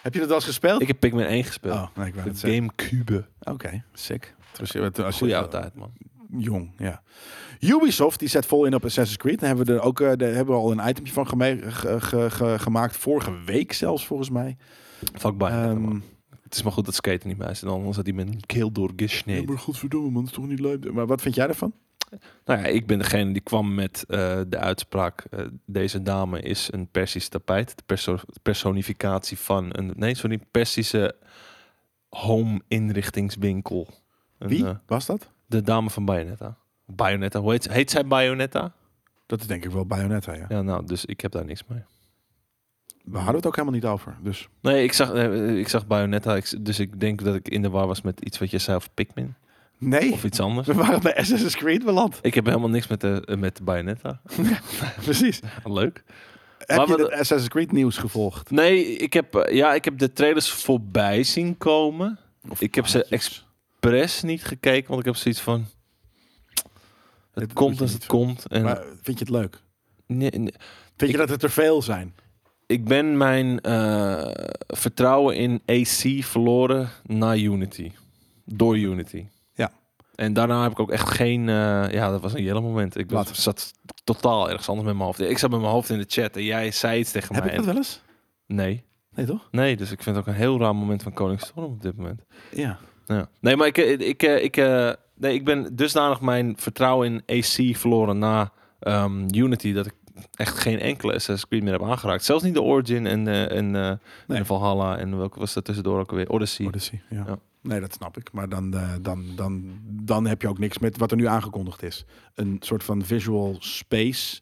S1: Heb je dat wel eens gespeeld?
S2: Ik eh, heb Pikmin 1 gespeeld.
S1: Oh, nee, ik wou
S2: de
S1: het zeggen.
S2: Gamecube.
S1: Oké, sick. Als je- als je-
S2: Goeie oude tijd, man.
S1: jong, ja. Ubisoft die zet vol in op Assassin's Creed. Daar hebben we er ook eh, daar hebben we al een itemje van geme- ge- ge- ge- gemaakt. Vorige week zelfs, volgens mij.
S2: Fuck bij.
S1: Ehm,
S2: het is maar goed dat skaten niet bij is. Anders had hij met een keel
S1: ja,
S2: doorgesneden.
S1: maar godverdomme man, dat is toch niet leuk. Maar wat vind jij daarvan?
S2: Nou ja, ik ben degene die kwam met eh, de uitspraak... eh, deze dame is een Persisch tapijt. De perso- personificatie van een... Nee, sorry, Persische home-inrichtingswinkel. Een,
S1: Wie
S2: eh,
S1: was dat?
S2: de dame van Bayonetta. Bayonetta, hoe heet, ze- heet zij Bayonetta?
S1: Dat is denk ik wel Bayonetta, ja.
S2: Ja, nou, dus ik heb daar niks mee.
S1: We hadden het ook helemaal niet over. Dus
S2: Nee, ik zag, eh, ik zag Bayonetta, ik, dus ik denk dat ik in de war was met iets wat je zei over Pikmin.
S1: Nee,
S2: of iets anders.
S1: we waren bij Assassin's Creed beland.
S2: Ik heb helemaal niks met, de, met Bayonetta.
S1: Precies.
S2: Leuk.
S1: Heb je
S2: we-
S1: het Assassin's Creed nieuws gevolgd?
S2: Nee, ik heb, eh, ja, ik heb de trailers voorbij zien komen. ik heb ze expres niet gekeken, want ik heb zoiets van... Het
S1: Dit moet
S2: komt
S1: je
S2: als
S1: niet
S2: het komt. En
S1: Maar vind je het leuk?
S2: nee, nee.
S1: Vind
S2: Ik-
S1: je dat het er veel zijn?
S2: Ik ben mijn eh, vertrouwen in AC verloren na Unity. Door Unity.
S1: Ja.
S2: En daarna heb ik ook echt geen... eh, ja, dat was een jelle moment. Ik was,
S1: Wat?
S2: zat totaal ergens anders met mijn hoofd. Ik zat met mijn hoofd in de chat en jij zei iets tegen
S1: Heb
S2: mij.
S1: ik dat wel eens?
S2: Nee.
S1: Nee, toch?
S2: Nee, dus ik vind het ook een heel raar moment van Koningsstorm op dit moment.
S1: Ja.
S2: Ja. Nee, maar ik, ik, ik, eh, ik, eh, nee, ik ben dusdanig mijn vertrouwen in AC verloren na ehm, Unity dat ik echt geen enkele Assassin's Creed meer heb aangeraakt. Zelfs niet de Origin en, eh, en, eh,
S1: Nee.
S2: en Valhalla en welke was dat tussendoor ook weer? Odyssey.
S1: Odyssey, ja.
S2: Ja.
S1: Nee, dat snap ik. Maar dan, eh, dan, dan, dan heb je ook niks met wat er nu aangekondigd is. Een soort van visual space,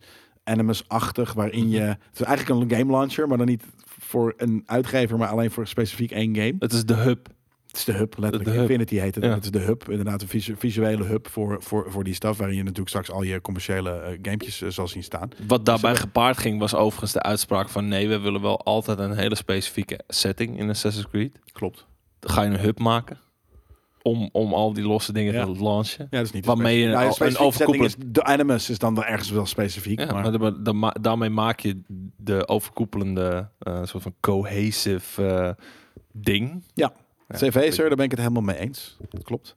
S1: Animus-achtig, waarin je... Het is eigenlijk een game launcher, maar dan niet voor een uitgever, maar alleen voor specifiek één game.
S2: Het is de hub.
S1: Het is de hub, letterlijk.
S2: De hub.
S1: Infinity heet het.
S2: Ja.
S1: Het is de hub, inderdaad een visu- visuele hub voor, voor, voor die staf, waarin je natuurlijk straks al je commerciële eh, gamepjes eh, zal zien staan.
S2: Wat daarbij
S1: Ze-
S2: gepaard ging was overigens de uitspraak van nee, we willen wel altijd een hele specifieke setting in Assassin's Creed.
S1: Klopt.
S2: Dan ga je een hub maken om, om al die losse dingen
S1: Ja.
S2: te launchen.
S1: Ja, dat is niet
S2: Waarmee je een-
S1: specifieke
S2: een
S1: setting
S2: overkoepelend-
S1: is, De Animus is dan wel ergens wel specifiek.
S2: Ja,
S1: maar,
S2: maar, da- da- ma- daarmee maak je de overkoepelende eh, soort van cohesive eh, ding. Ja,
S1: CV, sir, daar ben ik het helemaal mee eens. Dat klopt.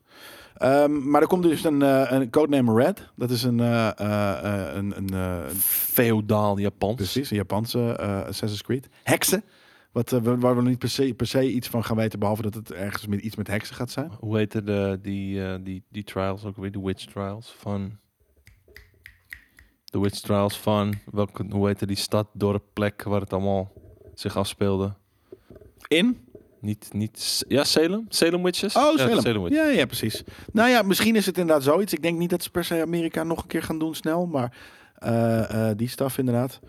S1: Ehm, maar er komt dus een, eh, een codename Red. Dat is een, eh, eh, eh, een, een eh,
S2: Feodaal Japans.
S1: precies, een Japanse eh Assassin's Creed. Heksen. Wat, eh, we- waar we nog niet per se, per se iets van gaan weten, behalve dat het ergens met, iets met heksen gaat zijn.
S2: Hoe heette de, die, eh, die, die trials ook weer? De witch trials van... De witch trials van... Welke, hoe heette die stad, dorp, plek waar het allemaal zich afspeelde?
S1: In?
S2: Niet, niet... S- Ja, Salem? Salem Witches?
S1: Oh,
S2: Ja,
S1: Salem.
S2: Witches.
S1: Ja, ja, precies. Nou ja, misschien is het inderdaad zoiets. Ik denk niet dat ze per se Amerika nog een keer gaan doen snel, maar eh, eh, die staf inderdaad.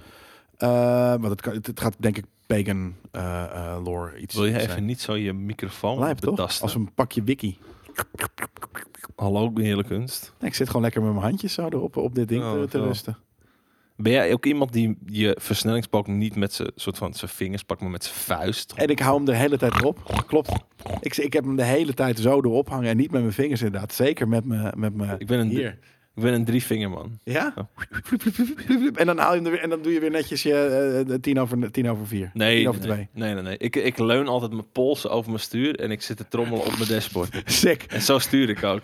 S1: Eh, want het, kan, het, het gaat denk ik pagan eh, eh, lore iets
S2: Wil je
S1: zijn.
S2: even niet zo je microfoon
S1: Lijp, toch?
S2: betasten?
S1: Als een pakje wiki.
S2: Hallo, hele kunst.
S1: Nee, ik zit gewoon lekker met mijn handjes zo erop op dit ding
S2: Oh,
S1: te,
S2: dat
S1: te
S2: wel.
S1: rusten.
S2: Ben jij ook iemand die je versnellingsbalk niet met zijn soort van zijn vingers pakt, maar met zijn vuist?
S1: En ik hou hem de hele tijd erop. Klopt. Ik, ik heb hem de hele tijd zo erop hangen en niet met mijn vingers inderdaad. Zeker met mijn... Met mijn
S2: Ik ben een,
S1: hier.
S2: ik ben een drievingerman.
S1: Ja?
S2: Ja.
S1: Vloep, vloep, vloep, vloep, vloep. En dan haal je hem er weer en dan doe je weer netjes je eh, eh, tien, over, tien over vier.
S2: Nee,
S1: Tien over
S2: nee,
S1: twee.
S2: nee, nee, nee. Ik, ik leun altijd mijn polsen over mijn stuur en ik zit te trommelen op mijn dashboard.
S1: Sick.
S2: En zo stuur ik ook.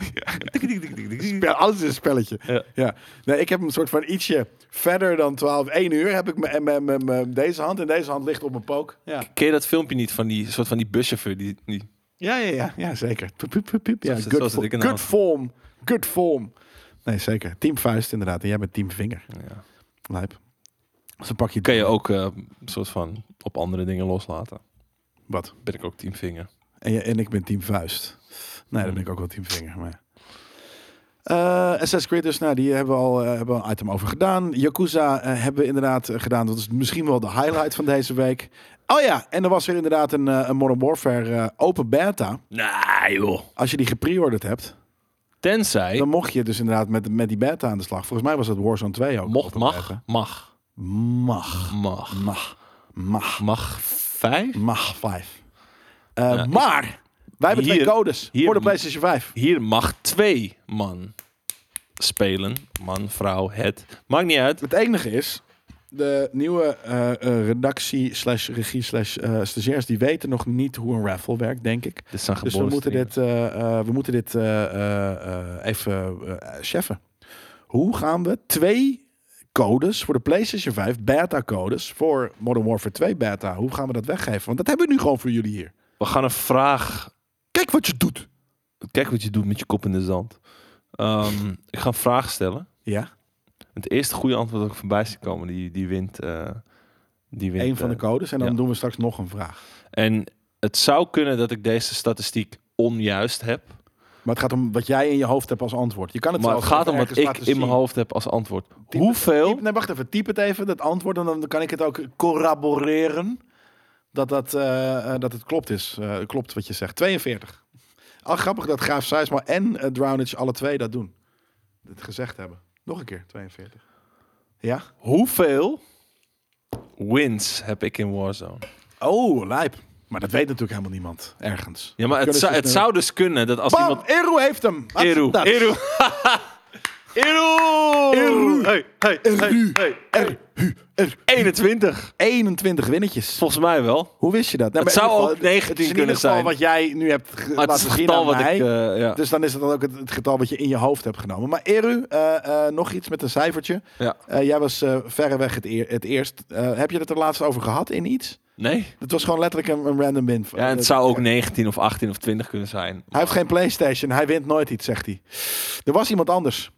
S1: Spel, alles is een spelletje.
S2: Ja.
S1: Ja. Nee, ik heb hem soort van ietsje verder dan 12, 1 uur heb ik mijn- mijn- mijn- mijn- deze hand en deze hand ligt op mijn pook. Ja.
S2: Ken je dat filmpje niet van die soort van die buschauffeur? Die, die,
S1: Ja, ja, ja, ja zeker. Pup, pup, pup, pup. Ja,
S2: Zo zit-
S1: good,
S2: zo zit
S1: fo-
S2: ik in de
S1: good
S2: hand.
S1: form. Good form. Nee, zeker. Team vuist inderdaad. En jij bent team vinger.
S2: ja.
S1: Lijp. Dus dan pak je...
S2: Kan je ook eh, soort van op andere dingen loslaten.
S1: Wat?
S2: Ben ik ook teamvinger.
S1: En, je, en ik ben team vuist. Nee, dan ben ik ook wel team vinger. Maar... Eh Assassin's Creed dus, nou, die hebben we al eh, hebben we een item over gedaan. Yakuza eh, hebben we inderdaad eh, gedaan. Dat is misschien wel de highlight van deze week. Oh ja, en er was er inderdaad een, eh, een Modern Warfare eh, open beta.
S2: Nee joh.
S1: Als je die gepreorderd hebt,
S2: Tenzij,
S1: dan mocht je dus inderdaad met, met die beta aan de slag. Volgens mij was dat Warzone 2 ook.
S2: mocht,
S1: open beta.
S2: mag,
S1: Mag.
S2: mag, mag,
S1: Mag. Mag.
S2: mag vijf?
S1: Mag 5.
S2: Ja,
S1: maar, wij hebben
S2: hier-
S1: twee codes
S2: hier-
S1: voor de PlayStation 5.
S2: Hier mag twee man spelen. Man, vrouw, het. Maakt niet uit.
S1: Het enige is, de nieuwe eh, eh, redactie slash regie slash eh, stagiairs... die weten nog niet hoe een raffle werkt, denk ik.
S2: Dit zijn
S1: Dus we
S2: geboren
S1: moeten
S2: stenen.
S1: dit, eh, eh, we moeten dit eh, eh, eh, even eh, cheffen. Hoe gaan we twee codes voor de PlayStation 5, beta-codes... voor Modern Warfare 2 beta, hoe gaan we dat weggeven? Want dat hebben we nu gewoon voor jullie hier.
S2: We gaan een vraag...
S1: Kijk wat je doet.
S2: Kijk wat je doet met je kop in de zand. Ehm, ik ga een vraag stellen.
S1: Ja,
S2: Het eerste goede antwoord dat ik voorbij zie komen, die, die wint... eh die wint
S1: één van de
S2: eh,
S1: codes. En dan
S2: ja.
S1: doen we straks nog een vraag.
S2: En het zou kunnen dat ik deze statistiek onjuist heb.
S1: Maar het gaat om wat jij in je hoofd hebt als antwoord. Je kan het
S2: maar
S1: zelfs
S2: het gaat
S1: even
S2: om wat
S1: ergens
S2: ik
S1: laten
S2: in
S1: zien.
S2: mijn hoofd heb als antwoord.
S1: het-
S2: Hoeveel...
S1: Typ- nee, wacht even. Typ het even, dat antwoord. En dan kan ik het ook corroboreren. Dat, dat, eh, eh, dat het klopt is. eh, klopt wat je zegt. 42. Al grappig dat Graaf Seisma en eh, Drownage alle twee dat doen. Dat gezegd hebben. Nog een keer, 42. Ja?
S2: Hoeveel wins heb ik in Warzone?
S1: Oh, lijp. Maar dat weet natuurlijk helemaal niemand. Ergens.
S2: Ja, maar het,
S1: Kunnen
S2: zou,
S1: ze
S2: het
S1: snel-
S2: zou dus kunnen dat als
S1: Bam!
S2: iemand...
S1: Eru heeft hem!
S2: Eru.
S1: Hatsendat.
S2: Eru. Eru.
S1: Eru.
S2: Hey, hey, hey, hey.
S1: Er, hu, er.
S2: 21.
S1: 21 winnetjes.
S2: Volgens mij wel.
S1: Hoe wist je dat? Nou,
S2: Het
S1: maar in
S2: zou
S1: ieder geval,
S2: ook 19
S1: het is in
S2: kunnen
S1: ieder geval
S2: zijn.
S1: wat jij nu hebt ge-
S2: Maar het is
S1: laten
S2: het
S1: zien aan
S2: getal wat
S1: mij.
S2: ik... eh, ja.
S1: Dus dan is het dan ook het, het getal wat je in je hoofd hebt genomen. Maar Eru, eh, eh, nog iets met een cijfertje.
S2: ja.
S1: Eh, jij was eh, verreweg het, eer- het eerst. Eh, heb je het er laatst over gehad in iets?
S2: Nee?
S1: Het was gewoon letterlijk een, een random win.
S2: Ja, en het zou ook 19 of 18 of 20 kunnen zijn.
S1: Hij heeft geen PlayStation. Hij wint nooit iets, zegt hij. Er was iemand anders.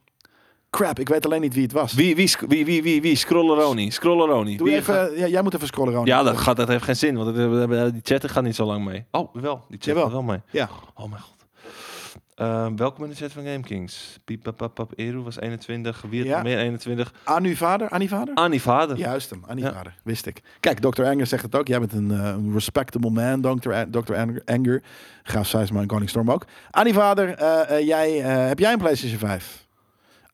S1: Crap, ik weet alleen niet wie het was.
S2: Wie, wie, sc- wie, wie, wie, wie? Scrolleroni. Scrolleroni.
S1: Doe
S2: Wie
S1: even,
S2: gaat-
S1: ja, jij moet even scrollen, Ronnie.
S2: Ja, dat, gaat, dat heeft geen zin, want het- eh, eh, die chat gaat niet zo lang mee. Oh, wel. Die chat
S1: Jawel.
S2: gaat wel mee.
S1: Ja.
S2: Oh mijn god. Ehm, welkom in de chat van GameKings. Piep, pap, pap, pap. Eru was 21. Wie had
S1: Ja.
S2: nog meer 21?
S1: Aan uw vader? Aan uw vader?
S2: Annie vader.
S1: Juist hem, Annie
S2: Ja.
S1: Vader. Wist ik. Kijk, Dr. Anger zegt het ook. Jij bent een, eh, een respectable man, Dr. A- Dr. Anger- Anger. Graaf Seisma en Koning Storm ook. Annie Vader, eh, eh, jij, eh, heb jij een PlayStation 5?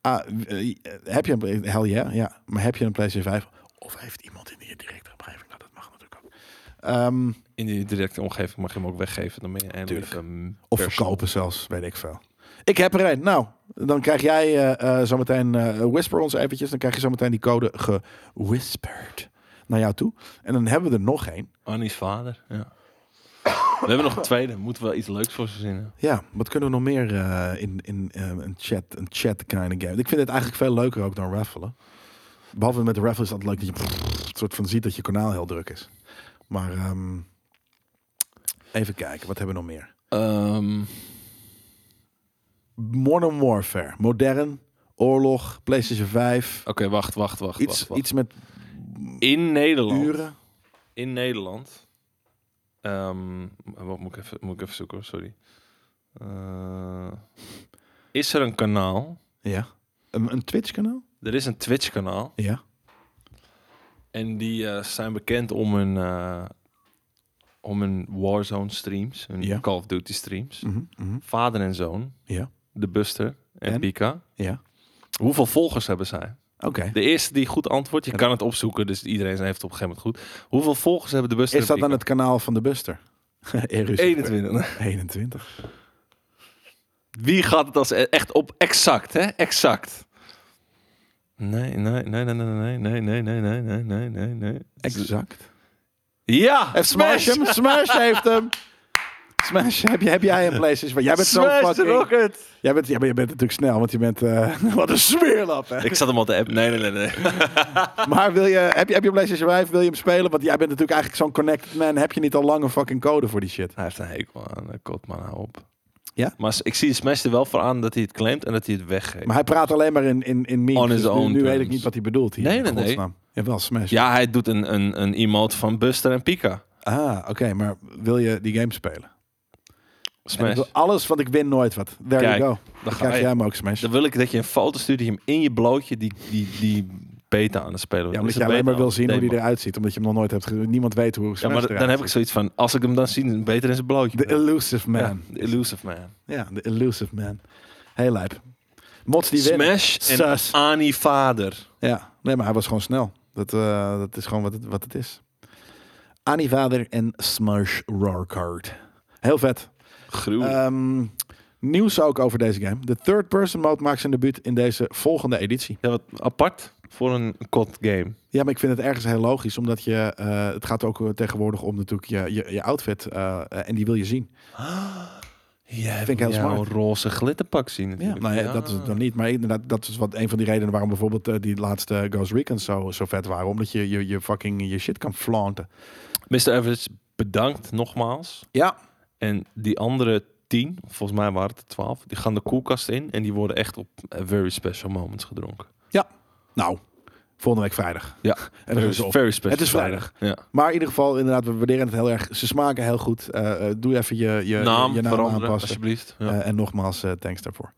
S1: Ah, eh, eh, heb je een... play- Hell yeah, ja. Maar heb je een PlayStation 5? Of heeft iemand in je directe omgeving? Nou, dat mag natuurlijk ook. Ehm,
S2: In die directe omgeving mag je hem ook weggeven. Dan ben je ehm, een
S1: Tuurlijk.
S2: lieve
S1: of
S2: persoon.
S1: verkopen zelfs, weet ik veel. Ik heb er een. Nou, dan krijg jij eh, eh, zometeen eh, Whisper ons eventjes. Dan krijg je zometeen die code gewhisperd naar jou toe. En dan hebben we er nog één.
S2: Annie's vader. Ja. We hebben nog een tweede. Moeten we wel iets leuks voor verzinnen.
S1: Ja, wat kunnen we nog meer eh, in, in eh, een chat, een chat kind of game? Ik vind het eigenlijk veel leuker ook dan raffelen. Behalve met de raffle is dat leuk dat je het soort van ziet dat je kanaal heel druk is. Maar ehm, even kijken, wat hebben we nog meer?
S2: Ehm,
S1: Modern Warfare, modern, oorlog, PlayStation 5,
S2: Oké, wacht, wacht, Oh, wacht.
S1: iets,
S2: wacht, wacht.
S1: iets met
S2: In Nederland.
S1: uren.
S2: In Nederland. Ehm, wat moet ik even, moet ik even zoeken, hoor, sorry. Eh, is er een kanaal?
S1: Ja. Een, een Twitch kanaal?
S2: Er is een Twitch kanaal.
S1: Ja.
S2: En die eh, zijn bekend om hun, eh, om hun Warzone streams, hun
S1: Ja.
S2: Call of Duty streams.
S1: Mhm, mhm.
S2: Vader en zoon,
S1: Ja.
S2: de Buster en,
S1: En?
S2: Pika.
S1: Ja.
S2: Hoeveel volgers hebben zij?
S1: Oké.
S2: De eerste die goed antwoordt, je kan het opzoeken, dus iedereen heeft het op een gegeven moment goed. Hoeveel volgers hebben de Buster
S1: Is dat
S2: en
S1: dan
S2: Pika?
S1: het kanaal van de Buster? Erus.
S2: 21.
S1: 21.
S2: Wie gaat het als e- echt op exact, hè? Exact. Nee, nee, nee, nee, nee, nee, nee, nee, nee, nee, nee, nee, nee.
S1: Exact.
S2: Ja!
S1: Heeft Smash
S2: Smash!
S1: hem? Smash heeft hem. Smash, heb, je, heb jij een PlayStation? Want Jij bent zo
S2: Smash the
S1: fucking...
S2: Rocket!
S1: Jij bent, ja, maar je bent natuurlijk snel, want je bent... eh, wat een smeerlap, hè?
S2: Ik zat hem al te app. Nee, nee, nee. nee.
S1: Maar wil je, heb, je, heb je een PlayStation 5? Wil je hem spelen? Want jij bent natuurlijk eigenlijk zo'n connected man. Heb je niet al lang een fucking code voor die shit?
S2: Hij heeft een hekel aan eh, Kotman, hou op.
S1: Ja?
S2: Maar s- ik zie Smash er wel voor aan dat hij het claimt en dat hij het weggeeft.
S1: Maar hij praat alleen maar in, in, in memes.
S2: On his
S1: dus nu-
S2: own
S1: nu, weet ik
S2: terms.
S1: niet wat hij bedoelt hier.
S2: Nee,
S1: in
S2: nee, nee.
S1: godsnaam. Jawel, Smash.
S2: Ja, hij doet een, een, een emote van Buster en Pika.
S1: Ah, oké. maar wil je die game spelen? En ik
S2: Smash.
S1: wil alles, want ik win nooit wat. There
S2: Kijk,
S1: you go. Dan
S2: ga
S1: krijg
S2: je.
S1: jij hem ook, Smash.
S2: Dan wil ik dat je een foto stuurt die hem in je blootje die, die, die beta aan het spelen wordt.
S1: ja, omdat
S2: Is
S1: je
S2: het
S1: alleen maar
S2: beta
S1: wil
S2: of
S1: zien hoe
S2: demo?
S1: die eruit ziet. Omdat je hem nog nooit hebt gezien. Niemand weet hoe
S2: Ja,
S1: Smash
S2: maar dan
S1: eruit
S2: heb ik
S1: ziet.
S2: zoiets van, als ik hem dan zie, dan beter in zijn blootje.
S1: The Elusive Man.
S2: Ja, the Elusive Man.
S1: Ja, de Elusive Man. Heel lijp. Mods die winnen.
S2: Smash en
S1: Sus.
S2: Ani vader.
S1: Ja, nee, maar hij was gewoon snel. Dat, eh, dat is gewoon wat het, wat het is. Annie Vader en Smash Roarcard. Heel vet.
S2: Gruwelijk.
S1: Ehm, nieuws ook over deze game. De third person mode maakt zijn debuut in deze volgende editie.
S2: ja, wat apart voor een COD game.
S1: Ja, maar ik vind het ergens heel logisch. Omdat je, eh, het gaat ook eh, tegenwoordig om natuurlijk je, je, je outfit. eh, eh, en die wil je zien.
S2: Ja,
S1: vind ik heel smart.
S2: Een roze glitterpak zien
S1: Ja,
S2: natuurlijk.
S1: nou ja, dat is het dan niet. Maar inderdaad, dat is wat een van die redenen waarom bijvoorbeeld eh, die laatste Ghost Recon zo, zo vet waren. Omdat je je, je fucking je shit kan flaunten.
S2: Mr. Average, bedankt nogmaals.
S1: Ja.
S2: En die andere tien, volgens mij waren het er twaalf, die gaan de koelkast in en die worden echt op eh, very special moments gedronken.
S1: Nou, volgende week vrijdag.
S2: Ja,
S1: En dan is het op.
S2: very special.
S1: Het is vrijdag.
S2: Ja.
S1: Maar in ieder geval, inderdaad, we waarderen het heel erg. Ze smaken heel goed. Eh, eh, doe even je, je
S2: naam
S1: je, je naam
S2: veranderen,
S1: aanpassen.
S2: alsjeblieft. Ja.
S1: Eh, en nogmaals, eh, thanks daarvoor.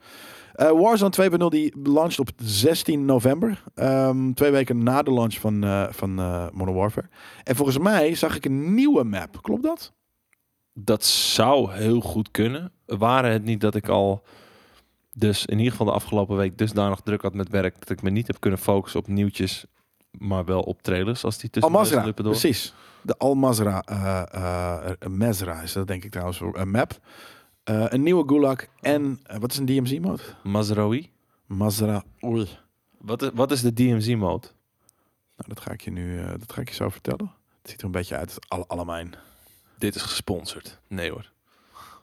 S1: Eh, Warzone 2.0 die launched op 16 november. Ehm, twee weken na de launch van, eh, van eh, Modern Warfare. En volgens mij zag ik een nieuwe map. Klopt dat?
S2: Dat zou heel goed kunnen. Waren het niet dat ik al dus in ieder geval de afgelopen week dusdanig druk had met werk dat ik me niet heb kunnen focussen op nieuwtjes, maar wel op trailers als die tussen de
S1: Al-Mazra,
S2: lippen door.
S1: precies. De Al-Mazra, eh, eh, Mesra is dat denk ik trouwens, voor een map. Eh, een nieuwe Gulag en, eh, wat is een DMZ-mode?
S2: Mazraoui.
S1: Mazra, Nou, oei.
S2: Wat is, wat is de DMZ mode?
S1: Nou, dat ga ik je nu, eh, dat ga ik je zo vertellen. Het ziet er een beetje uit, als alle, allemijn.
S2: Dit is gesponsord. Nee hoor.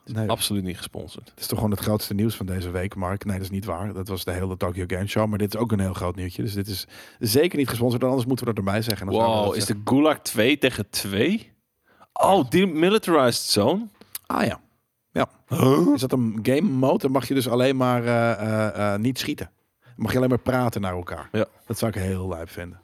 S1: Nee,
S2: Absoluut niet gesponsord.
S1: het is toch gewoon het grootste nieuws van deze week, Mark. Nee, dat is niet waar. Dat was de hele Tokyo Game Show, maar dit is ook een heel groot nieuwtje. Dus dit is zeker niet gesponsord, en anders moeten we dat erbij zeggen. Dan zouden we
S2: Wow,
S1: dat
S2: is
S1: zeggen.
S2: de Gulag 2 tegen 2? Oh, die militarized zone.
S1: Ah ja. Ja. Is dat een game mode? Dan mag je dus alleen maar eh, eh, eh, niet schieten. Dan mag je alleen maar praten naar elkaar.
S2: Ja.
S1: Dat zou ik heel lijp vinden.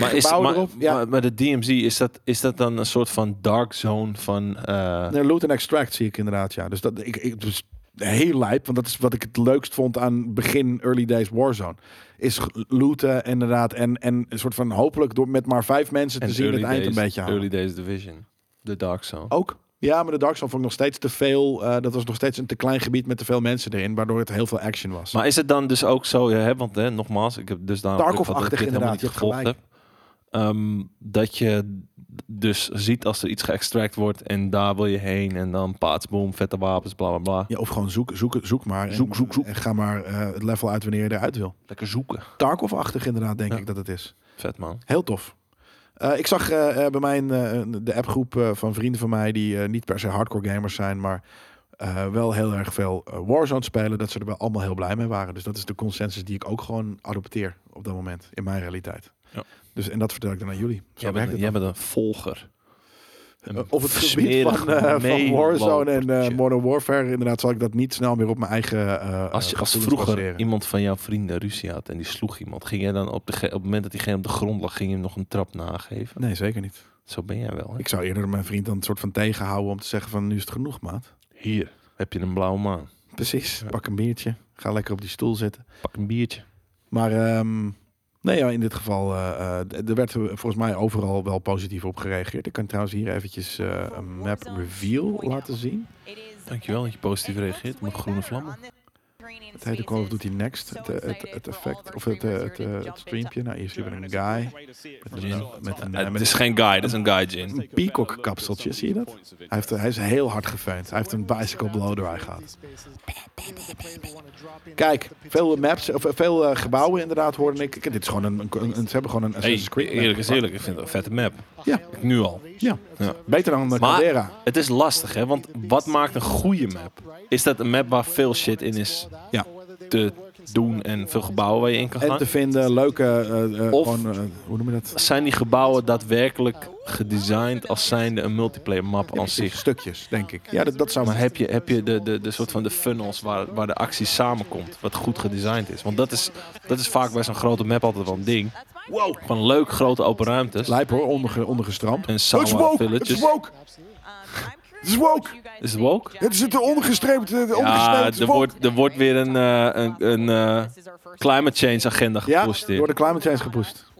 S2: Maar, is,
S1: Gebouw
S2: maar,
S1: erop, ja.
S2: maar, maar de DMZ, is dat, is dat dan een soort van dark zone van... eh,
S1: Nee, loot en extract zie ik inderdaad, ja. Dus dat ik, ik dus heel lijp, want dat is wat ik het leukst vond aan begin early days Warzone. Is g- looten inderdaad en, en een soort van hopelijk door met maar vijf mensen te
S2: en
S1: zien het
S2: early
S1: eind een
S2: days-
S1: beetje Oh, halen.
S2: Early Days Division. De dark zone.
S1: Ook. Ja, maar de Dark Zone vond ik nog steeds te veel. eh, dat was nog steeds een te klein gebied met te veel mensen erin, waardoor het heel veel action was.
S2: Maar is het dan dus ook zo, ja, hè, want hè, nogmaals, ik heb dus daar
S1: Tarkov-achtig inderdaad, je hebt gelijk.
S2: Ehm, dat je d- dus ziet als er iets geëxtract wordt en daar wil je heen en dan paats, boom, vette wapens, bla bla bla.
S1: Ja, of gewoon zoek, zoek, zoek maar. en-
S2: Zoek, zoek, zoek.
S1: En ga maar eh, het level uit wanneer je eruit wil.
S2: Lekker zoeken.
S1: Tarkov-achtig inderdaad, denk
S2: Ja.
S1: ik dat het is.
S2: Vet man.
S1: Heel tof. Eh, ik zag eh, eh, bij mij een, eh, een- de appgroep eh, van vrienden van mij... die eh, niet per se hardcore gamers zijn... maar eh, wel heel erg veel eh, Warzone spelen... dat ze er wel allemaal heel blij mee waren. Dus dat is de consensus die ik ook gewoon adopteer... op dat moment, in mijn realiteit.
S2: Ja.
S1: Dus, en dat vertel ik dan aan jullie. Zo
S2: Jij
S1: werkt
S2: bent,
S1: het
S2: jij bent een volger. Een
S1: Eh, Op het gebied
S2: smerig
S1: van, eh, van Warzone en eh,
S2: meelopertje.
S1: Modern Warfare... inderdaad zal ik dat niet snel meer op mijn eigen eh,
S2: Als, je,
S1: eh,
S2: als
S1: gevoelens
S2: vroeger
S1: baseren.
S2: iemand van jouw vrienden ruzie had en die sloeg iemand, ging jij dan op, de ge- op het moment dat diegene op de grond lag, ging je hem nog een trap nageven?
S1: Nee, zeker niet.
S2: Zo ben jij wel. Hè?
S1: Ik zou eerder mijn vriend dan een soort van tegenhouden om te zeggen van nu is het genoeg, maat.
S2: Hier heb je een blauwe maan.
S1: Precies.
S2: Ja.
S1: Pak een biertje. Ga lekker op die stoel zitten.
S2: Pak een biertje.
S1: Maar ehm, nee, ja, in dit geval, eh, eh, d- er werd eh, volgens mij overal wel positief op gereageerd. Ik kan trouwens hier eventjes eh, een map reveal laten zien.
S2: Dankjewel dat je positief reageert. Met groene vlammen.
S1: Het heet de Call of Duty Next. Het, eh, het, het effect, of het, eh, het, eh, het streampje. Nou, hier zien we een guy met een, met een, eh,
S2: het
S1: met
S2: is geen guy, dat is een guy, Jin.
S1: een peacock kapseltje. Zie je dat? Hij, heeft, hij is heel hard gefeind. Hij heeft een bicycle blow eruit gehad. Kijk, veel maps, of eh, veel eh, gebouwen inderdaad hoorde ik. Kijk, Dit is gewoon een, een- een- ze hebben gewoon een
S2: Hey,
S1: Assassin's Creed. map
S2: eerlijk is
S1: gepakt.
S2: eerlijk, ik vind het een vette map.
S1: Ja,
S2: Nu al.
S1: ja.
S2: Ja.
S1: Beter dan eh, de
S2: Maar
S1: Caldera.
S2: het is lastig, hè? Want wat maakt een goede map? Is dat een map waar veel shit in is
S1: Ja.
S2: te doen en veel gebouwen waar je in kan
S1: En
S2: gaan?
S1: te vinden, leuke, eh, eh,
S2: Of-
S1: gewoon, eh, hoe noem je dat?
S2: Zijn die gebouwen daadwerkelijk gedesigned als zijnde een multiplayer map aan zich?
S1: Stukjes, denk ik. Ja, dat, dat zou
S2: Maar
S1: maar
S2: heb je, heb je de, de, de soort van de funnels waar, waar de actie samenkomt, wat goed gedesigned is? Want dat is, dat is vaak bij zo'n grote map altijd wel een ding.
S3: Wow.
S2: Van leuk grote open ruimtes
S1: Lijp hoor, onderge, ondergestroomd.
S2: en
S4: Het is
S2: sauna
S4: woke! Het is
S2: villages.
S4: woke!
S3: Het
S4: is woke.
S2: Is het woke?
S4: Het zit er ondergestreept, eh,
S2: Ja,
S4: ondergesneden.
S2: er wordt, er wordt weer een, eh, een, een eh, climate change agenda
S1: Ja,
S2: gepusht hier.
S1: door de climate change gepusht.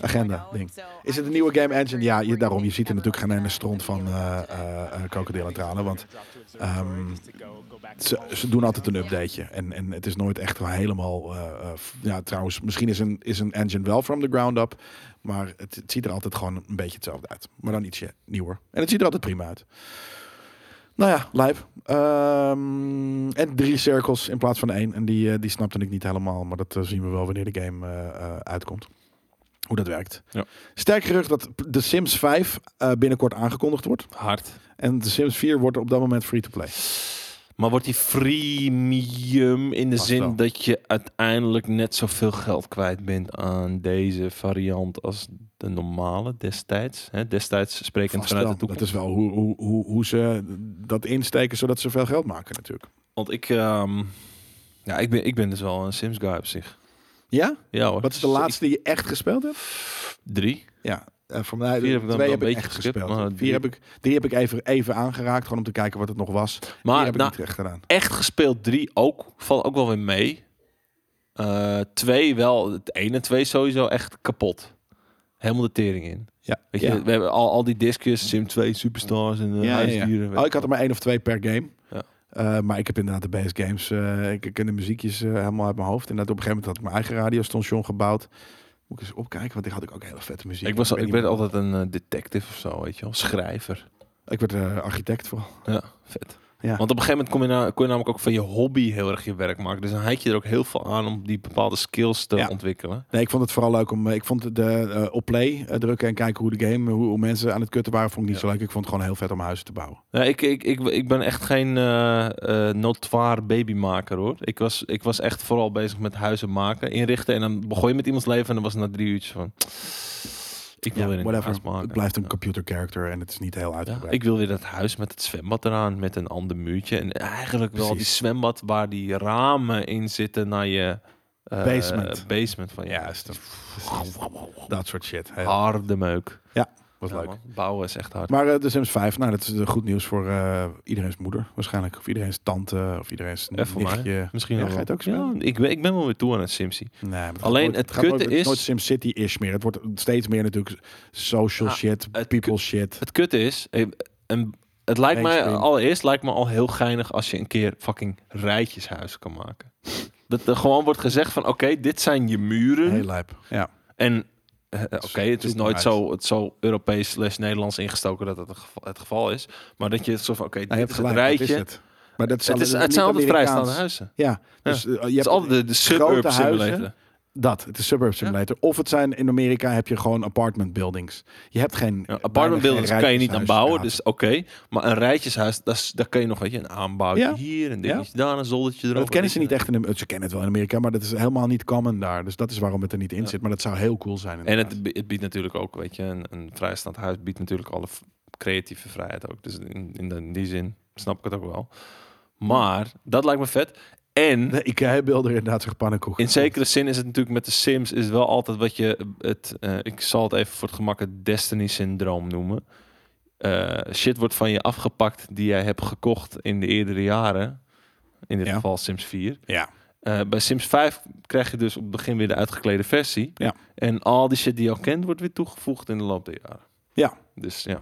S1: Agenda, ding. Is het een nieuwe game engine? Ja, je, daarom. Je ziet er natuurlijk geen ene stront van eh eh, eh, krokodil en tranen. Want ehm, ze, ze doen altijd een updateje. En, en het is nooit echt wel helemaal... eh, eh, f- ja, trouwens, misschien is een, is een engine wel from the ground up. Maar het, het ziet er altijd gewoon een beetje hetzelfde uit. Maar dan ietsje nieuwer. En het ziet er altijd prima uit. Nou ja, lijp. Ehm, en drie cirkels in plaats van één. En die, eh, die snapte ik niet helemaal. Maar dat eh, zien we wel wanneer de game eh, eh, uitkomt. Hoe dat werkt.
S2: Ja.
S1: Sterk gerucht dat The Sims 5 eh, binnenkort aangekondigd wordt.
S2: Hard.
S1: En The Sims 4 wordt op dat moment free to play.
S2: Maar wordt die freemium in de
S1: Vast
S2: zin
S1: wel.
S2: dat je uiteindelijk net zoveel geld kwijt bent aan deze variant als de normale destijds? Hè? Destijds sprekend
S1: Vast
S2: vanuit de
S1: wel.
S2: toekomst.
S1: Dat is wel hoe, hoe, hoe, hoe ze dat insteken zodat ze veel geld maken natuurlijk.
S2: Want ik, ehm, ja, ik, ben, ik ben dus wel een Sims guy op zich.
S1: Ja?
S2: Ja hoor. Dus
S1: Wat is de laatste die je echt gespeeld hebt?
S2: Drie.
S1: Ja. eh, voor mij
S2: Vier heb ik dan
S1: twee
S2: wel
S1: heb
S2: een
S1: ik
S2: beetje
S1: echt
S2: geskipt,
S1: gespeeld.
S2: maar
S1: Vier
S2: drie-
S1: heb ik, drie heb ik even, even aangeraakt, gewoon om te kijken wat het nog was. Maar, Vier
S2: Maar
S1: heb ik
S2: nou,
S1: niet echt gedaan.
S2: echt gespeeld drie ook, valt ook wel weer mee. Eh, twee wel, het ene twee sowieso echt kapot. helemaal de tering in.
S1: Ja.
S2: Weet je,
S1: Ja.
S2: we hebben al, al die discus, Sim 2, Superstars en eh,
S1: Ja, ja, ja.
S2: huisdieren.
S1: Oh, ik had er maar één of twee per game.
S2: Ja.
S1: Eh, maar ik heb inderdaad de base games. eh, ik ik ken de muziekjes eh, helemaal uit mijn hoofd. En op een gegeven moment had ik mijn eigen radiostation gebouwd. Moet ik eens opkijken, want ik had ik ook hele vette muziek.
S2: Ik, was, al- ik
S1: weet
S2: werd
S1: niet
S2: altijd een eh, detective of zo, weet je wel. Schrijver.
S1: meer. ik werd eh, architect vooral.
S2: Ja, vet.
S1: Ja.
S2: Want op een gegeven moment kon je, na, kon je namelijk ook van je hobby heel erg je werk maken. Dus dan had je er ook heel veel aan om die bepaalde skills te
S1: Ja.
S2: ontwikkelen.
S1: Nee, ik vond het vooral leuk om. Ik vond de eh, op play eh, drukken en kijken hoe de game, hoe, hoe mensen aan het kutten waren, vond ik niet zo leuk. Ik vond het gewoon heel vet om huizen te bouwen.
S2: Nou, ik, ik, ik, ik ben echt geen eh eh notoire babymaker hoor. Ik was, ik was echt vooral bezig met huizen maken, inrichten. En dan begon je met iemands leven en dan was het na drie uurtjes van... Ik wil weer een huis maken.
S1: Het blijft een
S2: Ja.
S1: computer character en het is niet heel
S2: Ja,
S1: uitgebreid.
S2: ik wil weer dat huis met het zwembad eraan, met een ander muurtje. En eigenlijk wel die
S1: Precies.
S2: zwembad waar die ramen in zitten naar je eh,
S1: Basement.
S2: basement van ja,
S1: Juist. dat soort shit. Heel-
S2: harde meuk.
S1: was
S2: Ah. Ja,
S1: leuk.
S2: man, Bouwen is echt hard.
S1: Maar eh, de Sims 5, nou, dat is eh, goed nieuws voor eh, iedereen's moeder waarschijnlijk. Of iedereen's tante, of iedereen's
S2: Eh, voor mij.
S1: nichtje.
S2: Misschien
S1: Ja,
S2: wel.
S1: ga je het ook
S2: ja,
S1: spelen?
S2: ik, ben, ik ben wel weer toe aan het Simsie.
S1: Nee, maar het
S2: Alleen
S1: gaat nooit-
S2: het
S1: gaat nooit-
S2: kutte
S1: is
S2: is-
S1: nooit Sim City-ish meer. Het wordt steeds meer natuurlijk social
S2: Ah,
S1: shit,
S2: het
S1: people shit.
S2: Het kut is, eh, en het lijkt mij
S1: Mainstream.
S2: allereerst lijkt me al heel geinig als je een keer fucking rijtjeshuizen kan maken. Dat er gewoon wordt gezegd van oké, dit zijn je muren.
S1: Heel lijp. Ja. Nou,
S2: En eh, oké, het is
S1: zoek
S2: nooit
S1: maar
S2: zo, het zo Europees slash Nederlands ingestoken dat het het geval, het geval is. Maar dat je het zo van, oké,
S1: Nou, je
S2: dit
S1: hebt
S2: is het
S1: gelijk, dat
S2: rijtje.
S1: is
S2: het.
S1: het. Maar dat is,
S2: is,
S1: alle-
S2: het zijn
S1: niet
S2: altijd vrijstaande
S1: Amerikaans.
S2: huizen.
S1: Ja, dus eh, je
S2: Het is
S1: hebt
S2: altijd de, de suburb
S1: grote huizen.
S2: simulator.
S1: dat. Het is suburb simulator. Of het zijn in Amerika heb je gewoon apartment buildings. Je hebt geen
S2: Ja,
S1: bijna geen
S2: apartment buildings kan je niet aan bouwen,
S1: rijtjeshuisstraten.
S2: dus oké. Maar een rijtjeshuis, dat is- daar kun je nog weet je, een aanbouwtje
S1: Ja.
S2: hier, een
S1: Ja.
S2: dingetje daar, een zoldertje erop.
S1: Dat kennen ze niet echt in de, ze kennen het wel in Amerika, maar dat is helemaal niet common daar. Dus dat is waarom het er niet in zit. Maar dat zou heel cool zijn.
S2: En
S1: inderdaad.
S2: het, bi- het biedt natuurlijk ook, weet je, een, een vrijstaand huis biedt natuurlijk alle v- creatieve vrijheid ook. Dus in, in, in die zin snap ik het ook wel. Maar dat lijkt me vet. En
S1: de IKEA-beelden inderdaad zich pannenkoek.
S2: In zekere zin is het natuurlijk met de Sims is wel altijd wat je het, eh, ik zal het even voor het gemak het Destiny-syndroom noemen. Eh, shit wordt van je afgepakt die jij hebt gekocht in de eerdere jaren. In dit
S1: Ja.
S2: geval Sims 4.
S1: Ja.
S2: Eh, bij Sims 5 krijg je dus op het begin weer de uitgeklede versie.
S1: Ja.
S2: En al die shit die je al kent wordt weer toegevoegd in de loop der jaren.
S1: Ja.
S2: Dus ja,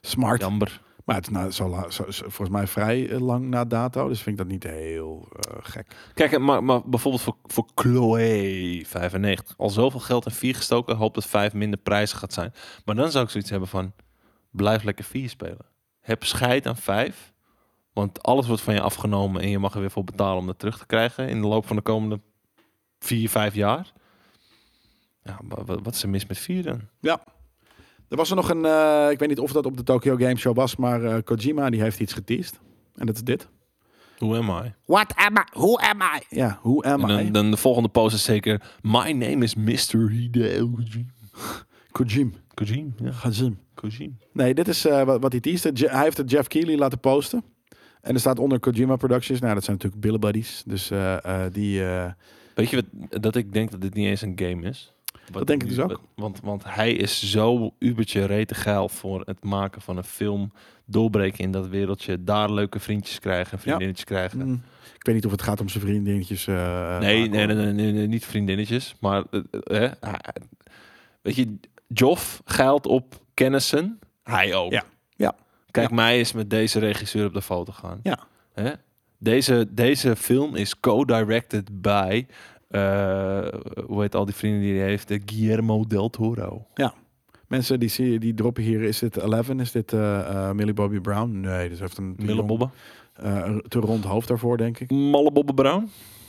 S1: Smart.
S2: jammer.
S1: Maar het is nou, zo la- zo- zo- volgens mij vrij eh, lang na dato. Dus vind ik dat niet heel eh, gek.
S2: Kijk, eh, maar, maar bijvoorbeeld voor, voor Chloe 95. Al zoveel geld in 4 gestoken. Hoop dat 5 minder prijzig gaat zijn. Maar dan zou ik zoiets hebben van... Blijf lekker 4 spelen. Heb scheid aan 5. Want alles wordt van je afgenomen. En je mag er weer voor betalen om dat terug te krijgen. In de loop van de komende 4, 5 jaar. Ja, wa- wa- wat, is er mis met 4 dan?
S1: Er was er nog een, eh, ik weet niet of dat op de Tokyo Game Show was, maar eh, Kojima die heeft iets geteased. En dat is dit.
S2: Who am I?
S4: What am I? Who am I?
S1: Ja, hoe am
S2: En
S1: I?
S2: dan, dan de volgende post is zeker... My name is Mr. Hideo
S1: Kojima.
S2: Kojima. Ja,
S1: Kojima.
S2: Kojima.
S1: Nee, dit is eh, wat, wat hij teaste. Je- hij heeft het Jeff Keighley laten posten. En er staat onder Kojima Productions. Nou, dat zijn natuurlijk Billy Buddies. Dus eh, eh, die... eh,
S2: Weet je wat, dat ik denk dat dit niet eens een game is? Wat
S1: denk ik dus ook.
S2: wat- want, want hij is zo ubertje rete geil voor het maken van een film. Doorbreken in dat wereldje. Daar leuke vriendjes krijgen, vriendinnetjes krijgen.
S1: mm, ik weet niet of het gaat om zijn vriendinnetjes. eh,
S2: nee,
S1: maken,
S2: nee,
S1: hoor.
S2: nee, nee, nee, nee, niet vriendinnetjes. Maar eh, eh, eh, hij- weet je, Joff geilt op kennissen. Hij ook.
S1: Ja. Ja.
S2: Kijk,
S1: Ja.
S2: mij is met deze regisseur op de foto gaan.
S1: Ja.
S2: Hè? Deze, deze film is co-directed by, eh, hoe heet al die vrienden die hij heeft, eh, Guillermo del Toro.
S1: Mensen die, zie, die droppen hier, is dit Eleven? Is dit eh, eh, Millie Bobby Brown? Nee, dus heeft een te jong-
S2: Millebobbe.
S1: eh, een te rond hoofd daarvoor, denk ik.
S2: Mallebobbe Brown.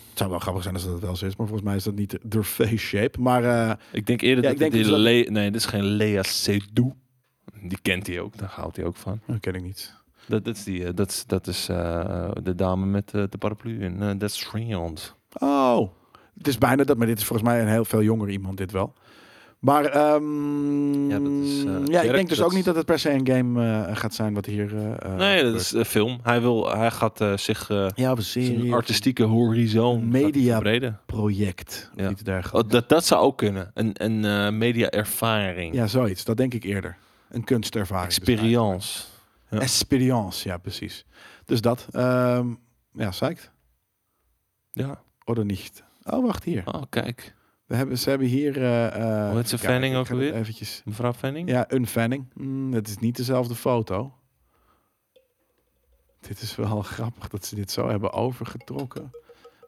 S1: Het zou wel grappig zijn als dat wel zo is, maar volgens mij is dat niet de face shape. Maar eh,
S2: Ik denk eerder
S1: Ja,
S2: dat,
S1: ik denk
S2: dit
S1: dus dat-
S2: Le- Nee, dit is geen Lea Seydoux. Die kent hij ook, daar houdt hij ook van.
S1: dat ken ik niet.
S2: Dat, dat is, die, eh, dat is, dat is eh, de dame met eh, de paraplu in eh, That's Friend.
S1: Oh, het is bijna dat, maar dit is volgens mij een heel veel jonger iemand, dit wel. Maar ehm,
S2: Ja, dat is, eh,
S1: ja, ik
S2: werk,
S1: denk dus
S2: dat
S1: ook
S2: is-
S1: niet dat het per se een game eh, gaat zijn wat hier. eh, eh,
S2: nee, dat
S1: gebeurt.
S2: is een film. Hij, wil, hij gaat eh, zich eh,
S1: Ja, of een
S2: zijn
S1: serie.
S2: artistieke horizon
S1: Media-
S2: gaat hij verbreden.
S1: project. Of
S2: Ja.
S1: iets dergelijks.
S2: Oh, dat, dat zou ook kunnen. Een, een eh, media-ervaring.
S1: Ja, zoiets. Dat denk ik eerder. Een kunstervaring. dus
S2: Experience. Ja.
S1: Experience, ja, precies. Dus dat. ehm, ja, zeikt.
S2: Ja.
S1: Oder niet. Oh, wacht hier.
S2: Oh, kijk.
S1: We hebben, ze hebben hier... eh, eh,
S2: Hoe heet ze,
S1: ja,
S2: Fanning
S1: ik
S2: ook
S1: ga het
S2: alweer?
S1: Eventjes.
S2: Mevrouw Fanning?
S1: Ja, een Fanning. Mm, het is niet dezelfde foto. Dit is wel grappig dat ze dit zo hebben overgetrokken.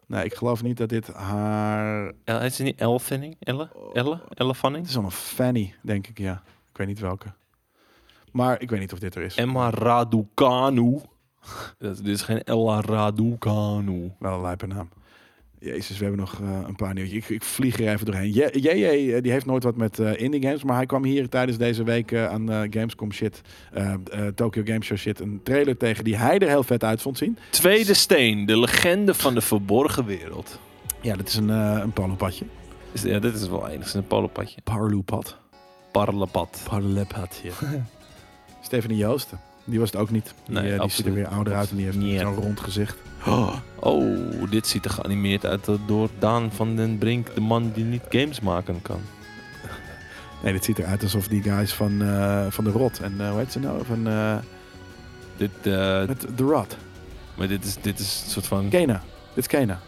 S1: Nee, ik geloof niet dat dit haar...
S2: El, heet ze niet El Fanning? Elle?
S1: Oh.
S2: Elle? Elle Fanning?
S1: Het is al een Fanny, denk ik, ja. Ik weet niet welke. Maar ik weet niet of dit er is.
S2: Emma Raducanu. Dat, dit is geen Ella Raducanu.
S1: Wel een lijpe naam. Jezus, we hebben nog eh, een paar nieuwtjes. Ik, ik vlieg er even doorheen. J- JJ, eh, die heeft nooit wat met eh, indie games, maar hij kwam hier tijdens deze week eh, aan eh, Gamescom shit, eh, eh, Tokyo Game Show shit, een trailer tegen die hij er heel vet uit vond zien.
S2: Tweede steen, de legende van de verborgen wereld.
S1: Ja, dat is een, eh een parlopadje.
S2: Is- Ja, dit is wel enigszins een polopadje.
S1: Parloepad.
S2: Parlepad.
S1: Parlepadje. Stephanie Joosten. Die was het ook niet. Die, eh, die
S2: Nee,
S1: ziet er
S2: absoluut.
S1: weer ouder uit en die heeft
S2: Nee.
S1: zo'n rond gezicht.
S2: Oh, dit ziet er geanimeerd uit door Daan van den Brink, de man die niet games maken kan.
S1: Nee, dit ziet eruit alsof die guys van, eh, van de Rot en eh hoe heet ze nou? Van, eh,
S2: Dit, eh,
S1: met de Rot.
S2: maar dit is, dit is een soort van...
S1: Kena. Dit is Kena.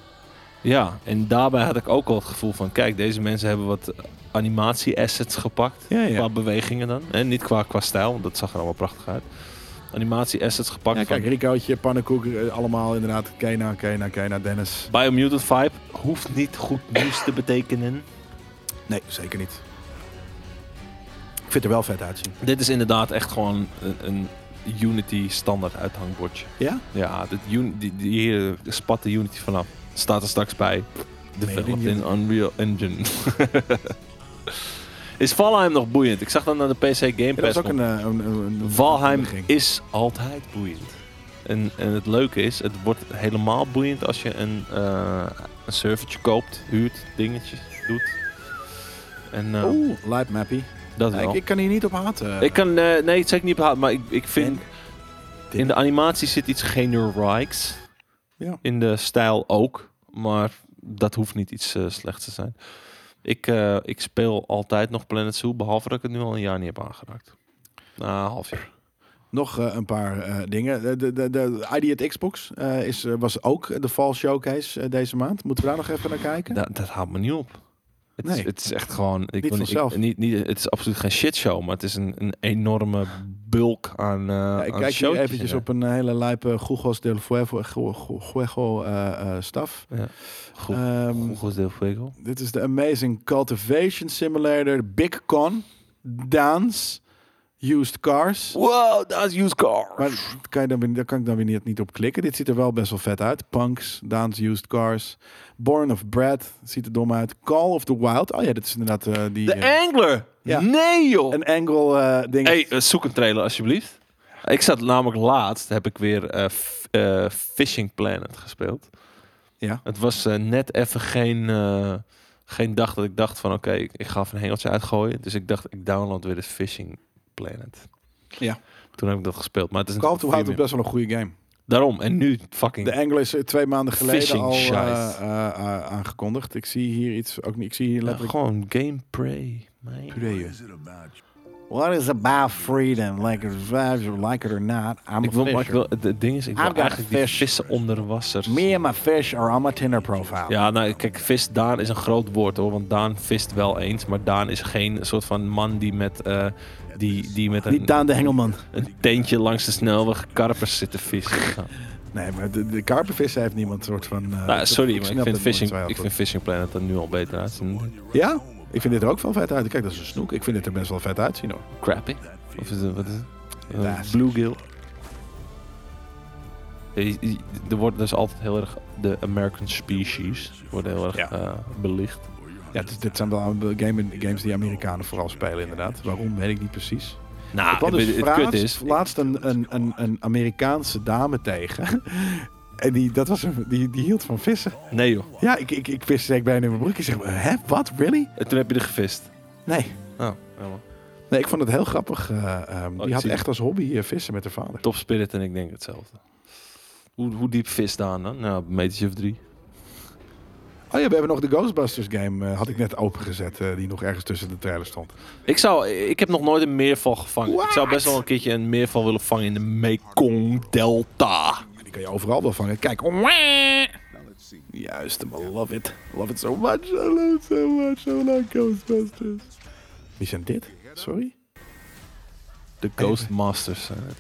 S2: Ja, en daarbij had ik ook al het gevoel van... Kijk, deze mensen hebben wat animatie-assets gepakt.
S1: Ja, ja.
S2: Qua bewegingen dan. En niet qua, qua stijl, want dat zag er allemaal prachtig uit. Animatie-assets gepakt
S1: Ja,
S2: van
S1: kijk, Ricootje, Pannenkoek, eh, allemaal inderdaad. Kena, Kena, Kena, Dennis.
S2: Biomutant vibe hoeft niet goed nieuws te betekenen.
S1: Nee, zeker niet. Ik vind er wel vet uitzien.
S2: Dit is inderdaad echt gewoon een, een Unity standaard uithangbordje.
S1: Ja?
S2: Ja, dit Uni- die, die hier spat de Unity vanaf. Staat er straks bij. Developed in Unreal Engine. is Valheim nog boeiend? Ik zag dat naar de PC Game
S1: Ja, dat is
S2: Pass.
S1: ook een,
S2: komt.
S1: eh, een, een, een
S2: Valheim
S1: aankondiging.
S2: is altijd boeiend. En, en het leuke is, het wordt helemaal boeiend als je een, eh een servertje koopt, huurt, dingetjes doet. En eh,
S1: Oeh, Light Mappy.
S2: dat
S1: Nee, ik,
S2: wel.
S1: ik kan hier niet op haten.
S2: Ik kan, eh, nee, het zeker niet behouden, maar ik, ik vind
S1: dit-
S2: in de animatie zit iets generieks.
S1: Ja.
S2: In de stijl ook, maar dat hoeft niet iets eh, slechts te zijn. Ik, eh, ik speel altijd nog Planet Zoo, behalve dat ik het nu al een jaar niet heb aangeraakt. Na een half jaar.
S1: Nog eh, een paar eh, dingen. De, de, de, de ID at Xbox eh, is, eh, was ook de Fall Showcase eh, deze maand. Moeten we daar nog even naar kijken?
S2: Dat, dat houdt me niet op. Het, is,
S1: Nee.
S2: het is echt gewoon. Ik wil
S1: vanzelf.
S2: Ik, niet, niet, het is absoluut geen shitshow, maar het is een, een enorme bulk aan. eh
S1: Ja, ik kijk hier eventjes op een hele lijpe Googles del Fuego, Gu- Gu- Juego eh, eh, staf.
S2: Goed,
S1: Ehm,
S2: goed deel Fuego.
S1: Dit is de Amazing Cultivation Simulator, Big Con, Dance, Used Cars.
S2: Wow, dat is used car.
S1: Maar dat kan je dan weer, daar kan ik dan weer niet, niet op klikken. Dit ziet er wel best wel vet uit. Punks, Dance, Used Cars, Born of Bread, ziet er dom uit. Call of the Wild. Oh ja, dit is inderdaad eh, die...
S2: De
S1: eh,
S2: Angler!
S1: Ja.
S2: Nee joh!
S1: een angle eh, ding.
S2: hey, eh, zoek een trailer alsjeblieft. Ik zat namelijk laatst, heb ik weer eh, f- eh, Fishing Planet gespeeld.
S1: Ja.
S2: Het was eh, net even geen, eh, geen dag dat ik dacht van oké, ik, ik ga even een hengeltje uitgooien. Dus ik dacht, ik download weer de Fishing Planet.
S1: Ja.
S2: Toen heb ik dat gespeeld. Maar het is
S1: Call of the Wild is
S2: premium.
S1: best wel een goede game.
S2: Daarom, en nu fucking...
S1: De Angle is eh, twee maanden geleden
S2: Phishing
S1: al eh,
S2: shite.
S1: eh, eh, aangekondigd. Ik zie hier iets, ook niet. Ik zie hier
S2: Ja,
S1: letterlijk.
S2: gewoon gameplay. man.
S5: What is about freedom? Like it survives or like it or not, I'm
S2: Ik
S5: a
S2: wil, maar ik
S5: fisher.
S2: wil, het- het ding is, ik wil
S5: I've got
S2: eigenlijk die
S5: fish.
S2: vissen onder water
S5: Me and my fish are on my Tinder profile.
S2: Ja, nou kijk, vis Daan is een groot woord hoor. Want Daan vist wel eens. Maar Daan is geen soort van man die met, eh, die, die met
S5: Niet
S2: een,
S5: Daan de Hengelman.
S2: een teentje langs de snelweg karpers zit te vissen.
S1: Nee, maar de, de karpenvissen heeft niemand soort van. eh,
S2: Nou,
S1: dat-
S2: sorry,
S1: snap
S2: maar ik
S1: dat
S2: vind,
S1: nooit
S2: fishing,
S1: zo heel
S2: ik
S1: goed.
S2: vind Fishing Planet er nu al beter uitzien.
S1: Ja? Ik vind dit er ook wel vet uit. Kijk, dat is een snoek. Ik vind dit er best wel vet uitzien hoor.
S2: Crappy. Of is het, wat is het? Eh,
S1: Bass.
S2: bluegill. Ja, je- je- Er wordt dus altijd heel erg de American species worden heel erg
S1: Ja.
S2: eh, belicht.
S1: Ja, dit, dit zijn wel allemaal game, games die Amerikanen vooral spelen, inderdaad. Waarom weet ik niet precies.
S2: Nou,
S1: ik kwam dus
S2: het, het
S1: laatst,
S2: kut is.
S1: laatst een, een, een, een Amerikaanse dame tegen. En die, dat was een, die, die hield van vissen.
S2: Nee joh.
S1: Ja, ik, ik, ik wist zeker bijna in mijn broek. Ik zeg, hè, wat? Really?
S2: En toen heb je er gevist.
S1: Nee.
S2: Oh, helemaal.
S1: Nee, ik vond het heel grappig. eh, ehm,
S2: Oh, ik
S1: die had
S2: zie
S1: echt als hobby eh, vissen met haar vader.
S2: Top Spirit en ik denk hetzelfde. Hoe, hoe diep vis Daan dan? Nou, een metertje of drie.
S1: Oh ja, we hebben nog de Ghostbusters game. eh, had ik net opengezet. eh, die nog ergens tussen de trailer stond.
S2: Ik, zou, ik heb nog nooit een meerval gevangen. Ik zou best wel een keertje een meerval willen vangen in de Mekong Delta.
S1: Die kan je overal wel vangen. Kijk, om.
S7: see.
S1: Juist, I love it. Love it so much. I love it so much. I like Ghostbusters. Wie zijn dit? Sorry?
S2: De Ghostmasters zijn het.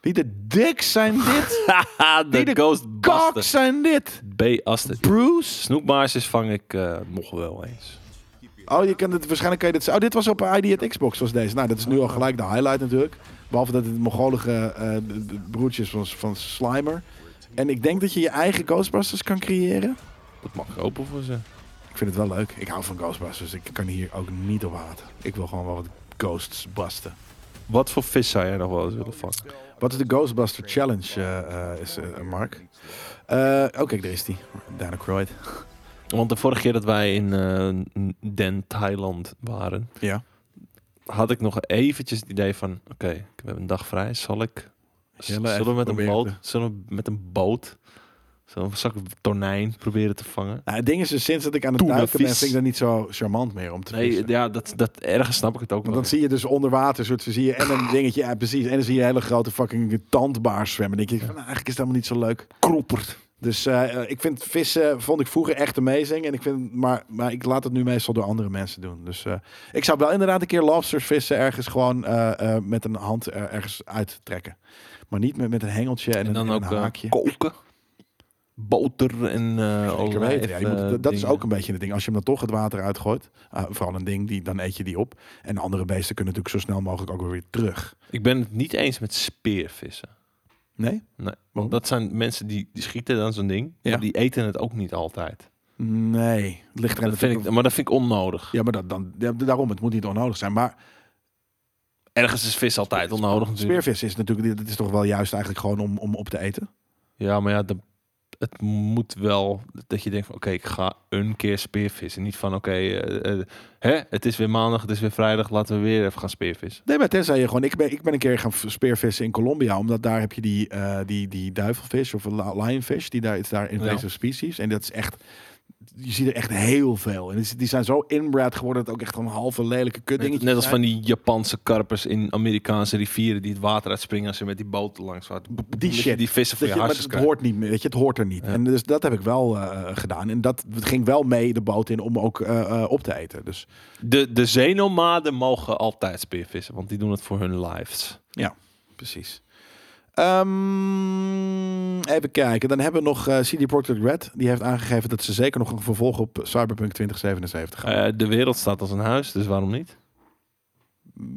S1: Wie de dik zijn dit?
S2: Haha,
S1: Wie de
S2: de
S1: kak
S2: Ghostbusters.
S1: zijn dit?
S2: B. Aster.
S1: Bruce?
S2: Snoepmaarsjes vang ik eh, nog wel eens.
S1: Oh, je kan het, waarschijnlijk kan je dit... Oh, dit was op ID at Xbox, was deze. Nou, dat is nu al gelijk de highlight natuurlijk. Behalve dat het mongolige eh, b- b- broertje is van, van Slimer. En ik denk dat je je eigen Ghostbusters kan creëren.
S2: Dat mag ik open voor ze.
S1: Ik vind het wel leuk. Ik hou van Ghostbusters. Ik kan hier ook niet op haten. Ik wil gewoon wel wat ghosts busten.
S2: Wat voor vis zou jij nog wel eens willen vangen?
S1: Wat is de Ghostbuster Challenge, eh, eh, is, eh, Mark? Eh oh, kijk, daar is die. Dana Croyd.
S2: Want de vorige keer dat wij in eh, Den, Thailand waren,
S1: Ja.
S2: had ik nog eventjes het idee van, oké, we hebben een dag vrij, zal ik, z-
S1: Jelle,
S2: zullen we
S1: even
S2: met een
S1: proberen
S2: boot,
S1: te-
S2: zullen we met een boot, zullen we, zal ik een tonijn proberen te vangen?
S1: Nou, het ding is dus, sinds dat ik aan het
S2: Tuna
S1: duiken ben,
S2: vis.
S1: vind ik dat niet zo charmant meer om te vissen.
S2: Nee, ja, dat, dat ergens snap ik het ook
S1: Want
S2: wel.
S1: dan zie je dus onder water, soort, zie je en een dingetje, ja, precies. En dan zie je hele grote fucking tandbaars zwemmen. Dan denk je, van, nou, eigenlijk is het helemaal niet zo leuk. Kroppert. Dus eh, eh, ik vind vissen, vond ik vroeger echt amazing. En ik vind, maar, maar ik laat het nu meestal door andere mensen doen. Dus eh, ik zou wel inderdaad een keer lobsters vissen ergens gewoon eh, eh, met een hand eh, ergens uittrekken. Maar niet met, met een hengeltje en,
S2: En
S1: een,
S2: dan
S1: en
S2: ook
S1: een
S2: eh,
S1: haakje.
S2: koken, boter en eh
S1: Zeker
S2: olijf,
S1: weten, ja. Je moet-
S2: eh,
S1: dat- dat is
S2: dingen.
S1: ook een beetje het ding. Als je hem dan toch het water uitgooit, ah, vooral een ding, die, dan eet je die op. En andere beesten kunnen natuurlijk zo snel mogelijk ook weer weer terug.
S2: Ik ben het niet eens met speervissen.
S1: Nee?
S2: Nee, want dat zijn mensen die, die schieten dan zo'n ding,
S1: Ja.
S2: maar die eten het ook niet altijd.
S1: Nee. Het ligt eraan
S2: Dat vind ik, maar dat vind ik onnodig.
S1: Ja, maar dat, dan, ja, daarom, het moet niet onnodig zijn. Maar
S2: Ergens is vis altijd onnodig natuurlijk.
S1: speervis is natuurlijk, dat is toch wel juist eigenlijk gewoon om, om op te eten.
S2: Ja, maar ja, de- het moet wel dat je denkt van oké, ik ga een keer speervissen. Niet van oké, eh, eh, hè, het is weer maandag, het is weer vrijdag, laten we weer even gaan speervissen.
S1: Nee, maar tenzij je gewoon, ik ben, ik ben een keer gaan v- speervissen in Colombia, omdat daar heb je die, eh, die, die duivelvis of la- lionfish, die daar is daar in
S2: Ja.
S1: deze species. En dat is echt, je ziet er echt heel veel. En die- die zijn zo inbred geworden dat het ook echt een halve lelijke
S2: Net,
S1: kutdingetje
S2: net als van die Japanse karpers in Amerikaanse rivieren die het water uitspringen als ze met die boot langs vaart.
S1: die shit.
S2: Die vissen voor
S1: Dat
S2: je
S1: je- maar
S2: hartstikke.
S1: het hoort niet meer, weet je, het hoort er niet. En dus dat heb ik wel eh, gedaan. En dat ging wel mee de boot in om ook eh, eh, op te eten. Dus
S2: De, de zeenomaden mogen altijd speervissen, want die doen het voor hun lives.
S1: Ja, precies. Ehm, even kijken. Dan hebben we nog eh, CD Projekt Red. Die heeft aangegeven dat ze zeker nog een vervolg op Cyberpunk 2077 gaan.
S2: Eh, de wereld staat als een huis, dus waarom niet?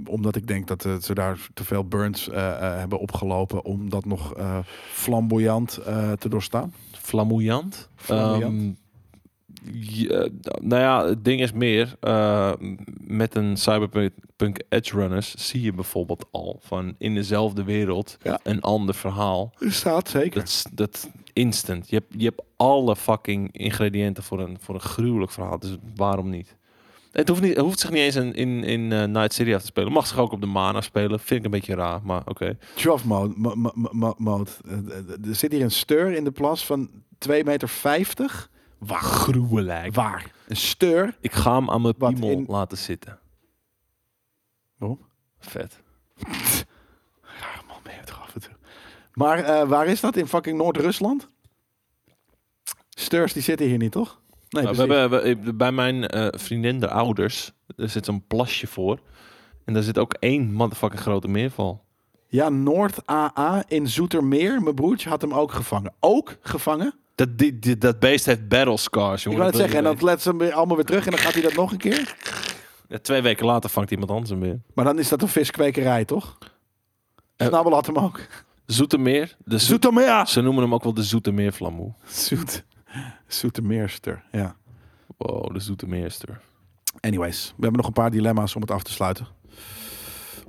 S1: Omdat ik denk dat eh, ze daar te veel burns eh, eh, hebben opgelopen om dat nog eh, flamboyant eh, te doorstaan.
S2: Flamboyant.
S1: Flamboyant.
S2: Ehm, je- nou ja, het ding is meer, eh, met een cyberpunk edge runners zie je bijvoorbeeld al van in dezelfde wereld
S1: Ja.
S2: een ander verhaal.
S1: Staat zeker.
S2: Dat is dat is instant. Je hebt, je hebt alle fucking ingrediënten voor een, voor een gruwelijk verhaal. Dus waarom niet? Het hoeft, niet, het hoeft zich niet eens in, in, in eh, Night City af te spelen. Mag zich ook op de Mana spelen. Vind ik een beetje raar, maar oké.
S1: Trough mode. mo- mo- mo- mo- mode. Eh, eh, Er zit hier een steur in de plas van 2,50 meter. Waar?
S2: Gruwelijk.
S1: Waar? Een steur?
S2: Ik ga hem aan mijn
S1: Wat,
S2: piemel
S1: in-
S2: laten zitten.
S1: Waarom?
S2: Vet.
S1: Ah, man, ben je toch af en toe. Maar eh, waar is dat? In fucking Noord-Rusland? Steurs, die zitten hier niet, toch? Nee,
S2: Nou, we hebben, we- eh, bij mijn eh, vriendin, de ouders, er zit zo'n plasje voor. En daar zit ook één motherfucking grote meerval.
S1: Ja, Noord-AA in Zoetermeer. Mijn broertje had hem ook gevangen. Ook gevangen?
S2: Dat, die, die- dat beest heeft battle scars,
S1: Ik
S2: jongen.
S1: wou het
S2: Dat
S1: zeggen. En
S2: wil
S1: dan
S2: je
S1: let ze hem weer allemaal weer terug en dan gaat hij dat nog een keer.
S2: weten. Ja, twee weken later vangt iemand anders hem weer.
S1: Maar dan is dat een viskwekerij, toch?
S2: Eh.
S1: Snabbel had hem ook.
S2: Zoetermeer. De Zoet-
S1: Zoetermeer!
S2: Ze noemen hem ook wel de Zoetermeerflamoe.
S1: Zoet. Zoetermeerster, ja.
S2: Wow, de Zoetermeerster.
S1: Anyways, we hebben nog een paar dilemma's om het af te sluiten.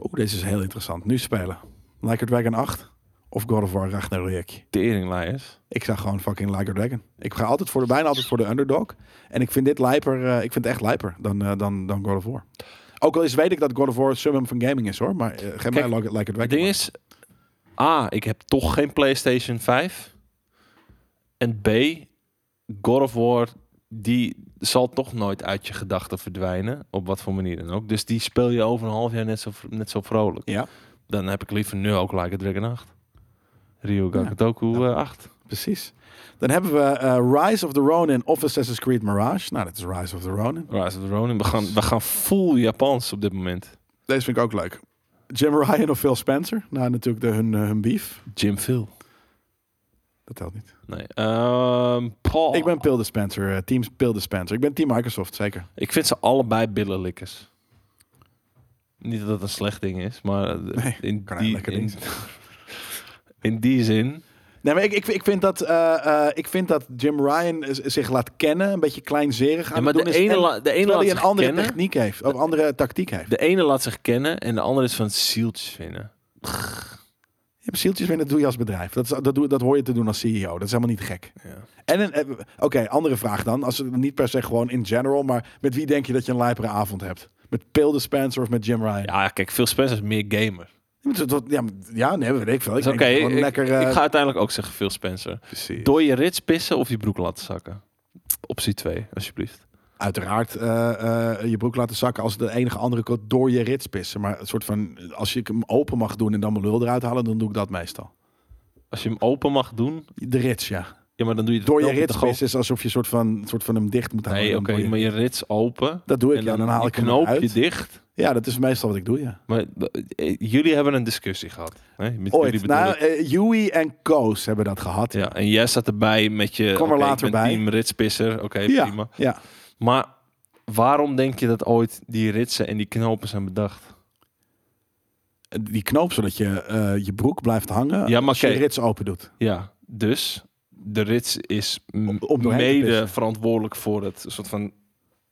S1: Oeh, deze is heel interessant. Nu spelen. Like a Dragon 8 of God of War Ragnarok.
S2: Teringlijers.
S1: Ik zag gewoon fucking Like a Dragon. Ik ga altijd voor de, bijna altijd voor de underdog. En ik vind dit lijper, eh, ik vind het echt lijper dan, eh, dan, dan God of War. Ook al is, weet ik dat God of War het summum van gaming is hoor. Maar eh, geef mij
S2: Kijk,
S1: Like, like a Dragon.
S2: Het ding is... A, ik heb toch geen PlayStation 5. En B, God of War... Die zal toch nooit uit je gedachten verdwijnen. Op wat voor manier dan ook. Dus die speel je over een half jaar net zo, vro- net zo vrolijk.
S1: Ja.
S2: Dan heb ik liever nu ook Like a Dragon 8. Ryu Gakutoku eh, 8.
S1: precies. Dan hebben we eh, Rise of the Ronin of Assassin's Creed Mirage. Nou, dat is Rise of the Ronin.
S2: Rise of the Ronin. We gaan, we gaan full Japans op dit moment.
S1: Deze vind ik ook leuk. Jim Ryan of Phil Spencer. Nou, natuurlijk de, hun, eh, hun beef.
S2: Jim Phil.
S1: Dat telt niet.
S2: Nee. Ehm, Paul.
S1: Ik ben Phil Dispenser. eh, team Phil Dispenser. Ik ben Team Microsoft, zeker.
S2: Ik vind ze allebei billenlikkers. Niet dat dat een slecht ding is, maar eh,
S1: Nee,
S2: in,
S1: kan
S2: die,
S1: eigenlijk
S2: in,
S1: niet.
S2: in die zin.
S1: Nee, maar ik, ik, ik, vind dat, eh, eh, ik vind dat Jim Ryan is- zich laat kennen. Een beetje kleinzerig aan
S2: Ja, maar
S1: het
S2: de
S1: doen is.
S2: ene,
S1: en-
S2: la- de, ene
S1: terwijl
S2: laat
S1: hij een
S2: zich
S1: andere
S2: kennen,
S1: techniek heeft. Of andere tactiek heeft.
S2: de ene laat zich kennen en de andere is van zieltjes vinden.
S1: Je hebt zieltjes winnen, dat doe je als bedrijf. Dat, is- dat, doe, dat hoor je te doen als CEO. Dat is helemaal niet gek.
S2: Ja.
S1: En een- eh, oké, andere vraag dan. Als het niet per se gewoon in general, maar met wie denk je dat je een lijpere avond hebt? Met Pil Dispenser of met Jim Ryan? Ja,
S2: Ja, kijk, Phil Spencer is meer gamer.
S1: maar dat- dat- ja, maar- ja nee, weet ik veel. Ik
S2: Dus Oké,
S1: denk gewoon
S2: ik,
S1: lekker.
S2: ik
S1: eh,
S2: ga uiteindelijk ook zeggen Phil Spencer.
S1: precies.
S2: Door je rits pissen of je broek laten zakken? Optie 2, alsjeblieft.
S1: Uiteraard eh, eh, je broek laten zakken als de enige andere kot door je rits pissen. Maar een soort van, als je hem open mag doen en dan mijn lul eruit halen, dan doe ik dat meestal.
S2: Als je hem open mag doen,
S1: De rits, ja.
S2: ja, maar dan doe je het
S1: Door je
S2: wel met de
S1: rits
S2: goal-
S1: pissen is alsof je soort van, soort van hem dicht moet houden.
S2: Nee,
S1: Dan
S2: oké,
S1: doe je-
S2: maar je rits open.
S1: Dat doe ik,
S2: En
S1: ja.
S2: dan,
S1: Dan haal ik hem
S2: knoop je
S1: eruit.
S2: dicht.
S1: Ja, dat is meestal wat ik doe, ja.
S2: Maar eh, jullie hebben een discussie gehad. Hè? Met jullie
S1: Ooit.
S2: bedoel
S1: Nou,
S2: ik.
S1: eh, Yui en Koos hebben dat gehad.
S2: ja, en jij staat erbij met je.
S1: Kom er
S2: oké, ik
S1: later
S2: ben
S1: bij.
S2: Team ritspissen. Oké, prima.
S1: ja, ja.
S2: Maar waarom denk je dat ooit die ritsen en die knopen zijn bedacht?
S1: Die knoop zodat je eh, je broek blijft hangen
S2: Ja, maar
S1: als je
S2: oké.
S1: je rits open doet.
S2: Ja, dus de rits is m-
S1: Om- om doorheen te
S2: mede
S1: pissen.
S2: verantwoordelijk voor het soort van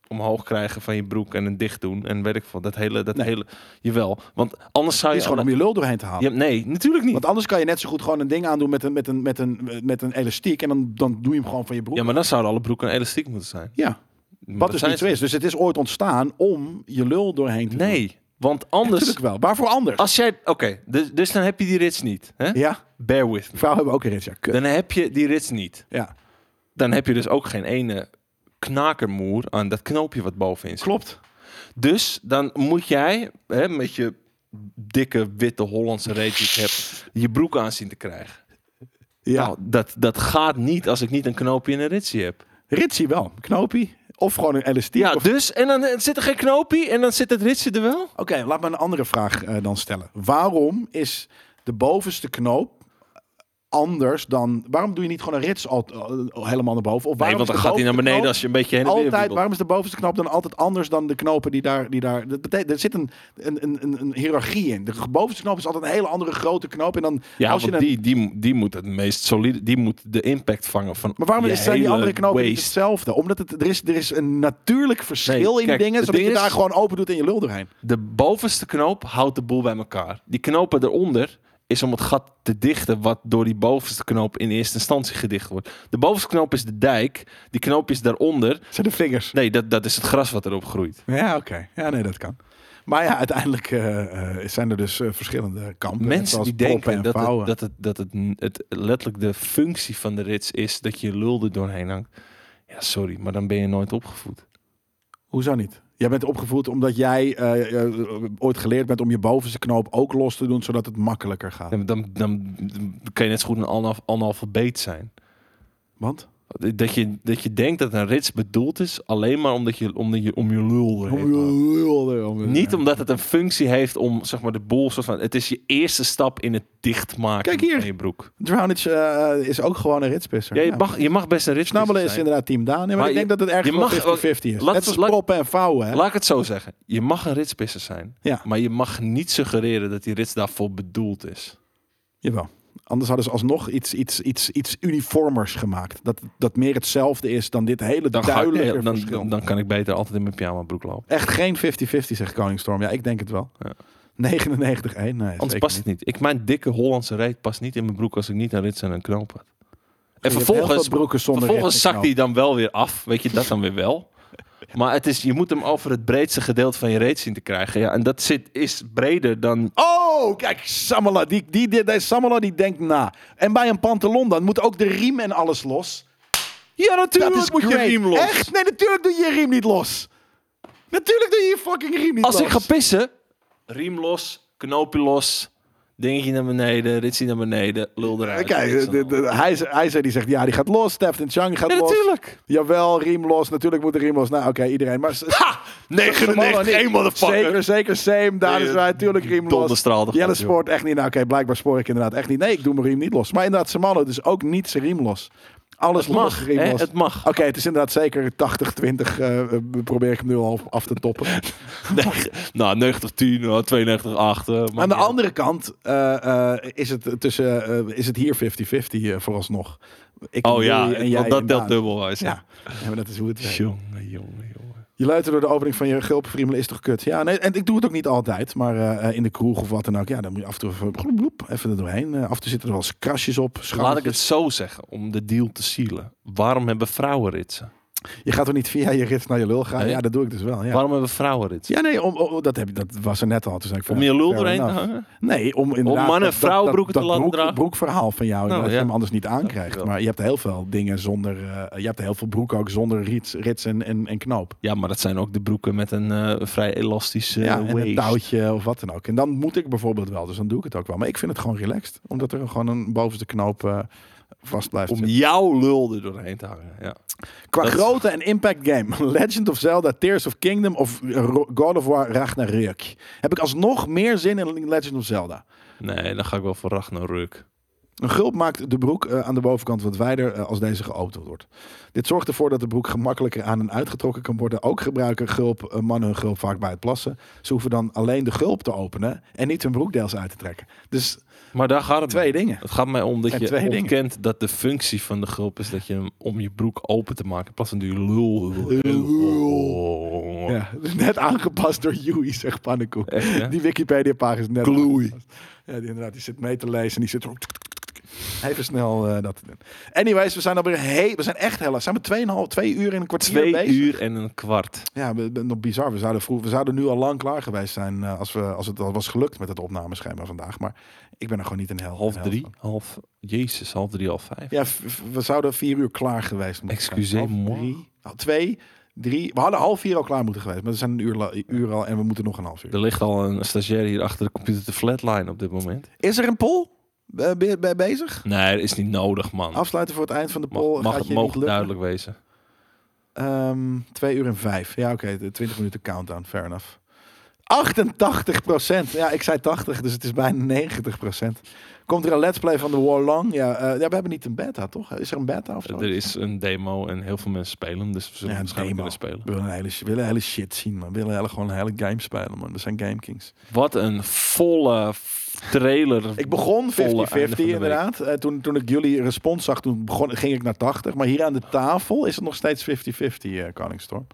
S2: omhoog krijgen van je broek en een dicht doen en weet ik veel. Dat hele, dat
S1: Nee.
S2: hele, jawel. Want anders zou
S1: Het
S2: je...
S1: is gewoon om
S2: alle-
S1: je lul doorheen te halen.
S2: Ja, nee, natuurlijk niet.
S1: Want anders kan je net zo goed gewoon een ding aandoen met een, met een, met een, met een elastiek. En dan, dan doe je hem gewoon van je broek.
S2: Ja, maar dan zouden alle broeken elastiek moeten zijn.
S1: Ja,
S2: Maar
S1: wat
S2: dat
S1: dus
S2: zijn
S1: niet zo
S2: ze
S1: is. Dus het is ooit ontstaan om je lul doorheen te
S2: niet.
S1: doen.
S2: Nee, want anders...
S1: Natuurlijk wel. Waarvoor anders?
S2: Als jij... Oké, dus, dus dan heb je die rits niet. Hè?
S1: Ja,
S2: Bear with me.
S1: vrouwen hebben ook een rits. Ja, kut.
S2: Dan heb je die rits niet.
S1: ja.
S2: Dan heb je dus ook geen ene knakermoer aan dat knoopje wat bovenin zit.
S1: klopt.
S2: Dus dan moet jij hè, met je dikke witte Hollandse reet die ik heb, je broek aan zien te krijgen.
S1: Ja.
S2: Nou, dat, dat gaat niet als ik niet een knoopje in een ritsie heb.
S1: Ritsie wel. Knopie. Of gewoon een elastiek.
S2: Ja,
S1: of-
S2: dus, en dan eh, zit er geen knoopje en dan zit het ritsie er wel.
S1: Oké, laat me een andere vraag eh, dan stellen. Waarom is de bovenste knoop anders dan... Waarom doe je niet gewoon een rits al, al- helemaal naar boven? Of
S2: Nee,
S1: waarom
S2: want
S1: is
S2: dan
S1: de
S2: gaat hij naar
S1: bovenste
S2: beneden
S1: knoop
S2: als je een beetje heen en weer
S1: Altijd,
S2: wiebelt.
S1: waarom is de bovenste knoop dan altijd anders dan de knopen die daar... Die daar dat betekent, er zit een, een, een, een, een hiërarchie in. De bovenste knoop is altijd een hele andere grote knoop. En dan,
S2: Ja,
S1: als je
S2: want
S1: een,
S2: die, die, die moet het meest solide, die moet de impact vangen van
S1: maar waarom
S2: je
S1: is, zijn die
S2: hele
S1: andere knopen niet
S2: waist.
S1: hetzelfde? Omdat het, er, is, er is een natuurlijk verschil
S2: Nee,
S1: in
S2: kijk,
S1: die dingen,
S2: het
S1: zodat
S2: ding
S1: je daar
S2: is-
S1: gewoon open doet en je lul doorheen.
S2: De bovenste knoop houdt de boel bij elkaar. Die knopen eronder is om het gat te dichten wat door die bovenste knoop in eerste instantie gedicht wordt. De bovenste knoop is de dijk, die knoop is daaronder.
S1: zijn de vingers.
S2: Nee, dat, dat is het gras wat erop groeit.
S1: Ja, oké. Ja, nee, dat kan. Maar ja, uiteindelijk eh, eh, zijn er dus eh, verschillende kampen. net
S2: Mensen
S1: zoals
S2: die
S1: proppen
S2: denken
S1: en
S2: dat, het,
S1: vouwen.
S2: dat, het, dat het, het letterlijk de functie van de rits is dat je je lul er doorheen hangt. Ja, sorry, maar dan ben je nooit opgevoed.
S1: Hoezo niet? Jij bent opgevoed omdat jij eh, eh, ooit geleerd bent om je bovenste knoop ook los te doen, zodat het makkelijker gaat.
S2: Dan, dan, dan kan je net zo goed een analf- analfabeet zijn.
S1: Want?
S2: Dat je, dat je denkt dat een rits bedoeld is alleen maar omdat je, omdat je om je lul heen gaat. Niet omdat het een functie heeft om zeg maar de boel soort van. Het is je eerste stap in het dichtmaken
S1: Kijk hier.
S2: van je broek.
S1: Drownage eh, is ook gewoon een ritspisser.
S2: Ja, je,
S1: Ja.
S2: mag, je mag best een rits
S1: Snabbelen is
S2: zijn.
S1: inderdaad team Daan. Ja, maar,
S2: Maar
S1: ik denk
S2: je-
S1: dat het
S2: je mag-
S1: ergens wel 50-50 is.
S2: laat-
S1: Net als
S2: laat-
S1: proppen en vouwen. Hè?
S2: Laat ik het zo zeggen. Je mag een ritspissers zijn.
S1: Ja.
S2: Maar je mag niet suggereren dat die rits daarvoor bedoeld is.
S1: Jawel. Anders hadden ze alsnog iets, iets, iets, iets uniformers gemaakt. Dat, dat meer hetzelfde is dan dit hele
S2: Dan, ga ik,
S1: duidelijke
S2: eh, dan,
S1: verschil.
S2: dan, dan kan ik beter altijd in mijn pyjama broek lopen.
S1: Echt geen 50-50, zegt Koningstorm. Ja, ik denk het wel.
S2: Ja.
S1: 99-1? Nee,
S2: Anders
S1: zeker
S2: past
S1: niet.
S2: het niet. Ik, mijn dikke Hollandse reet past niet in mijn broek als ik niet een rits en een knoop had. En
S1: Je hebt heel
S2: vervolgens,
S1: veel broeken zonder
S2: vervolgens
S1: recht en
S2: zakt hij dan wel weer af. Weet je, dat dan weer wel. Maar het is, je moet hem over het breedste gedeelte van je reet zien te krijgen. Ja, en dat zit, is breder dan...
S1: Oh, kijk, Samala. Die, die, die, die- Samala die denkt na. En bij een pantalon dan moet ook de riem en alles los.
S2: Ja, natuurlijk
S1: dat is great. Echt? Nee, natuurlijk doe je je riem niet los. Natuurlijk doe je je fucking riem niet
S2: Als
S1: los.
S2: ik ga pissen... Riem los, knoopje los. Dingetje naar beneden, ritsie naar beneden, lul eruit.
S1: Kijk,
S2: niks
S1: de,
S2: aan
S1: eh, de,
S2: de hand.
S1: de- hij, ze- hij zei die zegt ja, die gaat los. Stefan Chang gaat
S2: Ja,
S1: los.
S2: natuurlijk.
S1: Jawel, riem los. Natuurlijk moet de riem los. Nou, oké, iedereen. Maar s-
S2: Ha! 99, één
S1: Zeker,
S2: motherfucker.
S1: zeker, same. Daar
S2: Die,
S1: is wij natuurlijk riem los.
S2: donderstraal ervan,
S1: Jelle
S2: joh.
S1: spoort echt niet. Nou, oké, blijkbaar spoor ik inderdaad echt niet. Nee, ik doe mijn riem niet los. Maar inderdaad, Samalo dus ook niet zijn riem los. Alles
S2: Het mag,
S1: los, riem
S2: hè,
S1: los.
S2: het mag.
S1: Oké, het is inderdaad zeker 80, 20. eh, eh, probeer ik hem nu al af te toppen.
S2: Negen- nou, 90, 10, oh, 92, 8. eh, maakt
S1: Aan de
S2: niet uit.
S1: andere kant eh, eh, is, het tussen, eh, is het hier 50-50 eh, vooralsnog. Ik
S2: Oh ja,
S1: Louis en jij
S2: want dat
S1: Daan.
S2: telt dubbel. Hij
S1: Ja.
S2: ja.
S1: ja, maar dat is hoe het is.
S2: Jongen, jongen, jongen.
S1: Je luistert door de opening van je gulpenfriemelen is toch kut? Ja, nee, en ik doe het ook niet altijd. Maar eh, in de kroeg of wat dan ook. Ja, dan moet je af en toe even, bloep, bloep, even er doorheen. Eh, af en toe zitten er wel eens krasjes op.
S2: Laat ik het
S1: schoudertjes.
S2: zo zeggen, om de deal te zielen. Waarom hebben vrouwen ritsen?
S1: Je gaat toch niet via je rits naar je lul gaan?
S2: Nee.
S1: Ja, dat doe ik dus wel. Ja,
S2: Waarom hebben vrouwen ritsen?
S1: ja nee, om, om- dat, heb, je- dat was er net al. Toen zei ik, van,
S2: Om
S1: ja,
S2: je lul
S1: fair
S2: doorheen te
S1: enough.
S2: hangen?
S1: Nee, om inderdaad...
S2: mannen
S1: dat- dat-
S2: vrouwenbroeken
S1: dat-
S2: te
S1: dat
S2: laten
S1: broek,
S2: dragen? Nou,
S1: broekverhaal van jou. dat je
S2: ja.
S1: hem anders niet aankrijgt.
S2: wel.
S1: Maar je hebt heel veel dingen zonder... eh, je hebt heel veel broeken ook zonder rits, rits en, en, en knoop.
S2: Ja, maar dat zijn ook de broeken met een eh, vrij elastische
S1: ja,
S2: waist.
S1: en een touwtje of wat dan ook. En dan moet ik bijvoorbeeld wel, dus dan doe ik het ook wel. Maar ik vind het gewoon relaxed, omdat er gewoon een bovenste knoop eh, vast blijft
S2: Om
S1: zitten.
S2: jouw lul er doorheen te hangen. Ja.
S1: Qua
S2: dat-
S1: grootte en impact game, Legend of Zelda, Tears of Kingdom of Ro- God of War Ragnarök. Heb ik alsnog meer zin in Legend of Zelda.
S2: Nee, dan ga ik wel voor Ragnarök.
S1: Een gulp maakt de broek eh, aan de bovenkant wat wijder eh, als deze geopend wordt. Dit zorgt ervoor dat de broek gemakkelijker aan en uitgetrokken kan worden. Ook gebruiken gulp, eh, mannen hun gulp vaak bij het plassen. Ze hoeven dan alleen de gulp te openen en niet hun broekdeels uit te trekken. Dus
S2: Maar daar gaat het
S1: twee
S2: mij.
S1: dingen.
S2: Het gaat mij om dat
S1: zijn
S2: je
S1: twee dingen.
S2: ontkent dat de functie van de gulp is dat je hem om je broek open te maken. In plaats van die lul.
S1: Ja, net aangepast door Yui, zegt Pannenkoek.
S2: Echt, hè?
S1: Die Wikipedia-pagina is net
S2: Gloei.
S1: aangepast. Ja, die, inderdaad, die zit mee te lezen en die zit... zo tuk, tuk, tuk, tuk. Even snel eh, dat te doen. Anyways, we zijn alweer heel... We zijn echt heel... Zijn we 2,5, 2 uur in een kwartier
S2: Twee
S1: bezig?
S2: uur en een kwart.
S1: Ja, we- we- nog bizar. We zouden, vroeg, we zouden nu al lang klaar geweest zijn eh, als, we, als het al was gelukt met het opnameschema vandaag. Maar ik ben er gewoon niet in de hel.
S2: Half
S1: in de helft
S2: drie.
S1: van.
S2: Half, jezus, half drie, half vijf.
S1: Ja, v- v- we zouden vier uur klaar geweest moeten zijn. Half
S2: Excusez-moi.
S1: drie, half twee, drie. We hadden half vier al klaar moeten geweest. Maar we zijn een uur, la- uur al en we moeten nog een half uur.
S2: Er ligt al een stagiair hier achter de computer te flatline op dit moment.
S1: Is er een poll eh, be- be- bezig?
S2: Nee, dat is niet nodig, man.
S1: Afsluiten voor het eind van de poll.
S2: Mag, mag
S1: gaat je
S2: het
S1: niet
S2: mogen
S1: lukken.
S2: duidelijk wezen.
S1: Ehm, twee uur en vijf. Ja, oké. de 20 minuten countdown. Fair enough. 88 Ja, ik zei 80, dus het is bijna 90 Komt er een let's play van The War Long? Ja, eh, ja, we hebben niet een beta, toch? Is er een beta of zo?
S2: Er is een demo en heel veel mensen spelen hem, dus we zullen
S1: Ja, een
S2: waarschijnlijk
S1: demo.
S2: willen spelen.
S1: We willen, een hele, we willen een hele shit zien, man. We willen hele, gewoon een hele game spelen, man. We zijn gamekings.
S2: Wat een volle f- trailer.
S1: Ik begon 50-50
S2: Volle einde van de week.
S1: inderdaad. Eh, toen, toen ik jullie respons zag, toen begon, ging ik naar 80. Maar hier aan de tafel is het nog steeds 50-50, eh, Koningstorm.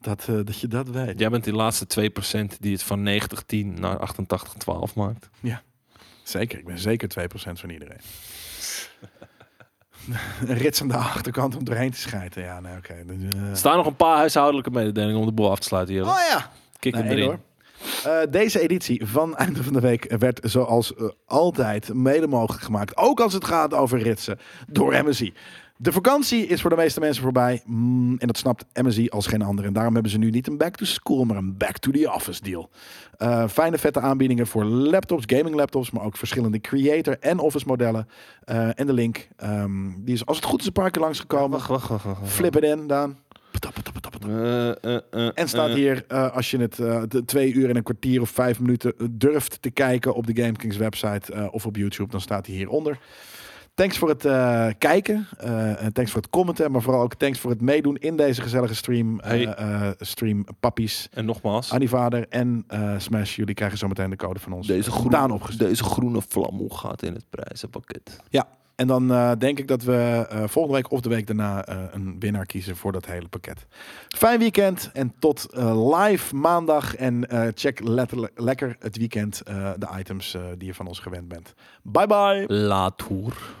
S1: Dat, eh, dat je dat weet.
S2: Jij bent die laatste 2% die het van 90-10 naar 88-12 maakt.
S1: Zeker, ik ben zeker 2% van iedereen. Een rits aan de achterkant om doorheen te schijten. Ja, nou oké. Dus, eh.
S2: Er staan nog een paar huishoudelijke mededelingen om de boel af te sluiten. Jelle.
S1: Oh ja!
S2: Kik hem
S1: Nee,
S2: erin.
S1: hoor. Eh, deze editie van Einde van de Week werd zoals eh, altijd mede mogelijk gemaakt. Ook als het gaat over ritsen door MSI. De vakantie is voor de meeste mensen voorbij. Mm, en dat snapt MSI als geen ander. En daarom hebben ze nu niet een back to school, maar een back to the office deal. Eh, fijne vette aanbiedingen voor laptops, gaming laptops, maar ook verschillende creator en office modellen. Eh, en de link, ehm, die is als het goed is een paar keer langsgekomen.
S2: wacht, wacht, wacht, wacht.
S1: Flip it in, Daan.
S2: Eh, eh, eh,
S1: En staat
S2: eh.
S1: hier, eh, als je het eh, de twee uur en een kwartier of vijf minuten eh, durft te kijken op de GameKings website eh, of op YouTube, dan staat hij hieronder. Thanks voor het eh, kijken, eh, en thanks voor het commenten, maar vooral ook thanks voor het meedoen in deze gezellige stream. eh,
S2: Hey.
S1: eh, stream Pappies,
S2: En nogmaals,
S1: Annivader en eh, Smash. Jullie krijgen zometeen de code van ons.
S2: deze
S1: eh, gedaan
S2: groene,
S1: opgestuurd.
S2: deze groene vlam hoe gaat in het prijzenpakket.
S1: Ja, en dan eh, denk ik dat we eh, volgende week of de week daarna eh, een winnaar kiezen voor dat hele pakket. Fijn weekend en tot eh, live maandag. En eh, check letterlijk lekker het weekend eh, de items eh, die je van ons gewend bent. Bye bye!
S2: Latour.